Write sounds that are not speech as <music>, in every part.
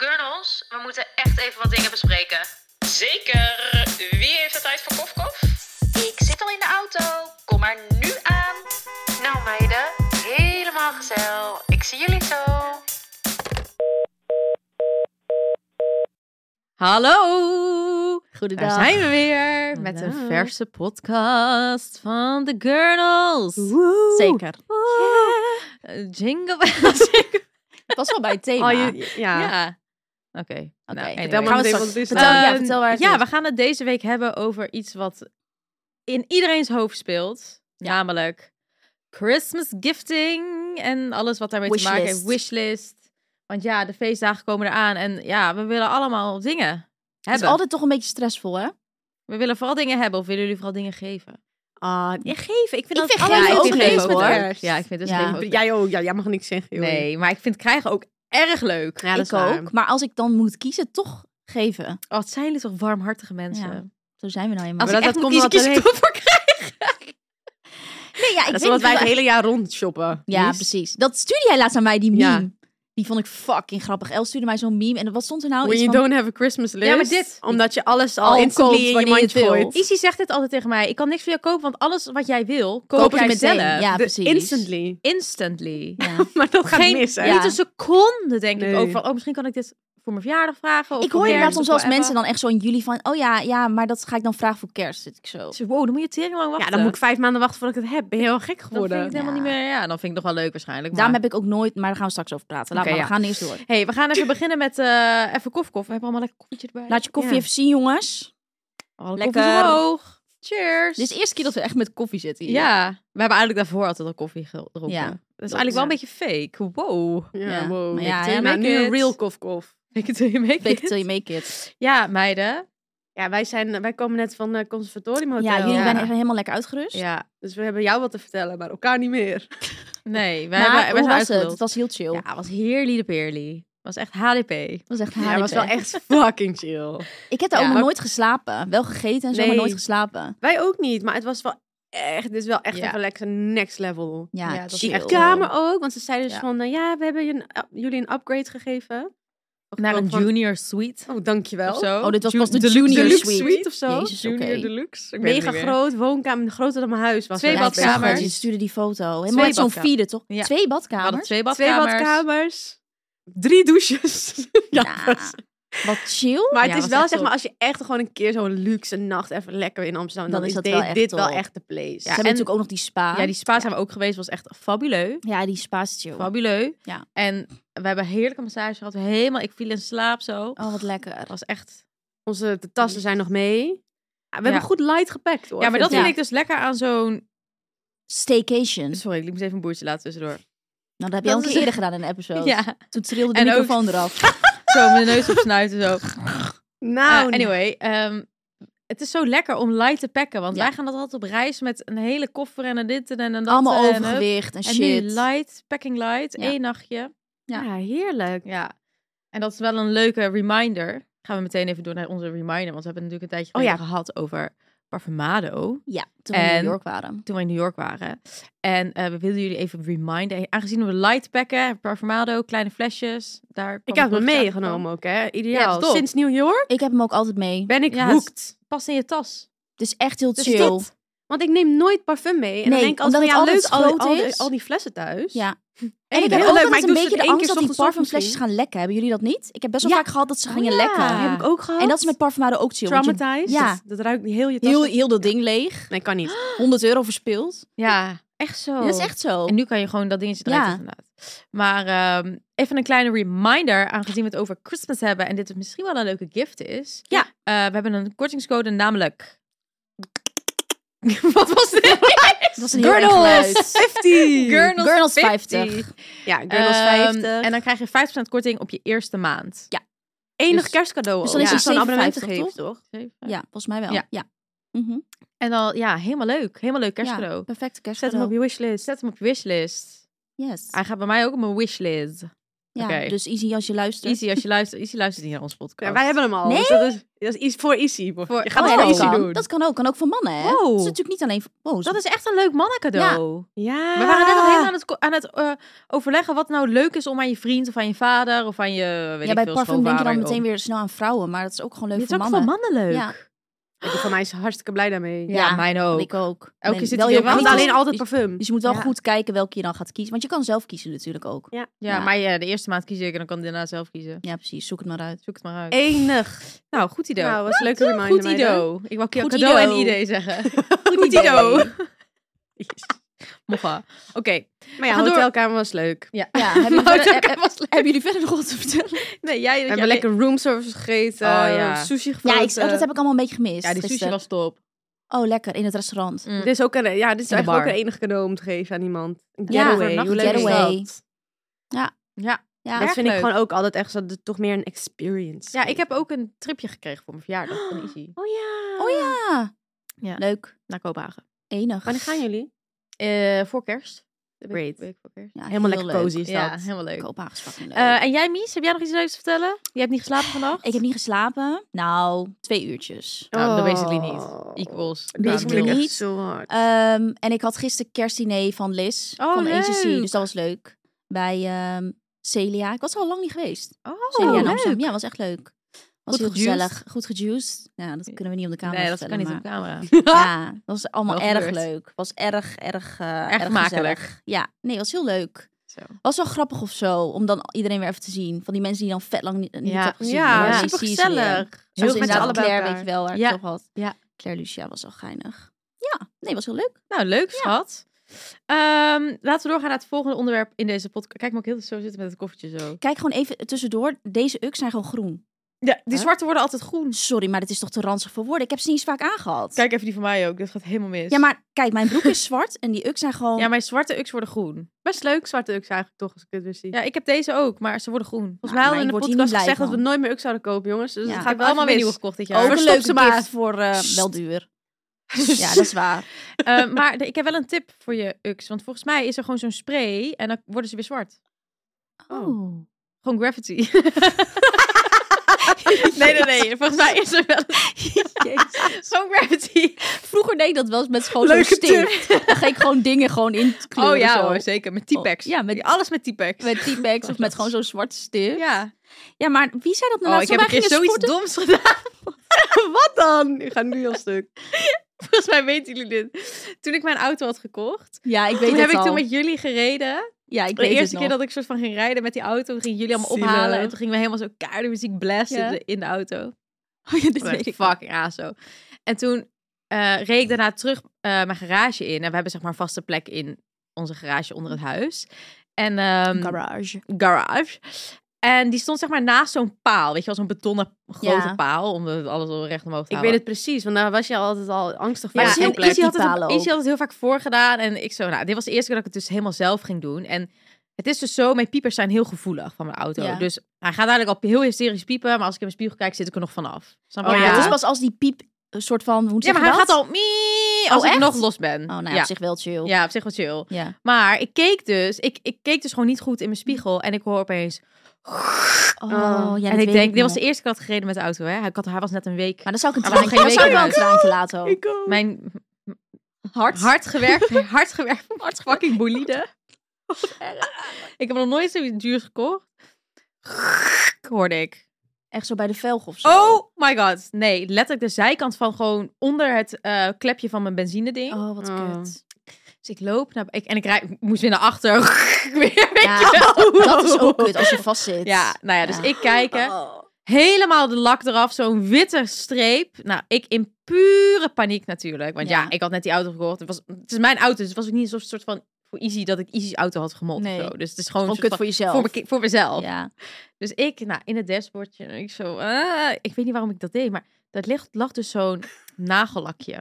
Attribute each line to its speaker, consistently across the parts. Speaker 1: Jos, we moeten echt even wat dingen bespreken.
Speaker 2: Zeker. Wie heeft de tijd voor kofkof?
Speaker 1: Ik zit al in de auto. Kom maar nu aan. Nou meiden, helemaal gezellig. Ik zie jullie zo.
Speaker 3: Hallo! Daar
Speaker 4: Goedendag.
Speaker 3: zijn we weer met
Speaker 4: Hallo.
Speaker 3: een verse podcast van The Gurnals.
Speaker 4: Zeker.
Speaker 3: Eh, Jingle <laughs> bells.
Speaker 4: Het was wel bij het thema.
Speaker 3: Oh, je-
Speaker 4: ja.
Speaker 3: ja.
Speaker 4: ja.
Speaker 3: Oké.
Speaker 4: Oké.
Speaker 3: Nou,
Speaker 4: Vertel
Speaker 3: anyway.
Speaker 4: maar meteen
Speaker 3: Gaan we
Speaker 4: wat het
Speaker 3: straks-
Speaker 4: is. Vertel- ja,
Speaker 3: Eh,
Speaker 4: vertel waar het
Speaker 3: ja,
Speaker 4: is.
Speaker 3: we gaan het deze week hebben over iets wat in iedereen's hoofd speelt. Namelijk Christmas gifting en alles wat daarmee te maken heeft.
Speaker 4: Wishlist.
Speaker 3: Wishlist. Want ja, de feestdagen komen eraan en ja, we willen allemaal dingen
Speaker 4: Het
Speaker 3: hebben.
Speaker 4: is altijd toch een beetje stressvol, hè?
Speaker 3: We willen vooral dingen hebben of willen jullie vooral dingen geven?
Speaker 5: Ah, ja, geven. Ik vind
Speaker 4: Ik
Speaker 5: dat
Speaker 4: vind
Speaker 5: allemaal
Speaker 4: geven
Speaker 5: heel
Speaker 4: ook
Speaker 5: goed
Speaker 4: leuk,
Speaker 5: met
Speaker 4: hoor.
Speaker 5: kerst.
Speaker 3: Ja, ik vind het dus
Speaker 4: Ja.
Speaker 3: geven ook leuk.
Speaker 5: Jij ook. Ja, jij mag niks zeggen. joh.
Speaker 3: Nee, maar ik vind krijgen ook erg leuk.
Speaker 5: Ja, dat
Speaker 4: ik
Speaker 5: is waar.
Speaker 4: ook. Maar als ik dan moet kiezen, toch geven.
Speaker 3: Oh, het zijn jullie toch warmhartige mensen.
Speaker 4: Ja. Zo zijn we nou eenmaal.
Speaker 3: Als
Speaker 5: Maar
Speaker 3: ik
Speaker 5: dat-
Speaker 3: echt
Speaker 5: dat
Speaker 3: moet
Speaker 5: komt
Speaker 3: kiezen, kies
Speaker 5: omdat er
Speaker 3: ik toch voor krijgen.
Speaker 4: nee, ja, ik
Speaker 5: dat is
Speaker 4: weet
Speaker 5: wat
Speaker 4: niet
Speaker 5: wij
Speaker 4: of-
Speaker 5: het hele jaar rond shoppen.
Speaker 4: Ja,
Speaker 5: Lies.
Speaker 4: precies. Dat stuurde jij laatst aan mij, die meme.
Speaker 5: Ja.
Speaker 4: Die vond ik fucking grappig. El stuurde mij zo'n meme. En wat stond er nou?
Speaker 5: When
Speaker 4: Iets
Speaker 5: you
Speaker 4: van...
Speaker 5: don't have a Christmas list.
Speaker 3: Ja, maar dit-
Speaker 5: Omdat je alles al
Speaker 4: Al
Speaker 5: instantly
Speaker 4: koopt
Speaker 5: in je
Speaker 4: wanneer je
Speaker 5: mandje
Speaker 4: het wil.
Speaker 5: gooit.
Speaker 3: Isi zegt het altijd tegen mij. Ik kan niks voor jou kopen, want alles wat jij wil, koop,
Speaker 4: Koop ik
Speaker 3: jij
Speaker 4: meteen.
Speaker 3: zelf.
Speaker 4: Ja,
Speaker 5: De-
Speaker 4: precies.
Speaker 5: Instantly.
Speaker 3: Instantly.
Speaker 4: Ja.
Speaker 5: <laughs> Maar dat gaat
Speaker 3: Geen,
Speaker 5: mis, hè?
Speaker 4: Ja.
Speaker 3: Niet een seconde denk
Speaker 5: Nee.
Speaker 3: ik ook van, oh misschien kan ik dit voor mijn verjaardag vragen. Of
Speaker 4: Ik
Speaker 3: voor
Speaker 4: hoor inderdaad
Speaker 3: kerst
Speaker 4: soms
Speaker 3: of
Speaker 4: wel eens mensen
Speaker 3: whatever.
Speaker 4: dan echt zo in juli van... Oh ja, ja, maar dat ga ik dan vragen voor kerst. Zit ik zo.
Speaker 3: Ik zeg, Wow, dan moet je tering lang
Speaker 5: Ja,
Speaker 3: wachten.
Speaker 5: dan moet ik vijf maanden wachten voordat ik het heb. Ben je heel gek
Speaker 3: dan vind ik
Speaker 5: geworden?
Speaker 3: het helemaal
Speaker 4: Ja.
Speaker 3: niet meer. Ja, dan vind ik het nog wel leuk waarschijnlijk.
Speaker 4: Daarom
Speaker 3: maar-
Speaker 4: heb ik ook nooit... Maar daar gaan we straks over praten. Laat
Speaker 3: Oké,
Speaker 4: maar, we
Speaker 3: ja.
Speaker 4: gaan eerst door.
Speaker 3: hey, we gaan even beginnen met eh, even kofkoff. We hebben allemaal lekker koffietje erbij.
Speaker 4: Laat je koffie
Speaker 5: Ja.
Speaker 4: even zien, jongens.
Speaker 3: Alle
Speaker 4: Lekker.
Speaker 3: koffies omhoog. Cheers.
Speaker 4: Dit is de eerste keer dat we echt met koffie zitten hier.
Speaker 3: Ja, we hebben eigenlijk daarvoor altijd al koffie gedronken.
Speaker 4: Ja,
Speaker 3: dat is eigenlijk wel een beetje fake. Wow.
Speaker 4: Ja.
Speaker 3: <laughs>
Speaker 5: Ja, wow.
Speaker 4: Maar ja,
Speaker 5: Ik
Speaker 4: ja,
Speaker 5: doe- nou,
Speaker 3: make
Speaker 5: nu
Speaker 3: it.
Speaker 5: een real kof-kof.
Speaker 3: Ik doe je make
Speaker 4: Fake
Speaker 3: it.
Speaker 4: it till you make it.
Speaker 3: Ja, meiden.
Speaker 5: Ja, wij, zijn, wij komen net van het conservatorium
Speaker 4: Ja, jullie
Speaker 3: Ja.
Speaker 4: zijn echt helemaal lekker uitgerust.
Speaker 3: Ja,
Speaker 5: Dus we hebben jou wat te vertellen, maar elkaar niet meer.
Speaker 3: nee. Wij
Speaker 4: Maar
Speaker 3: hebben, wij
Speaker 4: hoe
Speaker 3: zijn
Speaker 4: was het?
Speaker 3: uitgeluld.
Speaker 4: Het was heel chill.
Speaker 3: Ja, het was heerlijk de peerly. Het was echt HDP.
Speaker 4: Het was echt
Speaker 5: Ja, het was wel
Speaker 4: heerlijk.
Speaker 5: echt fucking chill.
Speaker 4: Ik heb daar
Speaker 3: Ja.
Speaker 4: ook nog nooit geslapen. Wel gegeten en zo, maar
Speaker 5: Nee.
Speaker 4: nooit geslapen.
Speaker 5: Wij ook niet, maar het was wel echt, dit is wel echt
Speaker 3: Ja.
Speaker 5: even lekker next level.
Speaker 4: Ja,
Speaker 3: Ja, het was
Speaker 4: chill.
Speaker 3: echt
Speaker 5: Kamer ook, want ze zeiden dus
Speaker 3: Ja.
Speaker 5: van, eh, ja, we hebben je een, up- jullie een upgrade gegeven. Of
Speaker 3: Naar
Speaker 5: gewoon
Speaker 3: een
Speaker 5: van,
Speaker 3: junior suite
Speaker 5: Oh, dankjewel.
Speaker 3: of zo.
Speaker 4: Oh, dit was pas de
Speaker 3: Deluxe-
Speaker 4: junior
Speaker 3: deluxe
Speaker 4: suite.
Speaker 3: of zo.
Speaker 4: Jezus,
Speaker 3: junior
Speaker 4: oké.
Speaker 3: deluxe. Ik weet het
Speaker 5: Mega
Speaker 3: niet meer.
Speaker 5: groot, woonkamer, groter dan mijn huis was
Speaker 3: Twee
Speaker 5: het.
Speaker 4: Ja, ik zag
Speaker 3: badkamers.
Speaker 4: het. Je stuurde die foto. Helemaal met zo'n
Speaker 3: badkamers.
Speaker 4: vierde, toch?
Speaker 3: Ja.
Speaker 4: Twee
Speaker 3: We hadden
Speaker 4: badkamers?
Speaker 3: twee
Speaker 5: Twee
Speaker 3: badkamers.
Speaker 5: badkamers, drie douches. <laughs> ja,
Speaker 3: <laughs>
Speaker 4: Nou,
Speaker 5: dat is-
Speaker 4: Wat chill.
Speaker 5: maar het
Speaker 3: Ja,
Speaker 5: is
Speaker 3: was
Speaker 5: wel,
Speaker 3: echt
Speaker 5: zeg
Speaker 3: top.
Speaker 5: maar, als je echt gewoon een keer zo'n luxe nacht even lekker in Amsterdam,
Speaker 4: Dan
Speaker 5: dan,
Speaker 4: is
Speaker 5: is
Speaker 4: dat
Speaker 5: dit,
Speaker 4: wel echt
Speaker 5: dit wel
Speaker 4: top.
Speaker 5: echt de place.
Speaker 4: Ze
Speaker 3: Ja,
Speaker 4: hebben
Speaker 3: en-
Speaker 4: natuurlijk ook nog die spa.
Speaker 3: Ja, die spa zijn we ook geweest. was echt fabuleus.
Speaker 4: ja, die spa is chill.
Speaker 3: Fabuleus.
Speaker 4: Ja.
Speaker 3: En we hebben heerlijke massage gehad. Helemaal, ik viel in slaap zo.
Speaker 4: Oh, wat lekker.
Speaker 3: Het was echt
Speaker 5: Onze de tassen zijn nog mee. Ja, we hebben goed light gepackt hoor.
Speaker 3: Ja, maar dat
Speaker 4: Ja.
Speaker 3: vind ik dus lekker aan zo'n...
Speaker 4: Staycation.
Speaker 3: Sorry, ik liet meteen even een boertje laten tussendoor.
Speaker 4: Nou, dat
Speaker 3: Dat
Speaker 4: heb je al een
Speaker 3: is-
Speaker 4: keer eerder gedaan in een episode.
Speaker 3: Ja.
Speaker 4: Toen trilde de
Speaker 3: En ook- <laughs>
Speaker 4: microfoon eraf.
Speaker 3: Zo, mijn neus opsnuiten
Speaker 4: <laughs>
Speaker 3: zo.
Speaker 5: Nou,
Speaker 3: Eh, anyway, ehm, het is zo lekker om light te packen. Want
Speaker 4: Ja.
Speaker 3: wij gaan dat altijd op reis met een hele koffer en een dit en een dat. eh,
Speaker 4: Allemaal
Speaker 3: en hup.
Speaker 4: overgewicht en
Speaker 3: En nu
Speaker 4: shit.
Speaker 3: light, packing light,
Speaker 4: Ja.
Speaker 3: één nachtje.
Speaker 4: Ja.
Speaker 5: Ja, heerlijk.
Speaker 3: Ja. En dat is wel een leuke reminder. Gaan we meteen even door naar onze reminder. Want we hebben natuurlijk een tijdje
Speaker 5: Oh ja.
Speaker 3: geleden gehad over Parfumado.
Speaker 4: Ja, toen we in
Speaker 3: En-
Speaker 4: New York waren.
Speaker 3: toen we in New York waren. En eh, we wilden jullie even reminden. Aangezien we light packen, Parfumado, kleine flesjes. Daar
Speaker 5: Ik
Speaker 3: kwam
Speaker 5: heb me
Speaker 3: een berichtje
Speaker 5: meegenomen ook, hè?
Speaker 3: Ja,
Speaker 5: Ideaal.
Speaker 3: dat is top.
Speaker 5: Sinds New York
Speaker 4: Ik heb hem ook altijd mee.
Speaker 5: ben ik
Speaker 3: Ja,
Speaker 5: hooked.
Speaker 3: het Past in je tas.
Speaker 4: Het is echt heel
Speaker 3: Dus
Speaker 4: chill.
Speaker 3: dit-
Speaker 5: Want ik neem nooit parfum mee. En
Speaker 4: Nee,
Speaker 5: dan denk ik altijd,
Speaker 4: omdat
Speaker 5: van, ja,
Speaker 4: het
Speaker 5: leuk,
Speaker 4: altijd
Speaker 5: al,
Speaker 4: groot
Speaker 5: al, die-
Speaker 4: is.
Speaker 5: al die flessen thuis.
Speaker 4: Ja.
Speaker 5: Hey,
Speaker 4: En ik heb
Speaker 5: heel
Speaker 4: ook
Speaker 5: leuk,
Speaker 4: altijd
Speaker 5: maar ik doe
Speaker 4: een
Speaker 5: ze
Speaker 4: beetje
Speaker 5: één
Speaker 4: de
Speaker 5: keer
Speaker 4: angst dat die
Speaker 5: ochtends ochtends
Speaker 4: parfumflesjes gaan lekken. Hebben jullie dat niet? Ik heb best wel
Speaker 5: Ja.
Speaker 4: vaak gehad dat ze gingen
Speaker 3: ja.
Speaker 4: lekken.
Speaker 3: gaan.
Speaker 5: Heb ik ook gehad.
Speaker 4: En dat is met parfumado ook chill. want je
Speaker 5: Traumatized.
Speaker 4: Ja.
Speaker 5: Dat, dat ruikt heel je tas.
Speaker 4: Heel, heel dat ding leeg.
Speaker 5: Nee, kan <gasps> niet.
Speaker 4: 100 euro verspild.
Speaker 3: Ja, echt zo.
Speaker 5: Oh.
Speaker 4: Dat is echt zo.
Speaker 3: En nu kan je gewoon dat dingetje eruit
Speaker 4: Ja.
Speaker 3: doen, inderdaad. Maar ehm, even een kleine reminder, aangezien we het over Christmas hebben en dit het misschien wel een leuke gift is.
Speaker 5: Ja.
Speaker 3: Eh, we hebben een kortingscode, namelijk. <laughs> Wat was
Speaker 5: <laughs>
Speaker 3: dit?
Speaker 4: Dat was een heel erg
Speaker 3: <laughs>
Speaker 4: geluid.
Speaker 5: 50!
Speaker 3: Gurnals,
Speaker 4: Gurnals
Speaker 3: 50.
Speaker 4: 50.
Speaker 5: Ja, Gurnals 50.
Speaker 3: Ehm, en dan krijg je 5% korting op je eerste maand.
Speaker 5: Enig
Speaker 3: dus-
Speaker 5: kerstcadeau
Speaker 4: dus
Speaker 5: ook.
Speaker 4: dan is
Speaker 5: Ja.
Speaker 4: het
Speaker 5: Zo'n
Speaker 4: 57,
Speaker 5: geeft, toch?
Speaker 4: Ja, volgens mij wel. Ja.
Speaker 3: Ja.
Speaker 4: Mhm.
Speaker 3: En dan, ja, helemaal leuk. Helemaal leuk kerstcadeau.
Speaker 4: Ja, perfecte
Speaker 5: Zet hem op
Speaker 4: kerstcadeau.
Speaker 5: je Ah, wishlist.
Speaker 3: Zet hem op je wishlist.
Speaker 4: Yes.
Speaker 3: Hij gaat bij mij ook op mijn wishlist.
Speaker 4: Ja,
Speaker 3: Oké.
Speaker 4: Dus Izzy, als je luistert.
Speaker 3: Izzy, als je luistert, Izzy luistert niet naar ons podcast.
Speaker 5: Ja, wij hebben hem al.
Speaker 4: Nee?
Speaker 5: Dus dat, is, dat is iets voor Issy.
Speaker 3: Voor-
Speaker 5: je gaat
Speaker 3: Oh,
Speaker 5: het
Speaker 4: dat,
Speaker 5: voor
Speaker 3: dat
Speaker 5: Issy
Speaker 4: kan.
Speaker 5: doen.
Speaker 4: dat kan ook. Kan ook voor mannen, hè?
Speaker 3: Wow.
Speaker 4: Dat is natuurlijk niet alleen voor... Wow,
Speaker 3: Dat is echt een leuk mannencadeau.
Speaker 5: Ja.
Speaker 3: We waren net
Speaker 4: Ah.
Speaker 3: nog helemaal aan het, ko- aan het eh, overleggen wat nou leuk is om aan je vriend of aan je vader of aan je weet
Speaker 4: ja,
Speaker 3: ik
Speaker 4: bij
Speaker 3: veel,
Speaker 4: parfum denk je
Speaker 3: schoonvader
Speaker 4: dan
Speaker 3: om-
Speaker 4: meteen weer snel aan vrouwen, maar dat is ook gewoon leuk
Speaker 3: Dit
Speaker 4: voor
Speaker 3: is ook
Speaker 4: mannen.
Speaker 3: voor mannen leuk.
Speaker 4: Ja.
Speaker 5: Van mij is ze hartstikke blij daarmee.
Speaker 3: Ja, mijn ook.
Speaker 4: Ik ook.
Speaker 3: Elke
Speaker 4: Ben-
Speaker 3: keer zit
Speaker 4: wel
Speaker 3: hij
Speaker 4: heel
Speaker 3: weer
Speaker 5: Want
Speaker 3: Want-
Speaker 5: alleen
Speaker 4: kritisch.
Speaker 5: altijd
Speaker 4: Dus,
Speaker 5: parfum.
Speaker 4: dus je moet wel
Speaker 5: Ja.
Speaker 4: goed kijken welke je dan gaat kiezen, want je kan zelf kiezen natuurlijk ook.
Speaker 5: Ja.
Speaker 3: Ja,
Speaker 4: Ja.
Speaker 3: maar ja, de eerste maand kies ik en dan kan ik daarna zelf kiezen.
Speaker 4: Ja, precies. Zoek het maar uit.
Speaker 3: Zoek het maar uit.
Speaker 5: Enig.
Speaker 3: Nou, goed idee.
Speaker 5: Nou, was een leuke reminder.
Speaker 3: goed
Speaker 5: meiden.
Speaker 3: idee. Ik wou
Speaker 4: Goed
Speaker 3: cadeau
Speaker 4: idee.
Speaker 3: en idee zeggen. goed idee. Moffa. Oké.
Speaker 5: Maar ja,
Speaker 3: Ga door.
Speaker 5: hotelkamer was leuk.
Speaker 3: Ja.
Speaker 4: <laughs> Ja, hebben jullie,
Speaker 3: Maar
Speaker 4: verder,
Speaker 3: dat
Speaker 4: heb-
Speaker 3: was
Speaker 4: hebben jullie verder nog wat te vertellen?
Speaker 3: <laughs> Nee, jij...
Speaker 5: We
Speaker 3: jij-
Speaker 5: hebben lekker roomservice gegeten.
Speaker 3: Oh, ja.
Speaker 5: Sushi gevonden.
Speaker 4: Ja, ik, oh, dat heb ik allemaal een beetje gemist.
Speaker 3: Ja, die sushi
Speaker 4: gisteren.
Speaker 3: was top.
Speaker 4: Oh, lekker. In het restaurant.
Speaker 3: Mm.
Speaker 5: Dit is, ook een, ja, dit is
Speaker 3: In de
Speaker 5: eigenlijk
Speaker 3: bar.
Speaker 5: ook een enige cadeau om te geven aan iemand. Een
Speaker 4: Ja,
Speaker 5: getaway.
Speaker 3: overnacht
Speaker 5: Hoe leuk is
Speaker 4: getaway.
Speaker 5: dat?
Speaker 3: Ja.
Speaker 4: Ja.
Speaker 5: dat
Speaker 3: Erg
Speaker 5: vind ik
Speaker 3: leuk.
Speaker 5: gewoon ook altijd echt zo, toch meer een experience.
Speaker 3: ja, ik heb ook een tripje gekregen voor mijn verjaardag van Izzy.
Speaker 5: Oh ja.
Speaker 4: Oh ja.
Speaker 3: Ja.
Speaker 4: Leuk.
Speaker 3: Naar Kopenhagen.
Speaker 4: Enig.
Speaker 5: Wanneer gaan jullie?
Speaker 3: Eh, voor kerst.
Speaker 5: Great.
Speaker 3: Week voor kerst.
Speaker 4: Ja,
Speaker 5: Helemaal
Speaker 4: heel
Speaker 5: lekker
Speaker 4: leuk.
Speaker 5: cozy is
Speaker 3: Ja,
Speaker 5: dat.
Speaker 3: helemaal leuk.
Speaker 4: Kopenhagen is fucking leuk.
Speaker 3: Eh, en jij, Mies, heb jij nog iets leuks te vertellen? Je hebt niet geslapen vannacht?
Speaker 4: ik heb niet geslapen. Nou, twee uurtjes.
Speaker 3: Nou, dat
Speaker 5: Oh.
Speaker 3: basically niet. Equals. Nou,
Speaker 5: Basically
Speaker 3: Namelijk.
Speaker 5: echt
Speaker 4: niet.
Speaker 5: zo hard.
Speaker 4: Ehm, en ik had gisteren kerstdiner van Liz
Speaker 3: Oh,
Speaker 4: van de agency.
Speaker 3: leuk.
Speaker 4: Dus dat was leuk. Bij ehm, Celia. Ik was er al lang niet geweest.
Speaker 3: Oh,
Speaker 4: Celia in
Speaker 3: leuk.
Speaker 4: Amsterdam. Ja, was echt leuk. Was
Speaker 3: Goed
Speaker 4: heel
Speaker 3: gejuiced.
Speaker 4: gezellig. Goed gejuiced. Ja, dat kunnen we niet om de camera
Speaker 3: Nee, dat kan
Speaker 4: vertellen,
Speaker 3: niet op
Speaker 4: maar-
Speaker 3: camera. <laughs>
Speaker 4: <laughs> Ja, dat was allemaal
Speaker 3: Wel
Speaker 4: erg
Speaker 3: gebeurd.
Speaker 4: leuk. Was erg, erg, eh
Speaker 3: Erg makkelijk.
Speaker 4: gezellig. Ja, nee, was heel leuk.
Speaker 3: Zo.
Speaker 4: Was wel grappig of zo, om dan iedereen weer even te zien. Van die mensen die je dan vet lang niet, niet
Speaker 3: Ja.
Speaker 4: hebt gezien.
Speaker 5: Ja,
Speaker 4: Maar dan
Speaker 3: super
Speaker 4: zie je ze weer.
Speaker 3: gezellig.
Speaker 4: Zoals
Speaker 5: Heel
Speaker 3: met z'n
Speaker 4: inderdaad
Speaker 3: allen bij
Speaker 4: Claire,
Speaker 5: elkaar.
Speaker 4: weet je wel, waar
Speaker 3: Ja.
Speaker 4: ik het op had.
Speaker 3: Ja.
Speaker 4: Claire Lucia was al geinig. Ja, nee, was heel leuk.
Speaker 3: Nou, leuk, schat. Ehm, laten we doorgaan naar het volgende onderwerp in deze podcast. Kijk, maar ook heel zo zitten met het koffertje zo.
Speaker 4: Kijk gewoon even tussendoor. Deze uks zijn gewoon groen.
Speaker 3: Ja, die
Speaker 4: Huh?
Speaker 3: zwarte worden altijd groen.
Speaker 4: Sorry, maar dat is toch te ranzig voor woorden. Ik heb ze niet eens vaak aangehad.
Speaker 3: Kijk even die van mij ook, dit gaat helemaal mis.
Speaker 4: Ja, maar kijk, mijn broek is zwart en die uks zijn gewoon...
Speaker 3: Ja, mijn zwarte uks worden groen.
Speaker 5: Best leuk, zwarte uks eigenlijk toch, als ik dit weer zie.
Speaker 3: Ja, ik heb deze ook, maar ze worden groen.
Speaker 5: Volgens mij
Speaker 4: maar
Speaker 5: hadden we in
Speaker 4: ik
Speaker 5: de
Speaker 4: word hier niet
Speaker 5: podcast gezegd
Speaker 4: blij
Speaker 5: dat we nooit meer uks zouden kopen, jongens. Dus
Speaker 4: Ja.
Speaker 5: dat
Speaker 4: Ik
Speaker 5: ga
Speaker 3: Ik
Speaker 5: ik
Speaker 3: heb allemaal weer nieuwe gekocht dit jaar.
Speaker 4: Ook een
Speaker 5: Verstop
Speaker 4: leuke
Speaker 5: ze maar.
Speaker 4: gift voor eh,
Speaker 5: Sst.
Speaker 4: wel duur. <laughs>
Speaker 3: <laughs>
Speaker 4: Ja, dat is waar.
Speaker 3: Eh, maar de- ik heb wel een tip voor je uks. Want volgens mij is er gewoon zo'n spray en dan worden ze weer zwart.
Speaker 4: Oh.
Speaker 3: <laughs> Gewoon gravity. <laughs> nee, nee, nee. Volgens mij is er wel zo'n
Speaker 4: <laughs>
Speaker 3: gravity.
Speaker 4: Vroeger deed ik dat wel eens met gewoon zo'n
Speaker 5: Leuke
Speaker 4: stift. <laughs> Dan ging ik gewoon dingen gewoon in kleuren.
Speaker 3: Oh ja
Speaker 4: zo.
Speaker 3: hoor, zeker. Met T-Packs.
Speaker 4: Oh, ja, met-
Speaker 3: Alles met T-Packs.
Speaker 4: Met T-bags of
Speaker 3: <laughs>
Speaker 4: met gewoon zo'n zwarte stift. Ja.
Speaker 3: Ja.
Speaker 4: maar wie zei dat nou
Speaker 3: Oh, ik
Speaker 4: laatst?
Speaker 3: heb een
Speaker 4: Wij
Speaker 3: keer
Speaker 4: gingen
Speaker 3: zoiets
Speaker 4: sporten.
Speaker 3: doms gedaan.
Speaker 4: <laughs>
Speaker 3: <laughs>
Speaker 5: Wat dan? Ik ga nu al stuk.
Speaker 3: Volgens mij weten jullie dit. Toen ik mijn auto had gekocht,
Speaker 4: Ja, ik weet
Speaker 3: toen
Speaker 4: het
Speaker 3: heb ik
Speaker 4: al.
Speaker 3: toen met jullie gereden.
Speaker 4: Ja, ik
Speaker 3: de
Speaker 4: weet het
Speaker 3: eerste keer
Speaker 4: nog.
Speaker 3: dat ik soort van ging rijden met die auto, toen gingen jullie allemaal
Speaker 5: Zielig.
Speaker 3: ophalen. En toen gingen we helemaal zo keiharde muziek blasten
Speaker 4: Ja.
Speaker 3: in, de, in de
Speaker 4: <laughs>
Speaker 3: auto.
Speaker 4: <laughs> Oh, ja, dit
Speaker 3: Dat
Speaker 4: weet ik nog.
Speaker 3: fucking aso. En toen eh, reed ik daarna terug eh, mijn garage in. En we hebben zeg maar een vaste plek in onze garage onder het huis. En ehm,
Speaker 4: Garage.
Speaker 3: garage. En die stond zeg maar naast zo'n paal. Weet je wel, zo'n betonnen grote
Speaker 4: Ja.
Speaker 3: paal. Om de- alles al recht omhoog te
Speaker 5: Ik
Speaker 3: houden.
Speaker 5: weet het precies, want daar was je altijd al angstig voor.
Speaker 4: Maar het
Speaker 3: Ja,
Speaker 4: is heel
Speaker 3: en
Speaker 4: plek,
Speaker 3: Izzy
Speaker 4: die
Speaker 3: had, het,
Speaker 4: palen
Speaker 3: Izzy
Speaker 4: ook.
Speaker 3: had het heel vaak voorgedaan. En ik zo, nou, dit was de eerste keer dat ik het dus helemaal zelf ging doen. En het is dus zo, mijn piepers zijn heel gevoelig van mijn auto.
Speaker 4: Ja.
Speaker 3: Dus hij gaat eigenlijk al heel hysterisch piepen. Maar als ik in mijn spiegel kijk, zit ik er nog vanaf. Snap je?
Speaker 5: Oh
Speaker 4: Ja,
Speaker 5: Ja.
Speaker 4: Het is pas als die piep een soort van... Hoe
Speaker 3: Ja,
Speaker 4: zeg
Speaker 3: maar
Speaker 4: je
Speaker 3: hij gaat
Speaker 4: dat?
Speaker 3: al mee als
Speaker 4: Oh,
Speaker 3: ik
Speaker 4: echt?
Speaker 3: nog los ben.
Speaker 4: Oh, nou ja,
Speaker 3: ja.
Speaker 4: op zich wel chill.
Speaker 3: ja, op zich wel chill.
Speaker 4: Ja.
Speaker 3: Maar ik keek dus, ik, ik keek dus gewoon niet goed in mijn spiegel. En ik hoor opeens...
Speaker 4: Oh,
Speaker 5: Oh.
Speaker 4: ja, dat
Speaker 3: en ik
Speaker 4: weet
Speaker 3: denk, dit was e- Oh, de
Speaker 4: nog.
Speaker 3: eerste keer dat ik gereden met de auto. Hè? Hij, had- hij was net een week.
Speaker 4: Maar dan zou ik een
Speaker 3: Maar we
Speaker 4: traantje... Dan
Speaker 3: gingen
Speaker 4: zou ik wel een
Speaker 3: weken
Speaker 4: traantje laten ook.
Speaker 5: Ik ook.
Speaker 3: Mijn
Speaker 4: Hard.
Speaker 3: hard
Speaker 4: <laughs>
Speaker 3: gewerkt, hard gewerkt, hard fucking <laughs> bolide. ik heb nog nooit zoiets duurs gekocht. <laughs> Hoorde ik.
Speaker 4: Echt zo bij de velg of zo.
Speaker 3: Oh my god. Nee, letterlijk de zijkant van gewoon onder het eh, klepje van mijn benzineding.
Speaker 4: Oh, wat
Speaker 5: Oh.
Speaker 4: kut.
Speaker 3: Dus ik loop naar... Ik, en ik rij, moest weer naar achter. <laughs> weer, weet
Speaker 4: Ja,
Speaker 3: je wel.
Speaker 4: Dat is ook kut als je vast zit.
Speaker 3: Ja, nou ja, dus
Speaker 4: Ja.
Speaker 3: ik kijken. Helemaal de lak eraf, zo'n witte streep. Nou, ik in pure paniek natuurlijk. Want ja,
Speaker 4: Ja.
Speaker 3: ik had net die auto gekoord. Het, was, het is mijn auto, dus het was ook niet alsof het soort van voor Easy dat ik Easy's auto had gemolken.
Speaker 4: Nee.
Speaker 3: Zo. Dus het is gewoon, een
Speaker 4: Gewoon
Speaker 3: soort
Speaker 4: kut voor
Speaker 3: van-
Speaker 4: jezelf.
Speaker 3: voor, meke- voor mezelf.
Speaker 4: Ja.
Speaker 3: Dus ik, nou, in het dashboardje, en ik zo, ah, ik weet niet waarom ik dat deed, maar dat ligt, lag dus zo'n nagellakje.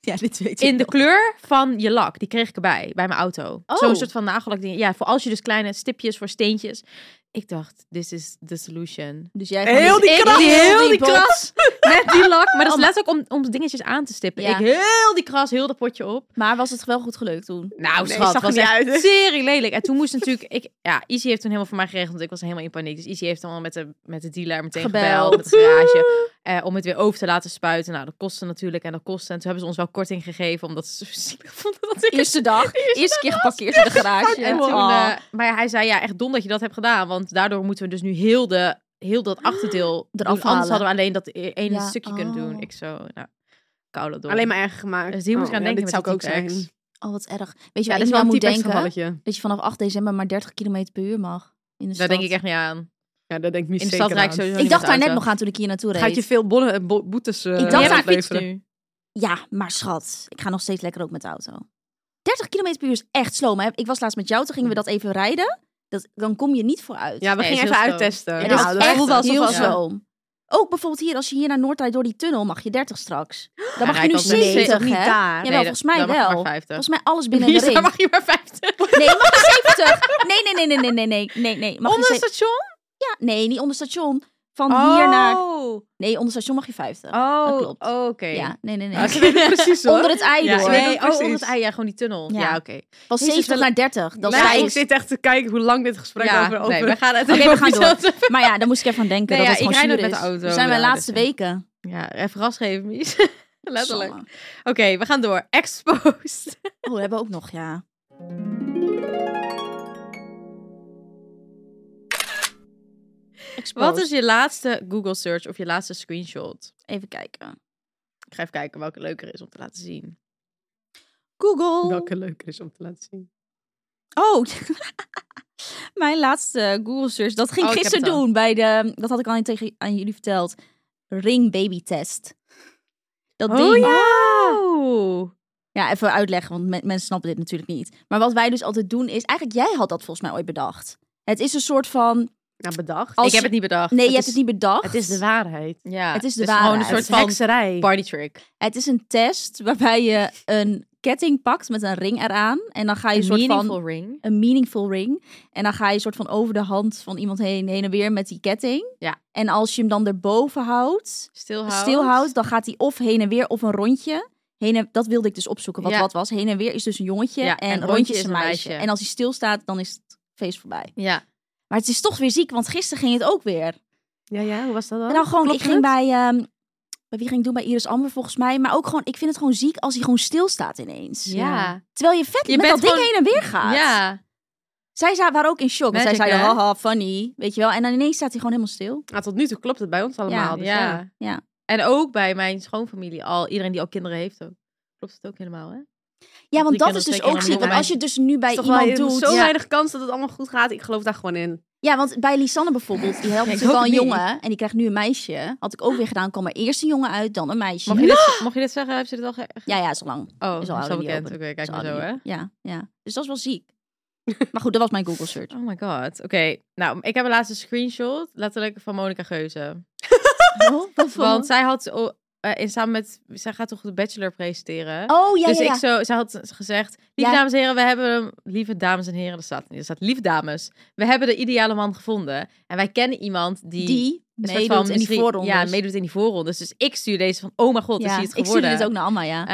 Speaker 4: ja, dit weet
Speaker 3: In de kleur van je lak, die kreeg ik erbij, bij mijn auto.
Speaker 4: Oh.
Speaker 3: Zo'n soort van nagellak ding. Ja, voor als je dus kleine stipjes voor steentjes. Ik dacht, this is the solution.
Speaker 4: Dus jij
Speaker 5: Heel
Speaker 4: dus
Speaker 5: die
Speaker 4: ik
Speaker 5: kras.
Speaker 3: Heel die
Speaker 4: pot.
Speaker 3: kras. Met die lak. Maar dat is
Speaker 4: Oh,
Speaker 3: letterlijk om, om dingetjes aan te stippen.
Speaker 4: Ja.
Speaker 3: Ik heel die kras, heel dat potje op.
Speaker 4: Maar was het wel goed gelukt toen?
Speaker 3: Nou,
Speaker 5: Nee,
Speaker 3: schat,
Speaker 5: zag er
Speaker 3: was
Speaker 5: niet
Speaker 3: echt
Speaker 5: uit.
Speaker 3: serie lelijk. En toen moest natuurlijk... Ik, ja, Izzy heeft toen helemaal voor mij geregeld, want ik was helemaal in paniek. Dus Izzy heeft dan al met de, met de dealer meteen gebeld,
Speaker 4: Gebeld.
Speaker 3: met de garage, eh, om het weer over te laten spuiten. Nou, dat kostte natuurlijk en dat kostte. En toen hebben ze ons wel korting gegeven, omdat ze zo zielig <laughs> vonden dat ik... het-
Speaker 4: Eerste dag. Eerste keer geparkeerd in de garage.
Speaker 3: En toen,
Speaker 4: Oh.
Speaker 3: eh, maar ja, hij zei, ja, echt dom dat je dat hebt gedaan. Want daardoor moeten we dus nu heel, de, heel dat achterdeel
Speaker 4: Eraf
Speaker 3: doen. Anders
Speaker 4: halen.
Speaker 3: hadden we alleen dat e- ene
Speaker 4: Ja,
Speaker 3: stukje kunnen doen.
Speaker 4: oh.
Speaker 3: Ik zo, nou, koude dom.
Speaker 5: Alleen maar erg gemaakt.
Speaker 3: Dus die moet ik aan denken
Speaker 5: dit
Speaker 3: met
Speaker 5: zou ik ook
Speaker 3: die
Speaker 5: zijn.
Speaker 3: T-Rex.
Speaker 4: Oh, wat erg. Weet
Speaker 5: Ja, dat
Speaker 4: je waar
Speaker 5: is
Speaker 4: ik nu
Speaker 5: wel een
Speaker 4: aan moet
Speaker 5: typisch
Speaker 4: denken?
Speaker 5: gevalletje.
Speaker 4: Dat je vanaf 8 december maar 30 km per uur mag. In
Speaker 3: Daar
Speaker 4: de stad.
Speaker 3: denk ik echt niet aan.
Speaker 5: Ja, dat denk ik niet
Speaker 3: In de
Speaker 5: zeker
Speaker 3: stad rijd ik
Speaker 5: aan.
Speaker 3: sowieso
Speaker 4: Ik
Speaker 3: niet
Speaker 4: dacht
Speaker 3: met
Speaker 4: daar
Speaker 3: de
Speaker 4: net
Speaker 3: auto.
Speaker 4: nog aan toen ik hier naartoe reed.
Speaker 5: Gaat je veel bonnen- bo- boetes eh
Speaker 4: dacht
Speaker 3: Die
Speaker 4: aan
Speaker 3: hebben een fiets
Speaker 5: opleveren.
Speaker 3: nu.
Speaker 4: Ja, maar schat, ik ga nog steeds lekker ook met de auto. 30 km per uur is echt slow. Maar ik was laatst met jou, toen gingen we dat even rijden. Dat, dan kom je niet vooruit.
Speaker 5: Ja, we
Speaker 3: Nee,
Speaker 5: gingen
Speaker 3: is
Speaker 5: even
Speaker 3: heel
Speaker 5: uittesten.
Speaker 4: En
Speaker 3: ja,
Speaker 4: nou, dat
Speaker 3: dat
Speaker 4: is echt
Speaker 3: voelt alsof-
Speaker 4: heel
Speaker 3: ja.
Speaker 4: slow. Ook bijvoorbeeld hier, als je hier naar Noord rijdt door die tunnel, mag je 30 straks. Dan mag
Speaker 3: rijd
Speaker 4: je
Speaker 3: ik dus
Speaker 4: nu
Speaker 3: ook met
Speaker 4: 70,
Speaker 5: niet daar.
Speaker 4: hè? Ja,
Speaker 3: Nee,
Speaker 4: wel,
Speaker 3: dat-
Speaker 4: volgens mij
Speaker 3: dan mag je
Speaker 4: wel.
Speaker 3: maar 50.
Speaker 4: Volgens mij alles binnen
Speaker 3: <laughs>
Speaker 4: de
Speaker 3: Hier
Speaker 4: ring.
Speaker 3: mag je maar 50.
Speaker 4: Nee, je mag je 70. Nee, nee, nee, nee, nee, nee, nee, nee, nee. Mag je
Speaker 3: Onder het
Speaker 4: ze-
Speaker 3: station?
Speaker 4: Ja, nee, niet onder station. Van hier naar...
Speaker 3: Oh,
Speaker 4: Nee, onder station mag je 50.
Speaker 3: oh
Speaker 4: dat
Speaker 3: oké.
Speaker 4: klopt. Ja, nee, nee,
Speaker 3: <laughs>
Speaker 4: nee.
Speaker 5: Ja, ze weten het precies hoor.
Speaker 4: <laughs> Onder het ei
Speaker 3: Ja,
Speaker 4: door.
Speaker 5: weet het
Speaker 3: nee, oh, onder
Speaker 5: precies.
Speaker 3: het ei, ja, gewoon die tunnel. Ja,
Speaker 4: Ja.
Speaker 3: oké.
Speaker 4: Van
Speaker 3: Jezus,
Speaker 4: 70 naar 30. Dat is
Speaker 5: Ja,
Speaker 4: vijf.
Speaker 5: ik zit echt te kijken hoe lang dit gesprek
Speaker 3: Ja,
Speaker 5: over... over...
Speaker 3: nee, we <laughs> gaan het
Speaker 4: Oké,
Speaker 3: even
Speaker 4: we gaan
Speaker 3: over
Speaker 4: door.
Speaker 3: jezelf-
Speaker 4: Maar ja, daar moest ik even aan denken
Speaker 3: Nee,
Speaker 4: dat
Speaker 3: ja,
Speaker 4: het gewoon
Speaker 3: ik rijd
Speaker 4: zuur
Speaker 3: nooit
Speaker 4: is.
Speaker 3: met de auto,
Speaker 4: We zijn mijn
Speaker 3: ja,
Speaker 4: laatste
Speaker 3: dus, ja.
Speaker 4: weken.
Speaker 3: Ja, even ras geven, Mies. <laughs> Letterlijk.
Speaker 4: Samme.
Speaker 3: Oké, we gaan door. Exposed.
Speaker 4: Oh, we hebben ook nog, ja.
Speaker 3: Wat is je laatste Google search of je laatste screenshot?
Speaker 4: Even kijken.
Speaker 3: Ik ga even kijken welke leuker is om te laten zien.
Speaker 4: Google.
Speaker 5: Welke leuker is om te laten zien.
Speaker 4: Oh, <laughs> mijn laatste Google search. Dat ging
Speaker 3: Oh, ik heb
Speaker 4: gisteren
Speaker 3: het al.
Speaker 4: doen bij de... Dat had ik al tegen aan jullie verteld. Ring baby test. Dat ding.
Speaker 3: Oh, ja! Oh.
Speaker 4: Ja, even uitleggen, want men- mensen snappen dit natuurlijk niet. Maar wat wij dus altijd doen is... Eigenlijk, jij had dat volgens mij ooit bedacht. Het is een soort van...
Speaker 5: Nou, bedacht.
Speaker 4: Als
Speaker 3: ik heb
Speaker 4: je-
Speaker 3: het niet bedacht.
Speaker 4: Nee, je
Speaker 3: is-
Speaker 4: hebt het niet bedacht.
Speaker 5: Het is de waarheid.
Speaker 3: Ja,
Speaker 4: Het is de
Speaker 3: gewoon
Speaker 4: waarheid.
Speaker 3: een soort van
Speaker 5: hekserij.
Speaker 3: party trick.
Speaker 4: Het is een test waarbij je een ketting pakt met een ring eraan. En dan ga je een soort van
Speaker 3: ring.
Speaker 4: een meaningful ring. En dan ga je soort van over de hand van iemand heen, heen en weer met die ketting.
Speaker 3: Ja.
Speaker 4: En als je hem dan erboven houdt,
Speaker 3: Stilhoud.
Speaker 4: stilhoudt, dan gaat hij of heen en weer of een rondje. Heen en, dat wilde ik dus opzoeken wat
Speaker 3: Ja.
Speaker 4: wat was. Heen en weer is dus een jongetje
Speaker 3: Ja,
Speaker 4: en,
Speaker 3: en
Speaker 4: rondje is een meisje.
Speaker 3: meisje.
Speaker 4: En als hij stilstaat, dan is het feest voorbij.
Speaker 3: Ja.
Speaker 4: Maar het is toch weer ziek, want gisteren ging het ook weer.
Speaker 5: Ja, ja, hoe was dat dan?
Speaker 4: Nou, gewoon,
Speaker 5: Klopt
Speaker 4: ik ging
Speaker 5: het?
Speaker 4: bij, ehm, bij wie ging ik doen? Bij Iris Amber volgens mij. Maar ook gewoon, ik vind het gewoon ziek als hij gewoon stilstaat ineens.
Speaker 3: Ja.
Speaker 4: Terwijl je vet
Speaker 3: Je
Speaker 4: met
Speaker 3: bent
Speaker 4: dat ding
Speaker 3: gewoon-
Speaker 4: heen en weer gaat.
Speaker 3: Ja.
Speaker 4: Zij za- waren ook in shock. want zij
Speaker 3: Magic,
Speaker 4: zeiden,
Speaker 3: hè?
Speaker 4: haha, funny. Weet je wel. En dan ineens staat hij gewoon helemaal stil.
Speaker 5: Nou, tot nu toe klopt het bij ons allemaal. dus ja.
Speaker 3: ja.
Speaker 4: ja.
Speaker 3: En ook bij mijn schoonfamilie al. Iedereen die al kinderen heeft ook. Klopt het ook helemaal, hè?
Speaker 4: Ja,
Speaker 3: drie
Speaker 4: want dat
Speaker 3: keer
Speaker 4: is
Speaker 3: dat
Speaker 4: dus
Speaker 3: twee
Speaker 4: ook
Speaker 3: keer
Speaker 4: ziek.
Speaker 3: allemaal
Speaker 4: Want als je het dus nu bij
Speaker 5: Is toch wel
Speaker 4: iemand
Speaker 5: je-
Speaker 4: doet...
Speaker 5: zo
Speaker 4: Ja.
Speaker 5: weinig kans dat het allemaal goed gaat. Ik geloof daar gewoon in.
Speaker 4: Ja, want bij Lisanne bijvoorbeeld, die helpt
Speaker 3: <laughs> Ik
Speaker 4: natuurlijk
Speaker 3: hoop
Speaker 4: al een
Speaker 3: het niet.
Speaker 4: jongen. En die krijgt nu een meisje. Had ik ook weer gedaan. Kwam er eerst een jongen uit, dan een meisje.
Speaker 3: Mag je, dit, mag je dit zeggen? Heb je dit al ge-
Speaker 4: Ja, ja, is al lang.
Speaker 3: Oh,
Speaker 4: Is
Speaker 3: is
Speaker 4: al
Speaker 3: al,
Speaker 4: ouder, die
Speaker 3: bekend. Oké,
Speaker 4: open.
Speaker 3: kijk
Speaker 4: Is
Speaker 3: maar
Speaker 4: al
Speaker 3: zo,
Speaker 4: ouder.
Speaker 3: hè?
Speaker 4: Ja, ja. Dus dat is wel ziek. Maar goed, dat was mijn Google search.
Speaker 3: Oh my god. Oké, nou, ik heb een laatste screenshot. Letterlijk van Monica Geuze.
Speaker 4: Wat voor-
Speaker 3: Want zij had oh, eh, in samen met. Zij gaat toch de Bachelor presenteren?
Speaker 4: Oh, ja,
Speaker 3: dus
Speaker 4: ja, ja.
Speaker 3: ik zo, zij had gezegd, lieve
Speaker 4: Ja.
Speaker 3: dames en heren, we hebben hem, lieve dames en heren, er staat, er staat, lieve dames, we hebben de ideale man gevonden. En wij kennen iemand die,
Speaker 4: die
Speaker 3: een soort
Speaker 4: meedoet in die
Speaker 3: mysterie-
Speaker 4: voorrondes.
Speaker 3: Ja, meedoet in die voorrondes. Dus ik stuur deze van, oh mijn god,
Speaker 4: Ja,
Speaker 3: is hij het
Speaker 4: ik
Speaker 3: geworden?
Speaker 4: stuurde dit dus ook naar Amma, ja.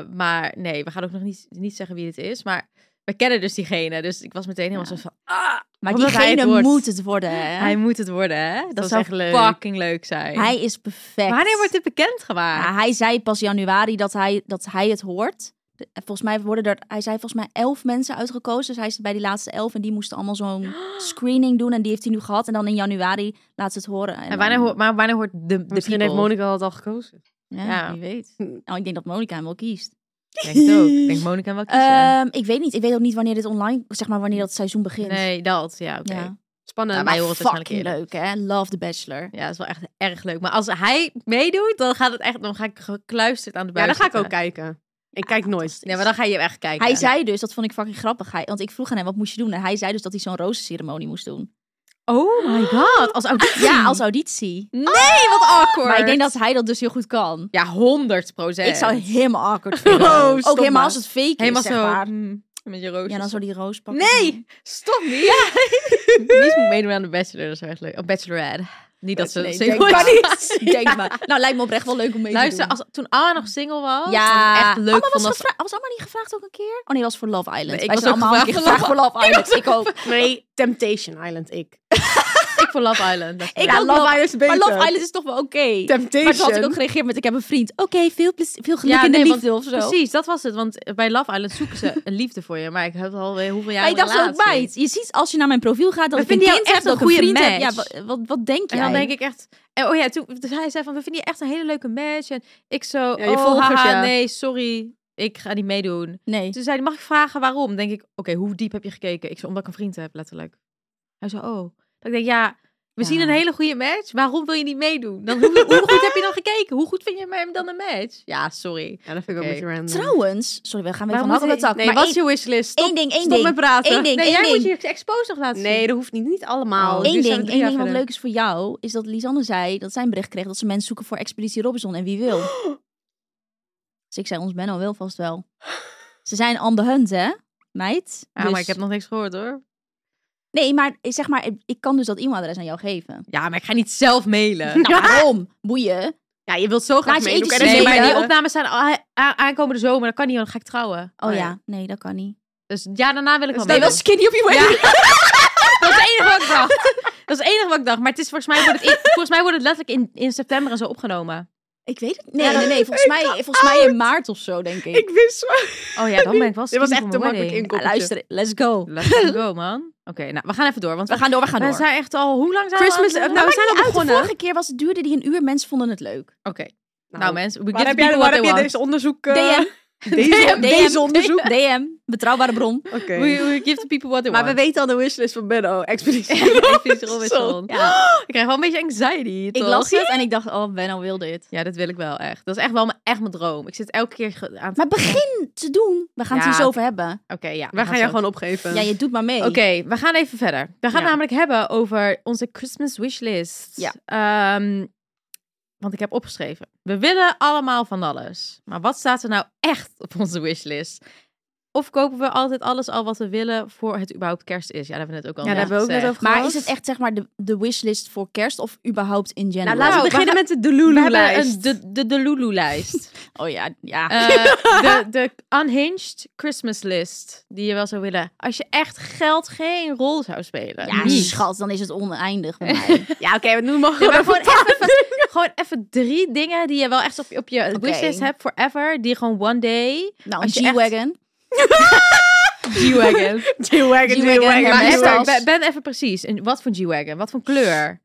Speaker 3: Eh, maar nee, we gaan ook nog niet, niet zeggen wie het is, maar we kennen dus diegene. Dus ik was meteen helemaal
Speaker 4: Ja.
Speaker 3: zo van, ah,
Speaker 4: maar
Speaker 3: omdat hij
Speaker 4: diegene
Speaker 3: het wordt.
Speaker 4: moet het worden, hè?
Speaker 3: hij
Speaker 4: Hij,
Speaker 3: moet het worden, hè? Dat,
Speaker 5: was
Speaker 3: zou
Speaker 5: echt leuk.
Speaker 3: fucking leuk zijn.
Speaker 4: is perfect.
Speaker 3: Wanneer wordt dit bekendgemaakt?
Speaker 4: Ja, hij zei pas januari dat hij, dat hij het hoort. De- Volgens mij worden er, hij zei volgens mij elf mensen uitgekozen. Dus hij is bij die laatste elf en die moesten allemaal
Speaker 3: <gasps>
Speaker 4: zo'n screening doen. En die heeft hij nu gehad. En dan in januari laat ze het horen.
Speaker 3: En wanneer
Speaker 4: dan-
Speaker 3: hoort, maar wanneer hoort de, de
Speaker 5: Misschien heeft
Speaker 3: people?
Speaker 5: Monica dat al gekozen.
Speaker 4: Ja,
Speaker 3: Ja.
Speaker 4: wie weet. Nou, ik denk dat Monica hem wel kiest.
Speaker 3: Denk het ook. Ik Denk Monica wel kiezen.
Speaker 4: Ehm, ik weet niet. Ik weet ook niet wanneer dit online, zeg maar wanneer dat seizoen begint.
Speaker 3: nee, dat. Ja, oké.
Speaker 4: Ja.
Speaker 5: Spannend.
Speaker 3: Ja, wij
Speaker 4: Maar
Speaker 3: horen het waarschijnlijk
Speaker 4: fucking leuk, hè? Love the Bachelor.
Speaker 3: Ja, dat is wel echt erg leuk. Maar als hij meedoet, dan gaat het echt. Dan ga ik gekluisterd aan de
Speaker 5: ja, dan
Speaker 3: buis.
Speaker 5: ga ik ook
Speaker 3: zitten.
Speaker 5: kijken. Ik kijk nooit.
Speaker 3: Nee, maar dan ga je echt kijken.
Speaker 4: Hij zei dus, dat vond ik fucking grappig. Hij, want ik vroeg aan hem, wat moest je doen? En hij zei dus dat hij zo'n rozenceremonie moest
Speaker 3: <clears throat>
Speaker 4: doen.
Speaker 3: Oh my god, als auditie.
Speaker 4: Ja, als auditie.
Speaker 3: Nee, wat awkward.
Speaker 4: Ah, Maar ik denk dat hij dat dus heel goed kan.
Speaker 3: Ja, 100 procent.
Speaker 4: Ik zou het helemaal awkward vinden.
Speaker 3: <laughs>
Speaker 5: Oh,
Speaker 4: Ook
Speaker 5: stom,
Speaker 4: helemaal
Speaker 5: man.
Speaker 4: als het fake is,
Speaker 3: helemaal
Speaker 4: zeg
Speaker 3: zo.
Speaker 4: maar.
Speaker 3: mm, Met je roosjes.
Speaker 4: Ja, dan zo die roos pakken.
Speaker 5: Nee!
Speaker 3: Stop niet! <laughs> Ja. Mies moet meedoen aan de Bachelor, dat is echt leuk. Oh, Bachelorette. Niet dat ze
Speaker 4: Nee,
Speaker 3: single
Speaker 4: denk
Speaker 3: is.
Speaker 4: maar
Speaker 5: <laughs>
Speaker 4: niet. Denk maar. Nou, lijkt me oprecht wel leuk om
Speaker 3: <laughs>
Speaker 4: mee
Speaker 3: Luister,
Speaker 4: te doen.
Speaker 3: als, toen Anna nog single was,
Speaker 4: ja,
Speaker 3: ja. echt leuk
Speaker 4: Amma was,
Speaker 3: vond als
Speaker 4: gevra- was allemaal niet gevraagd ook een keer? Oh nee, was voor Love Island.
Speaker 3: Nee, ik
Speaker 4: Wij
Speaker 3: was
Speaker 4: zijn
Speaker 3: ook
Speaker 4: allemaal een keer
Speaker 3: gevraagd
Speaker 4: gevraagd voor Love Island. Ik ook.
Speaker 5: Nee, Temptation Island, ik.
Speaker 3: ik voor Love Island. Dat
Speaker 4: Ik
Speaker 5: Ja,
Speaker 4: ook
Speaker 5: Love
Speaker 4: wel.
Speaker 5: Island is
Speaker 4: Maar
Speaker 5: beter.
Speaker 4: Love Island is toch wel oké.
Speaker 5: Temptation.
Speaker 4: Maar toen had ik ook gereageerd met ik heb een vriend. Oké, veel, plezier- veel geluk
Speaker 3: Ja,
Speaker 4: in de
Speaker 3: nee, want-
Speaker 4: liefde of zo.
Speaker 3: Precies, dat was het. Want bij Love Island zoeken ze een liefde voor je. Maar ik heb alweer hoeveel jaar
Speaker 4: Maar ik
Speaker 3: een
Speaker 4: dacht zo ook
Speaker 3: relatie.
Speaker 4: meid. Je ziet als je naar mijn profiel gaat dat
Speaker 3: We
Speaker 4: ik een
Speaker 3: vinden jou
Speaker 4: kind heb,
Speaker 3: echt een
Speaker 4: dat ik een
Speaker 3: goede
Speaker 4: vriend heb. Ja,
Speaker 3: match.
Speaker 4: wat, wat, wat denk jij?
Speaker 3: En dan denk ik echt... En, oh ja, toen, dus hij zei van, we vinden je echt een hele leuke match. En ik zo,
Speaker 5: Ja, je
Speaker 3: oh
Speaker 5: volgers,
Speaker 3: haha,
Speaker 5: ja.
Speaker 3: nee, sorry. Ik ga niet meedoen.
Speaker 4: Nee.
Speaker 3: Toen zei hij, mag ik vragen waarom? Denk ik, oké, hoe diep heb je gekeken? Ik zei, omdat ik een vriend heb, letterlijk. Hij zei, oh. Dat ik denk, ja, we
Speaker 4: Ja.
Speaker 3: zien een hele goede match. Waarom wil je niet meedoen? Dan, hoe, hoe goed heb je dan gekeken? Hoe goed vind je hem dan een match? Ja, sorry.
Speaker 5: Ja, dat vind ik
Speaker 3: Oké.
Speaker 5: ook een beetje random.
Speaker 4: Trouwens, sorry, we gaan weer van hak op de
Speaker 3: moeten-
Speaker 4: tak.
Speaker 3: Nee,
Speaker 4: maar
Speaker 3: wat is
Speaker 4: één,
Speaker 3: je wishlist? Stop,
Speaker 4: één ding, één
Speaker 3: stop
Speaker 4: ding.
Speaker 3: met praten.
Speaker 4: Eén ding,
Speaker 3: nee,
Speaker 4: één
Speaker 3: jij
Speaker 4: ding.
Speaker 3: moet je expose nog laten zien.
Speaker 5: Nee, dat hoeft niet. Niet allemaal.
Speaker 3: Oh,
Speaker 5: Dus
Speaker 3: zijn
Speaker 4: Eén ding,
Speaker 3: we drie
Speaker 4: één
Speaker 3: jaar
Speaker 4: ding wat
Speaker 3: verder.
Speaker 4: leuk is voor jou, is dat Lisanne zei dat zij een bericht kreeg dat ze mensen zoeken voor Expeditie Robinson en wie
Speaker 3: <gasps>
Speaker 4: wil. Dus ik zei, ons Benno wil vast wel. Ze zijn on the hunt, hè, meid?
Speaker 3: Ja,
Speaker 4: Dus-
Speaker 3: Ah, maar ik heb nog niks gehoord hoor.
Speaker 4: Nee, maar eh, zeg maar, ik kan dus dat e-mailadres aan jou
Speaker 3: <laughs>
Speaker 4: geven.
Speaker 3: Ja, maar ik ga niet zelf
Speaker 4: <laughs>
Speaker 3: mailen.
Speaker 4: Nou, waarom? Boeien.
Speaker 5: Ja, je wilt zo graag
Speaker 3: <laughs>
Speaker 4: Laat je
Speaker 5: meedoen.
Speaker 4: ethisch
Speaker 5: Kan je
Speaker 3: nee,
Speaker 4: zeker.
Speaker 3: maar
Speaker 5: niet
Speaker 3: die
Speaker 5: op-
Speaker 3: opnames zijn a- a- aankomende zomer. Dat kan niet, want dan ga ik trouwen.
Speaker 4: Oh ja, nee, dat kan niet.
Speaker 3: Dus ja, daarna wil ik wel
Speaker 5: dat
Speaker 3: meedoen.
Speaker 5: was
Speaker 4: skinny op je
Speaker 3: Ja. <laughs> Dat is het enige wat ik dacht. Dat is het enige wat ik dacht. Maar het is volgens mij wordt het, in- volgens mij wordt het letterlijk in, in september en zo opgenomen.
Speaker 4: Ik weet het. Nee, nee, nee. Volgens mij, volgens mij in maart of zo, denk ik.
Speaker 5: Ik wist zo.
Speaker 3: Oh ja, dan ben ik wel
Speaker 5: Dit was
Speaker 3: skinny
Speaker 5: echt te
Speaker 3: voor mijn
Speaker 5: makkelijk
Speaker 3: wedding.
Speaker 5: inkomen.
Speaker 4: Ah, luister, let's go.
Speaker 3: Let's fucking go, man. Oké, nou, we gaan even door. Want
Speaker 4: We gaan door, we gaan
Speaker 3: we
Speaker 4: door.
Speaker 3: zijn echt al... Hoe lang zijn
Speaker 5: Christmas-
Speaker 3: we aan het
Speaker 5: nou, we
Speaker 3: lullen?
Speaker 5: zijn al
Speaker 4: Uit, de
Speaker 5: begonnen.
Speaker 4: vorige keer was het duurde die een uur. Mensen vonden het leuk.
Speaker 3: Oké, nou mensen. We
Speaker 5: Waar
Speaker 3: give
Speaker 5: heb
Speaker 3: the
Speaker 5: jij
Speaker 3: people
Speaker 5: waar
Speaker 3: what
Speaker 5: heb
Speaker 3: they
Speaker 5: jij
Speaker 3: want.
Speaker 5: deze
Speaker 3: <laughs>
Speaker 5: onderzoek? eh,
Speaker 4: <laughs> DM.
Speaker 5: Deze, <laughs> deze onderzoek.
Speaker 4: DM. Betrouwbare bron.
Speaker 5: Oké.
Speaker 3: We, we give the people what they
Speaker 5: Maar we
Speaker 3: want.
Speaker 5: weten al de wishlist van Benno. Expeditie.
Speaker 3: <laughs>
Speaker 5: <laughs>
Speaker 3: Even Robinson.
Speaker 4: Ja.
Speaker 3: Ik krijg wel een beetje anxiety,
Speaker 4: Ik
Speaker 3: toch?
Speaker 4: las het en ik dacht, oh, Benno wil dit.
Speaker 3: Ja, dat wil ik wel echt. Dat is echt wel mijn, echt mijn droom. Ik zit elke keer ge- aan het...
Speaker 4: Maar begin te doen. We gaan het
Speaker 3: Ja.
Speaker 4: hier zo over hebben.
Speaker 3: Oké, ja. we
Speaker 5: We gaan
Speaker 3: zo-
Speaker 5: jou gewoon opgeven.
Speaker 4: Ja, je doet maar mee.
Speaker 3: Oké, we gaan even verder. We gaan
Speaker 5: Ja.
Speaker 3: namelijk hebben over onze Christmas wishlist.
Speaker 4: Ja.
Speaker 3: Ehm, want ik heb opgeschreven. We willen allemaal van alles. Maar wat staat er nou echt op onze wishlist? Of kopen we altijd alles al wat we willen voor het überhaupt kerst is? Ja, daar hebben we het ook al
Speaker 5: Ja, daar
Speaker 3: net
Speaker 5: hebben we ook net
Speaker 3: gezegd.
Speaker 5: over
Speaker 4: Maar
Speaker 5: gehad.
Speaker 4: is het echt, zeg maar, de, de wishlist voor kerst of überhaupt in general?
Speaker 5: Nou, laten
Speaker 3: Nou,
Speaker 5: we beginnen
Speaker 3: we
Speaker 5: met de
Speaker 3: We
Speaker 5: delulu
Speaker 3: hebben een,
Speaker 5: lijst
Speaker 3: de, de, de Lulu-lijst.
Speaker 4: Oh ja, ja.
Speaker 3: Eh, de, de unhinged Christmas list die je wel zou willen. Als je echt geld geen rol zou spelen. <laughs>
Speaker 4: ja,
Speaker 3: Niet.
Speaker 4: schat, dan is het oneindig <laughs> bij mij. Nou,
Speaker 5: Ja, oké, we noemen
Speaker 3: <laughs>
Speaker 5: maar
Speaker 3: Nee,
Speaker 5: gewoon
Speaker 3: maar
Speaker 5: even <laughs>
Speaker 3: gewoon, even, gewoon even drie dingen die je wel echt op, je- op je
Speaker 4: Oké.
Speaker 3: wishlist hebt forever. Die gewoon one day.
Speaker 4: Nou, een
Speaker 3: Als je echt-
Speaker 4: G-Wagon.
Speaker 3: <laughs>
Speaker 5: G-Wagon,
Speaker 3: G-Wagon.
Speaker 4: G-Wagon,
Speaker 5: G-Wagon,
Speaker 3: maar even,
Speaker 4: Hermes tas.
Speaker 3: ben, ben even precies. En wat voor G-Wagon? Wat voor kleur?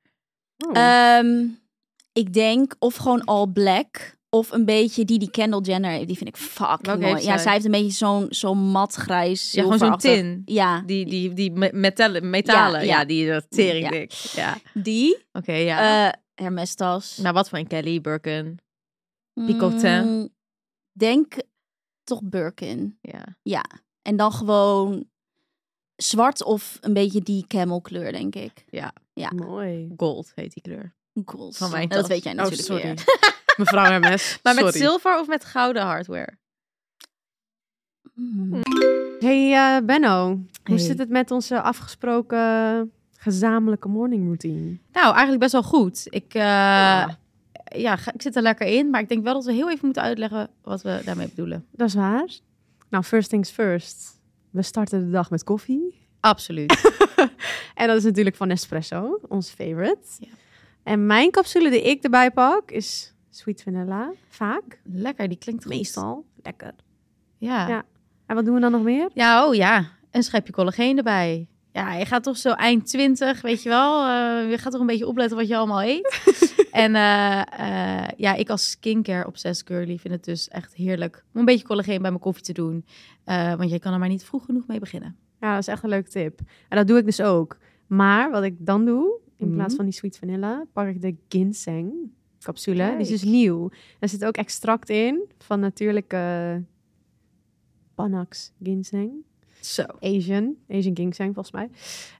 Speaker 3: Oh.
Speaker 5: Oh,
Speaker 4: Ehm, ik denk of gewoon all black. Of een beetje die die Kendall Jenner heeft. Die vind ik fucking
Speaker 3: Welke
Speaker 4: mooi.
Speaker 3: heeft
Speaker 4: Ja,
Speaker 3: zij?
Speaker 4: zij heeft een beetje zo'n zo'n mat grijs
Speaker 3: Ja, gewoon zo'n
Speaker 4: zilverachtig.
Speaker 3: tin.
Speaker 4: Ja,
Speaker 3: Die, die, die me- metalen, metalen.
Speaker 4: Ja,
Speaker 3: Ja,
Speaker 4: ja.
Speaker 3: die dat
Speaker 4: Ja.
Speaker 3: tering dik. Ja.
Speaker 4: die.
Speaker 3: Oké, ja.
Speaker 4: eh Hermes tas.
Speaker 3: nou, wat voor een Kelly, Birkin? picotin.
Speaker 4: Mm, denk toch Birkin.
Speaker 3: Ja.
Speaker 4: En dan gewoon zwart of een beetje die camelkleur, denk ik.
Speaker 3: Eh,
Speaker 5: Mooi.
Speaker 3: Gold heet die kleur.
Speaker 4: Goals.
Speaker 3: Van mijn
Speaker 4: En
Speaker 3: tas.
Speaker 4: Dat weet jij
Speaker 5: Oh,
Speaker 4: natuurlijk
Speaker 5: sorry.
Speaker 4: weer.
Speaker 3: <laughs>
Speaker 5: Mevrouw Hermes,
Speaker 3: Maar met
Speaker 5: sorry.
Speaker 3: zilver of met gouden hardware?
Speaker 4: Mm.
Speaker 5: Hey eh, Benno,
Speaker 3: Hey.
Speaker 5: hoe zit het met onze afgesproken gezamenlijke morning routine?
Speaker 3: Nou, eigenlijk best wel goed. Ik, eh, ja. ga- ik zit er lekker in, maar ik denk wel dat we heel even moeten uitleggen wat we daarmee bedoelen.
Speaker 5: Dat is waar. Nou, first things first. We starten de dag met koffie. <laughs>
Speaker 3: Absoluut.
Speaker 5: En dat is natuurlijk van Nespresso, ons favorite.
Speaker 3: Ja.
Speaker 5: En mijn capsule die ik erbij pak is sweet vanilla, vaak.
Speaker 3: lekker, die klinkt goed.
Speaker 5: Meestal. Lekker. Ja.
Speaker 3: Ja. ja.
Speaker 5: En wat doen we dan nog meer?
Speaker 3: oh ja. Een schepje collageen erbij. Ja, je gaat toch zo eind 20, weet je wel. eh, je gaat toch een beetje opletten wat je allemaal eet.
Speaker 5: <laughs>
Speaker 3: en eh, eh, ja, ik als skincare obsessed girly vind het dus echt heerlijk om een beetje collageen bij mijn koffie te doen. Eh, want je kan er maar niet vroeg genoeg mee beginnen.
Speaker 5: Ja, dat is echt een leuke tip. En dat doe ik dus ook. Maar wat ik dan doe, in
Speaker 3: Mhm.
Speaker 5: plaats van die sweet vanilla, pak ik de ginseng capsule. Die is dus
Speaker 3: Kijk.
Speaker 5: nieuw. Er zit ook extract in van natuurlijke Panax ginseng.
Speaker 3: Zo.
Speaker 5: Asian, Asian ginseng volgens mij.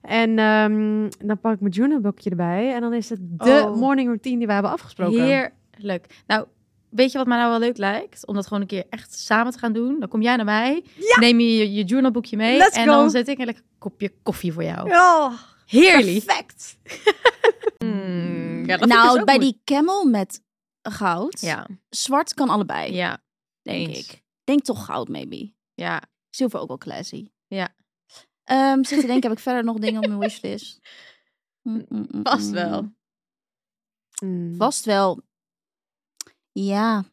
Speaker 5: En ehm, dan pak ik mijn journalboekje erbij. En dan is het de
Speaker 3: Oh.
Speaker 5: morning routine die we hebben afgesproken.
Speaker 3: Heerlijk. Nou, weet je wat mij nou wel leuk lijkt? Om dat gewoon een keer echt samen te gaan doen. Dan kom jij naar mij, neem je je, je journalboekje mee
Speaker 4: Let's
Speaker 3: en
Speaker 4: go.
Speaker 3: dan zet ik een lekker kopje koffie voor jou.
Speaker 4: Oh,
Speaker 3: Heerlijk. <laughs>
Speaker 4: perfect.
Speaker 3: Mm, ja, dat vind ik dus
Speaker 4: Nou,
Speaker 3: ook
Speaker 4: bij
Speaker 3: moeilijk.
Speaker 4: die camel met goud.
Speaker 3: Ja,
Speaker 4: Zwart kan allebei,
Speaker 3: ja,
Speaker 4: denk
Speaker 3: eens.
Speaker 4: ik. Denk toch goud, maybe.
Speaker 3: ja.
Speaker 4: Zilver ook wel classy.
Speaker 3: Ja.
Speaker 4: Ehm, zit te denken, heb ik verder nog dingen op mijn wishlist? Mm, mm, mm,
Speaker 3: Vast
Speaker 4: mm.
Speaker 3: wel.
Speaker 5: Mm.
Speaker 4: Vast wel. Ja.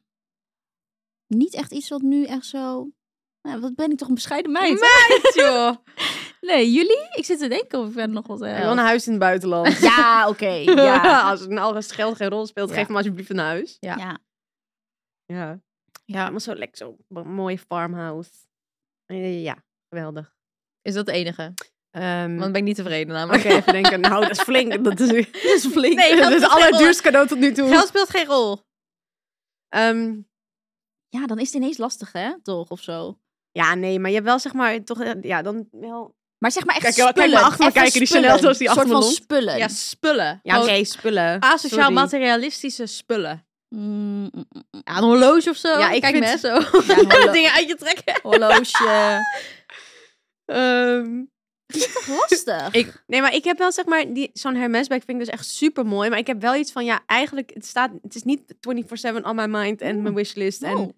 Speaker 4: Niet echt iets wat nu echt zo... Nou, wat ben ik toch een bescheiden meid. hè?
Speaker 3: Joh.
Speaker 4: Nee, jullie? Ik zit te denken of ik verder nog wat... eh,
Speaker 5: Ik wil een huis in het <laughs> buitenland.
Speaker 4: Ja, oké. ja.
Speaker 5: Als het nou als geld geen rol speelt,
Speaker 3: Ja.
Speaker 5: geef me alsjeblieft een huis.
Speaker 3: Ja.
Speaker 4: ja.
Speaker 5: Ja.
Speaker 3: Ja,
Speaker 5: Allemaal zo lekker, zo'n b- mooi farmhouse. Eh, Ja, geweldig.
Speaker 3: is dat de enige?
Speaker 5: Ehm,
Speaker 3: Want ben ik niet
Speaker 5: <laughs>
Speaker 3: tevreden
Speaker 5: Oké,
Speaker 3: namelijk. <laughs>
Speaker 5: even denken. Nou, dat is <laughs> flink. Dat is, dat is flink.
Speaker 3: Nee, <laughs> geld
Speaker 5: dat is het
Speaker 3: speelt geen
Speaker 5: allerduurste cadeau tot nu toe.
Speaker 3: Geld speelt geen rol.
Speaker 5: Ehm,
Speaker 4: Ja, dan is het ineens lastig, hè? Toch, of zo.
Speaker 5: ja, nee, maar je hebt wel zeg maar toch... eh, Ja, dan wel...
Speaker 4: Maar zeg maar echt
Speaker 5: Kijk, kijk
Speaker 4: spullen.
Speaker 5: maar achter me
Speaker 4: even
Speaker 5: kijken, die
Speaker 4: spullen.
Speaker 5: Chanel zoals die
Speaker 4: Een soort
Speaker 5: achter me
Speaker 4: van
Speaker 5: lont.
Speaker 4: spullen.
Speaker 3: Ja, spullen.
Speaker 5: Ja, oké,
Speaker 3: Gewoon
Speaker 5: spullen.
Speaker 3: Asociaal
Speaker 5: Sorry.
Speaker 3: materialistische spullen.
Speaker 4: Mm, mm, mm, mm.
Speaker 3: Ja, een horloge of zo.
Speaker 5: Ja, ik
Speaker 3: Kijk
Speaker 5: vind-
Speaker 3: me zo.
Speaker 4: Ja, een
Speaker 5: <laughs>
Speaker 4: horlo-
Speaker 3: Dingen uit je trekken.
Speaker 4: <laughs> horloge.
Speaker 5: Ehm,
Speaker 4: Lastig.
Speaker 5: Ik, nee, maar ik heb wel zeg maar die zo'n Hermesbag vind ik dus echt super mooi, maar ik heb wel iets van ja, eigenlijk het staat het is niet 24/7 on my mind en mijn wishlist en
Speaker 4: Oh.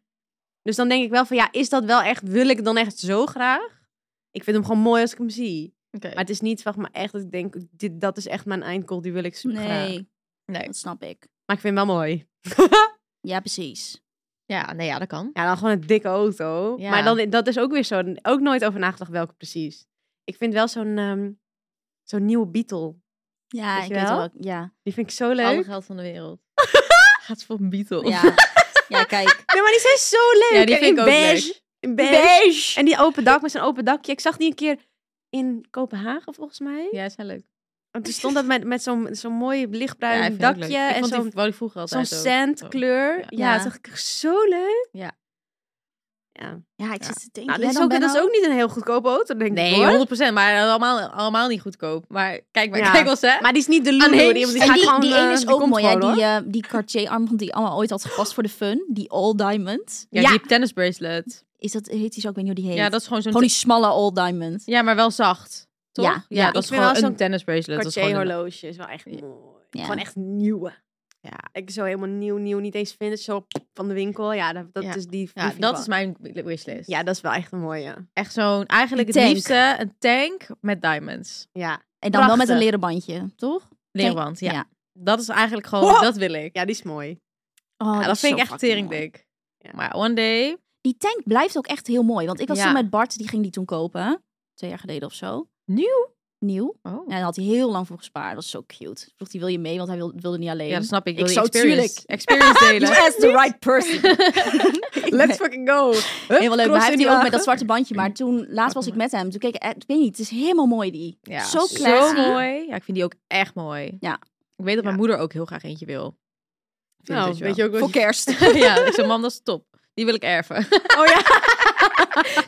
Speaker 5: dus dan denk ik wel van ja, is dat wel echt wil ik het dan echt zo graag? Ik vind hem gewoon mooi als ik hem zie. Maar het is niet zeg maar echt dat ik denk dit dat is echt mijn eindgoal, die wil ik super graag.
Speaker 4: Nee,
Speaker 3: Nee.
Speaker 4: dat snap ik.
Speaker 5: Maar ik vind hem wel mooi.
Speaker 4: Ja, precies.
Speaker 3: Ja, nee, ja, dat kan.
Speaker 5: Ja, dan gewoon een dikke auto.
Speaker 3: Ja.
Speaker 5: Maar dan dat is ook weer zo ook nooit over nagedacht welke precies. Ik vind wel zo'n ehm, zo'n nieuwe Beetle.
Speaker 4: Ja,
Speaker 5: Weet
Speaker 4: ik
Speaker 5: je
Speaker 4: weet
Speaker 5: wel?
Speaker 4: wel. Ja.
Speaker 5: Die vind ik zo
Speaker 3: Alle
Speaker 5: leuk.
Speaker 3: geld van de wereld. Gaat voor een Beatle.
Speaker 4: Ja. <laughs> ja, <laughs> kijk.
Speaker 5: Nee, maar die zijn zo leuk.
Speaker 3: Ja, die
Speaker 5: En
Speaker 3: vind
Speaker 5: in
Speaker 3: ik ook
Speaker 5: beige.
Speaker 3: leuk.
Speaker 5: In beige. En die open dak met zijn open dakje. Ik zag die een keer in Kopenhagen, volgens mij.
Speaker 3: Ja, is heel leuk.
Speaker 5: Want toen stond dat met, met zo'n zo'n mooi
Speaker 3: ja,
Speaker 5: lichtbruin
Speaker 3: ik vind het ook
Speaker 5: dakje.
Speaker 3: leuk. Ik
Speaker 5: En
Speaker 3: vond
Speaker 5: zo'n
Speaker 3: die wou ik vroeger
Speaker 5: zo'n
Speaker 3: altijd ook.
Speaker 5: zandkleur. Ja,
Speaker 3: Ja.
Speaker 5: dat dacht ik zo leuk.
Speaker 3: Ja.
Speaker 5: Ja.
Speaker 4: Ja, ik
Speaker 3: Ja.
Speaker 4: zit te denken.
Speaker 5: Nou,
Speaker 4: jij
Speaker 5: dit is
Speaker 4: dan,
Speaker 5: ook, dat is
Speaker 4: Benno?
Speaker 5: ook niet een heel goedkope auto, denk ik.
Speaker 3: Nee,
Speaker 5: hoor.
Speaker 3: 100%. Maar allemaal, allemaal niet goedkoop. Maar kijk maar,
Speaker 5: Ja.
Speaker 3: kijk wel eens, hè.
Speaker 5: Maar die is niet de Lulu.
Speaker 3: Aan
Speaker 5: Die,
Speaker 3: Heems.
Speaker 5: die,
Speaker 4: En
Speaker 5: gaat
Speaker 4: die,
Speaker 5: gewoon,
Speaker 4: die
Speaker 5: eh,
Speaker 4: ene is ook
Speaker 5: komt
Speaker 4: mooi, hè?
Speaker 5: gewoon,
Speaker 4: Die, eh, die Cartier-armband die ik allemaal ooit had gepast voor de fun. Die All Diamond.
Speaker 3: ja,
Speaker 5: ja.
Speaker 3: die tennis bracelet.
Speaker 4: Is dat, heet die zo? Ik weet niet hoe die heet.
Speaker 3: Ja, dat is gewoon zo'n...
Speaker 4: Gewoon die smalle All Diamond.
Speaker 3: Ja, maar wel zacht. Toch?
Speaker 4: Ja, ja.
Speaker 3: dat is
Speaker 5: Ik vind
Speaker 3: gewoon
Speaker 5: wel
Speaker 3: een
Speaker 5: zo'n
Speaker 3: tennis bracelet.
Speaker 5: hoor.
Speaker 3: Dat is gewoon
Speaker 5: Cartier
Speaker 3: een-
Speaker 5: horloge is wel echt mooi.
Speaker 4: Ja.
Speaker 5: Gewoon echt nieuwe. Ja, ik zo helemaal nieuw, nieuw. Niet eens vintage, zo van de winkel. Ja, dat, dat
Speaker 3: Ja.
Speaker 5: is die...
Speaker 3: Ja,
Speaker 5: die-
Speaker 3: dat is mijn wishlist.
Speaker 5: Ja, dat is wel echt een mooie.
Speaker 3: echt zo'n... Eigenlijk het
Speaker 4: Tank.
Speaker 3: liefste een tank met diamonds.
Speaker 5: Ja,
Speaker 4: En dan wel met een
Speaker 5: Prachtig.
Speaker 4: leren bandje, toch?
Speaker 3: Leerband, ja.
Speaker 4: Ja.
Speaker 3: Dat is eigenlijk gewoon...
Speaker 5: Wow.
Speaker 3: Dat wil ik.
Speaker 5: ja die is
Speaker 3: <laughs>
Speaker 5: mooi.
Speaker 4: Oh,
Speaker 3: Ja,
Speaker 4: die
Speaker 3: dat
Speaker 4: is
Speaker 3: vind
Speaker 4: zo
Speaker 3: ik echt
Speaker 4: fucking mooi.
Speaker 3: teringdik.
Speaker 5: Ja.
Speaker 3: Maar one day...
Speaker 4: Die tank blijft ook echt heel mooi. Want ik was
Speaker 3: Ja.
Speaker 4: toen met Bart, die ging die toen kopen. Twee jaar geleden of zo.
Speaker 3: Nieuw?
Speaker 4: Nieuw.
Speaker 3: Oh.
Speaker 4: En daar had hij heel lang voor gespaard. Dat was zo cute. Vroeg hij, wil je mee? Want hij wilde, wilde niet alleen.
Speaker 3: Ja, dat snap ik. Ik wil die
Speaker 4: Ik zou
Speaker 3: experience, experience delen.
Speaker 4: Yes, the right
Speaker 3: <laughs>
Speaker 4: person.
Speaker 5: Let's
Speaker 4: <laughs>
Speaker 5: fucking go.
Speaker 4: Helemaal leuk. Maar
Speaker 5: Cross
Speaker 4: hij
Speaker 5: in
Speaker 4: heeft
Speaker 5: die
Speaker 4: die ook met
Speaker 5: wagen.
Speaker 4: dat zwarte bandje. Maar toen, laatst was ik met hem. Toen keek ik, eh, ik weet niet, het is helemaal mooi die.
Speaker 3: Ja,
Speaker 4: zo
Speaker 3: zo
Speaker 4: classy.
Speaker 3: mooi. Ja, ik vind die ook echt mooi.
Speaker 4: Ja.
Speaker 3: Ik weet dat mijn
Speaker 5: Ja.
Speaker 3: moeder ook heel graag eentje wil. Oh,
Speaker 5: Nou, weet
Speaker 3: <laughs>
Speaker 5: je ook wat
Speaker 4: Voor
Speaker 5: je-
Speaker 4: kerst.
Speaker 3: dus ja, ik zei, mam, dat is top. Die wil ik erven.
Speaker 5: Oh ja.
Speaker 3: <laughs>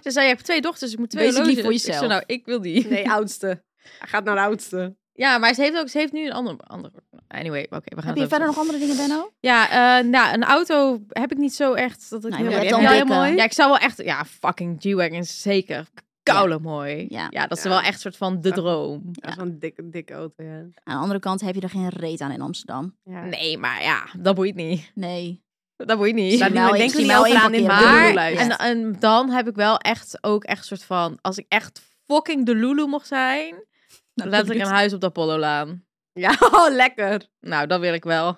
Speaker 3: Ze zei, je hebt twee dochters, ik moet twee
Speaker 4: Basically
Speaker 3: horloges.
Speaker 4: voor
Speaker 3: Ik zei,
Speaker 4: jezelf.
Speaker 3: nou, ik wil <laughs> die.
Speaker 5: Nee, oudste. Hij gaat naar de oudste.
Speaker 3: Ja, maar ze heeft, ook, ze heeft nu een ander... ander anyway, oké, we gaan het
Speaker 4: <laughs> Heb je
Speaker 3: over-
Speaker 4: verder nog andere dingen, Benno?
Speaker 3: Ja, eh, nou, een auto heb ik niet zo echt... Dat ik
Speaker 4: Nou, je
Speaker 3: heel
Speaker 4: hebt
Speaker 3: erg-
Speaker 4: al een
Speaker 3: ja,
Speaker 4: dikke.
Speaker 3: mooi. Ja, ik zou wel echt... Ja, fucking G-Wagon, zeker. Koude mooi.
Speaker 4: Ja.
Speaker 3: dat is
Speaker 5: Ja.
Speaker 3: wel echt soort van de droom.
Speaker 5: Dat is wel een dikke, dikke auto, ja.
Speaker 4: Aan de andere kant heb je er geen reet aan in Amsterdam.
Speaker 5: ja.
Speaker 3: Nee, maar ja, dat boeit niet.
Speaker 4: Nee.
Speaker 3: Dat boeit niet.
Speaker 5: Staat niemand-
Speaker 4: Misschien wel-
Speaker 5: denkt er
Speaker 4: misschien
Speaker 5: niet over
Speaker 4: wel één
Speaker 5: aan in
Speaker 4: keer op de
Speaker 3: Maar,
Speaker 5: bedoellijst.
Speaker 3: en, en dan heb ik wel echt ook echt soort van... Als ik echt fucking de Lulu mocht zijn...
Speaker 4: Nou,
Speaker 3: laat ik
Speaker 4: dat
Speaker 3: een huis op de Apollo-laan.
Speaker 5: Ja, <laughs> oh, lekker.
Speaker 3: Nou, dat wil ik wel.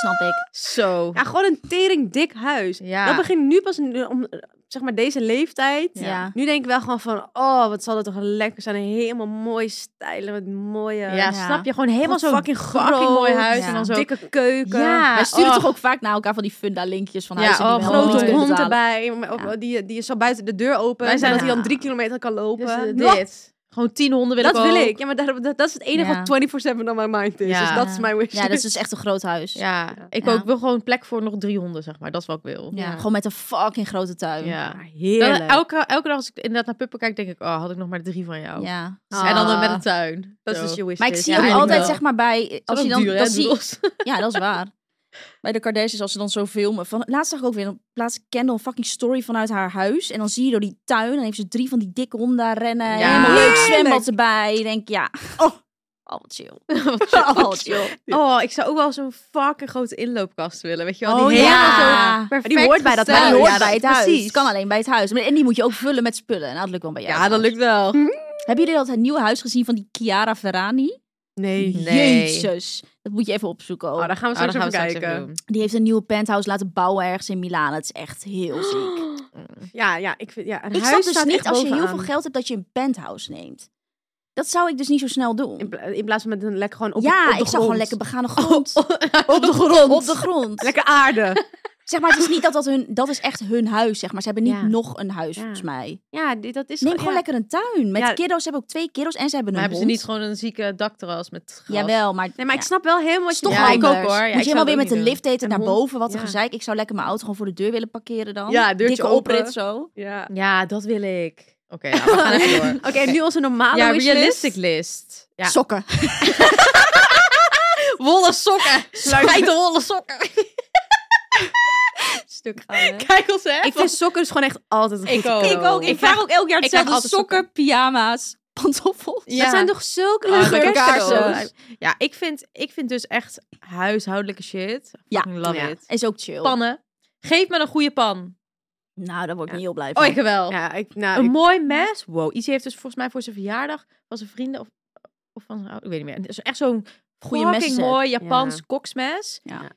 Speaker 4: snap ik.
Speaker 3: Zo.
Speaker 5: Ja, gewoon een tering dik huis.
Speaker 3: Ja.
Speaker 5: Dat begint nu pas in- om, eh, zeg maar, deze leeftijd.
Speaker 3: Ja.
Speaker 4: Ja.
Speaker 5: Nu denk ik wel gewoon van, oh, wat zal dat toch lekker zijn. Een helemaal mooi stijlen met mooie...
Speaker 3: Ja,
Speaker 4: Ja.
Speaker 3: snap je? Gewoon helemaal
Speaker 5: Wat
Speaker 3: zo'n
Speaker 5: fucking
Speaker 3: fucking,
Speaker 5: groot.
Speaker 3: mooi huis.
Speaker 4: Ja.
Speaker 3: En dan zo...
Speaker 5: Dikke keuken.
Speaker 3: Ja.
Speaker 4: Wij sturen
Speaker 3: oh.
Speaker 4: toch ook vaak naar elkaar van die funda-linkjes van
Speaker 3: Ja,
Speaker 4: huizen
Speaker 3: oh,
Speaker 4: die we wel
Speaker 3: grote
Speaker 4: niet
Speaker 5: Grote
Speaker 4: kunnen
Speaker 5: hond
Speaker 4: betalen.
Speaker 5: erbij. maar ook-
Speaker 4: Ja.
Speaker 5: Die, die je zo buiten de deur open.
Speaker 3: Wij zijn
Speaker 5: dat
Speaker 3: er-
Speaker 5: hij dan drie kilometer kan lopen.
Speaker 3: Dus, eh,
Speaker 5: Wat?
Speaker 3: dit. Gewoon tien honden wil
Speaker 5: Dat
Speaker 3: ik
Speaker 5: wil
Speaker 3: ook.
Speaker 5: ik. Ja, maar daar- dat, dat is het enige
Speaker 4: Ja.
Speaker 5: wat 24-7 on my mind is.
Speaker 3: Ja.
Speaker 5: Dus dat is mijn wish.
Speaker 4: Ja, dat is <laughs> dus echt een groot huis.
Speaker 3: Ja, ik
Speaker 4: Ja.
Speaker 3: ook wil gewoon plek voor nog drie honden, zeg maar. Dat is wat ik wil.
Speaker 4: Ja, Gewoon met een fucking grote tuin.
Speaker 3: Ja. Dan
Speaker 5: heerlijk.
Speaker 3: elke, elke dag als ik inderdaad naar Puppen kijk, denk ik... Oh, had ik nog maar drie van jou.
Speaker 4: Ja.
Speaker 3: En dan eh,
Speaker 5: Ah.
Speaker 3: met een tuin.
Speaker 5: Dat is
Speaker 3: Zo.
Speaker 5: dus je wish
Speaker 4: Maar ik
Speaker 5: list.
Speaker 4: zie
Speaker 3: Ja,
Speaker 4: ook
Speaker 3: eigenlijk
Speaker 4: altijd,
Speaker 3: wel.
Speaker 4: zeg maar, bij... Als
Speaker 3: Is
Speaker 4: je
Speaker 3: dat
Speaker 4: dan,
Speaker 3: duur, hè,
Speaker 4: dan zie,
Speaker 3: bedoels?
Speaker 4: ja, dat is waar. bij de Kardashians, als ze dan zo filmen. Van, laatst zag ik ook weer, dan plaatst Kendall een fucking story vanuit haar huis. En dan zie je door die tuin, dan heeft ze drie van die dikke honden daar rennen.
Speaker 3: Ja.
Speaker 4: Helemaal leuk
Speaker 5: Heerlijk.
Speaker 4: zwembad erbij. Je denkt, ja, oh, oh wat chill.
Speaker 3: <laughs>
Speaker 4: Oh, <laughs> wat chill.
Speaker 5: Oh, ik zou ook wel zo'n fucking grote inloopkast willen. Weet je wel?
Speaker 4: Oh,
Speaker 5: die
Speaker 4: ja.
Speaker 5: helemaal zo
Speaker 4: Maar die
Speaker 5: perfect
Speaker 3: hoort bij dat
Speaker 5: gesteld.
Speaker 4: Maar
Speaker 3: huis.
Speaker 4: die hoort
Speaker 5: Ja,
Speaker 4: bij het huis.
Speaker 5: precies.
Speaker 4: Het kan alleen bij het huis. Maar- En die moet je ook vullen met spullen. Nou, dat lukt wel bij jou.
Speaker 5: Ja, dat lukt wel.
Speaker 3: Oh,
Speaker 4: Hebben jullie al het nieuwe huis gezien van die Chiara Ferrani?
Speaker 5: Nee.
Speaker 3: Nee.
Speaker 4: Jezus. Dat moet je even opzoeken. ook.
Speaker 5: Oh, daar gaan we
Speaker 3: Oh, dan
Speaker 5: straks
Speaker 3: gaan we
Speaker 5: even
Speaker 3: straks
Speaker 5: kijken.
Speaker 3: even doen.
Speaker 4: Die heeft een nieuwe penthouse laten bouwen ergens in Milaan. Het is echt heel
Speaker 5: <gasps>
Speaker 4: ziek.
Speaker 5: Ja, ja, ik vind ja, een
Speaker 4: Ik
Speaker 5: huis
Speaker 4: snap dus
Speaker 5: staat
Speaker 4: niet
Speaker 5: echt
Speaker 4: als je heel
Speaker 5: bovenaan.
Speaker 4: veel geld hebt dat je een penthouse neemt. Dat zou ik dus niet zo snel doen.
Speaker 5: in, pla- in plaats van met een lekker gewoon op
Speaker 4: ja,
Speaker 5: op de
Speaker 4: ik zou gewoon
Speaker 5: grond.
Speaker 4: lekker
Speaker 5: <laughs>
Speaker 4: begane grond.
Speaker 5: op de grond.
Speaker 4: Op de grond.
Speaker 5: Lekker aarde.
Speaker 4: <laughs> Zeg maar, het is niet dat dat hun, dat is echt hun huis, zeg maar. Ze hebben niet
Speaker 5: Ja.
Speaker 4: nog een huis,
Speaker 5: Ja.
Speaker 4: volgens mij.
Speaker 5: ja, dit- dat is
Speaker 4: Neem gewoon
Speaker 5: ja.
Speaker 4: lekker een tuin. Met
Speaker 5: Ja.
Speaker 4: kiddo's, ze hebben ook twee kiddo's en ze hebben een
Speaker 3: Maar hebben ze
Speaker 4: hond.
Speaker 3: niet gewoon een zieke dakterras met gras?
Speaker 4: Jawel, maar...
Speaker 5: Nee, maar ik
Speaker 4: ja.
Speaker 5: snap wel helemaal wat
Speaker 4: Is
Speaker 5: je
Speaker 4: toch
Speaker 3: Ja, ik ook
Speaker 4: anders.
Speaker 3: hoor. Ja, ik zou
Speaker 4: Moet je helemaal
Speaker 3: het
Speaker 4: weer
Speaker 3: ook
Speaker 4: met
Speaker 3: niet
Speaker 4: de
Speaker 3: doen.
Speaker 4: lift eten
Speaker 5: En
Speaker 4: naar
Speaker 5: hond-
Speaker 4: boven. Wat een
Speaker 5: ja.
Speaker 4: gezeik. Ik zou lekker mijn auto gewoon voor de deur willen parkeren dan.
Speaker 5: Ja, deurtje
Speaker 4: Dikke
Speaker 5: open.
Speaker 4: oprit zo.
Speaker 5: Ja.
Speaker 4: <laughs>
Speaker 3: Ja, dat wil ik. Oké, nou, we gaan even door.
Speaker 5: Oké,
Speaker 3: <laughs>
Speaker 5: nu onze normale
Speaker 3: Ja,
Speaker 5: wishlist.
Speaker 3: realistic list. Ja.
Speaker 4: Sokken.
Speaker 3: Wollen sokken. Sluit de wollen sokken.
Speaker 4: Stuk
Speaker 5: Oh,
Speaker 4: gaan.
Speaker 3: Kijk ons hè.
Speaker 5: Ik vind sokken dus gewoon echt altijd een goed
Speaker 3: ook.
Speaker 5: idee.
Speaker 4: Ik ook. Ik,
Speaker 3: Oh. Ik
Speaker 4: vraag ook elk jaar
Speaker 3: ik krijg
Speaker 4: hetzelfde. Sokken,
Speaker 3: altijd sokken. <laughs>
Speaker 4: pyjama's, pantoffels.
Speaker 3: Ja.
Speaker 5: Dat zijn toch zulke
Speaker 3: Oh,
Speaker 5: leuke
Speaker 3: lekker
Speaker 5: kerstcadeaus.
Speaker 3: kerstcadeaus. Ja, ik vind, ik vind dus echt huishoudelijke shit.
Speaker 4: Ja.
Speaker 3: Fucking Love
Speaker 5: Ja.
Speaker 3: it.
Speaker 4: Is ook chill.
Speaker 3: Pannen. Geef me een goede pan.
Speaker 4: Nou, daar word ik
Speaker 5: Ja.
Speaker 4: niet heel blij van.
Speaker 3: Oh, ik wel.
Speaker 5: Ja, ik, nou,
Speaker 3: Een
Speaker 5: ik,
Speaker 3: mooi mes. Wow. Izzy heeft dus volgens mij voor zijn verjaardag van zijn vrienden of, of van zijn oud- ik weet niet meer. Dus echt zo'n
Speaker 4: Goeie
Speaker 3: fucking
Speaker 4: messenset.
Speaker 3: mooi Japans
Speaker 5: Ja.
Speaker 3: koksmes.
Speaker 4: maar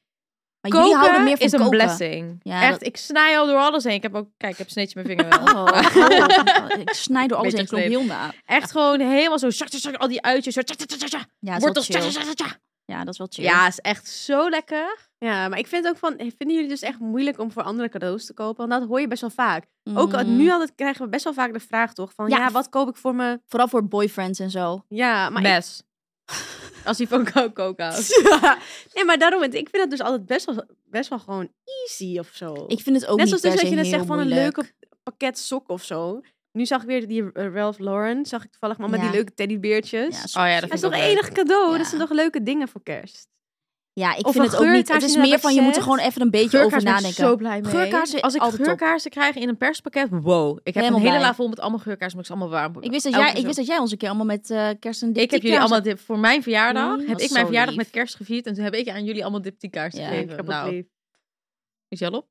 Speaker 3: Koken
Speaker 4: jullie houden meer van
Speaker 3: is een
Speaker 4: koken.
Speaker 3: blessing.
Speaker 4: Ja,
Speaker 3: echt,
Speaker 4: dat-
Speaker 3: ik snij al door alles heen. Ik heb ook, kijk, ik heb sneetje mijn vinger
Speaker 4: <laughs>
Speaker 3: <laughs> wel.
Speaker 4: Oh, oh, ik snijd door alles
Speaker 3: Beetje
Speaker 4: heen. Ik klonk heel na.
Speaker 3: Echt gewoon helemaal zo, zak, zak, zak, al die uitjes, zo, zak, zak, zak, zak,
Speaker 4: Ja, dat
Speaker 3: wortels,
Speaker 4: is wel
Speaker 3: zak, zak,
Speaker 4: chill.
Speaker 3: zak, zak.
Speaker 4: Ja, dat is wel chill.
Speaker 3: Ja, is echt zo lekker.
Speaker 5: ja, maar ik vind ook van, vinden jullie dus echt moeilijk om voor andere cadeaus te kopen? Want dat hoor je best wel vaak.
Speaker 4: Mm.
Speaker 5: Ook al- nu altijd krijgen we best wel vaak de vraag toch van,
Speaker 4: Ja.
Speaker 5: ja, wat koop ik voor mijn...
Speaker 4: Vooral voor boyfriends en zo.
Speaker 5: Ja, maar ik-
Speaker 3: Mes. <laughs> Als hij van kook ook houdt.
Speaker 5: Ja. Nee, maar daarom, ik vind dat dus altijd best wel, best wel gewoon easy of zo.
Speaker 4: Ik vind het ook
Speaker 5: Net
Speaker 4: niet
Speaker 5: zoals dus
Speaker 4: per
Speaker 5: dat
Speaker 4: se
Speaker 5: je net
Speaker 4: heel
Speaker 5: zegt van een
Speaker 4: moeilijk.
Speaker 5: leuke pakket sokken of zo. Nu zag ik weer die eh, Ralph Lauren, zag ik toevallig maar met
Speaker 4: Ja.
Speaker 5: die leuke teddybeertjes.
Speaker 4: Ja,
Speaker 5: dat
Speaker 3: Oh ja, dat
Speaker 5: is
Speaker 3: vind ik
Speaker 5: toch
Speaker 3: ook
Speaker 5: een
Speaker 3: leuk.
Speaker 5: enig cadeau?
Speaker 4: Ja.
Speaker 5: Dat zijn toch leuke dingen voor kerst?
Speaker 4: Ja, ik
Speaker 5: Of
Speaker 4: vind
Speaker 5: een
Speaker 4: het ook niet. Het
Speaker 5: geurkaars
Speaker 4: is
Speaker 5: in een
Speaker 4: meer van, je moet er
Speaker 5: pakket.
Speaker 4: gewoon even een beetje over
Speaker 3: Geurkaarsen ben ik
Speaker 4: nadenken.
Speaker 3: zo blij mee.
Speaker 4: <laughs> Geurkaarsen,
Speaker 3: Als ik
Speaker 4: altijd top.
Speaker 3: geurkaarsen krijg in een perspakket, wow. Ik heb
Speaker 4: Helemaal
Speaker 3: een hele
Speaker 4: blij.
Speaker 3: la vol met allemaal geurkaarsen, moet ik ze allemaal warm
Speaker 4: Ik wist, dat
Speaker 3: Elke
Speaker 4: jij, ik
Speaker 3: zo.
Speaker 4: wist dat jij ons een keer allemaal met eh kerst en
Speaker 3: Oh, Ik heb jullie allemaal dip- voor mijn
Speaker 5: Mm,
Speaker 3: verjaardag.
Speaker 4: Nee,
Speaker 3: heb
Speaker 4: dat is
Speaker 3: ik mijn
Speaker 4: zo
Speaker 3: verjaardag
Speaker 4: lief.
Speaker 3: met kerst gevierd. En toen heb ik aan jullie allemaal diptiekaars
Speaker 4: Ja,
Speaker 5: ik
Speaker 3: gegeven.
Speaker 5: heb ook
Speaker 3: nou,
Speaker 5: lief.
Speaker 3: is jij al op?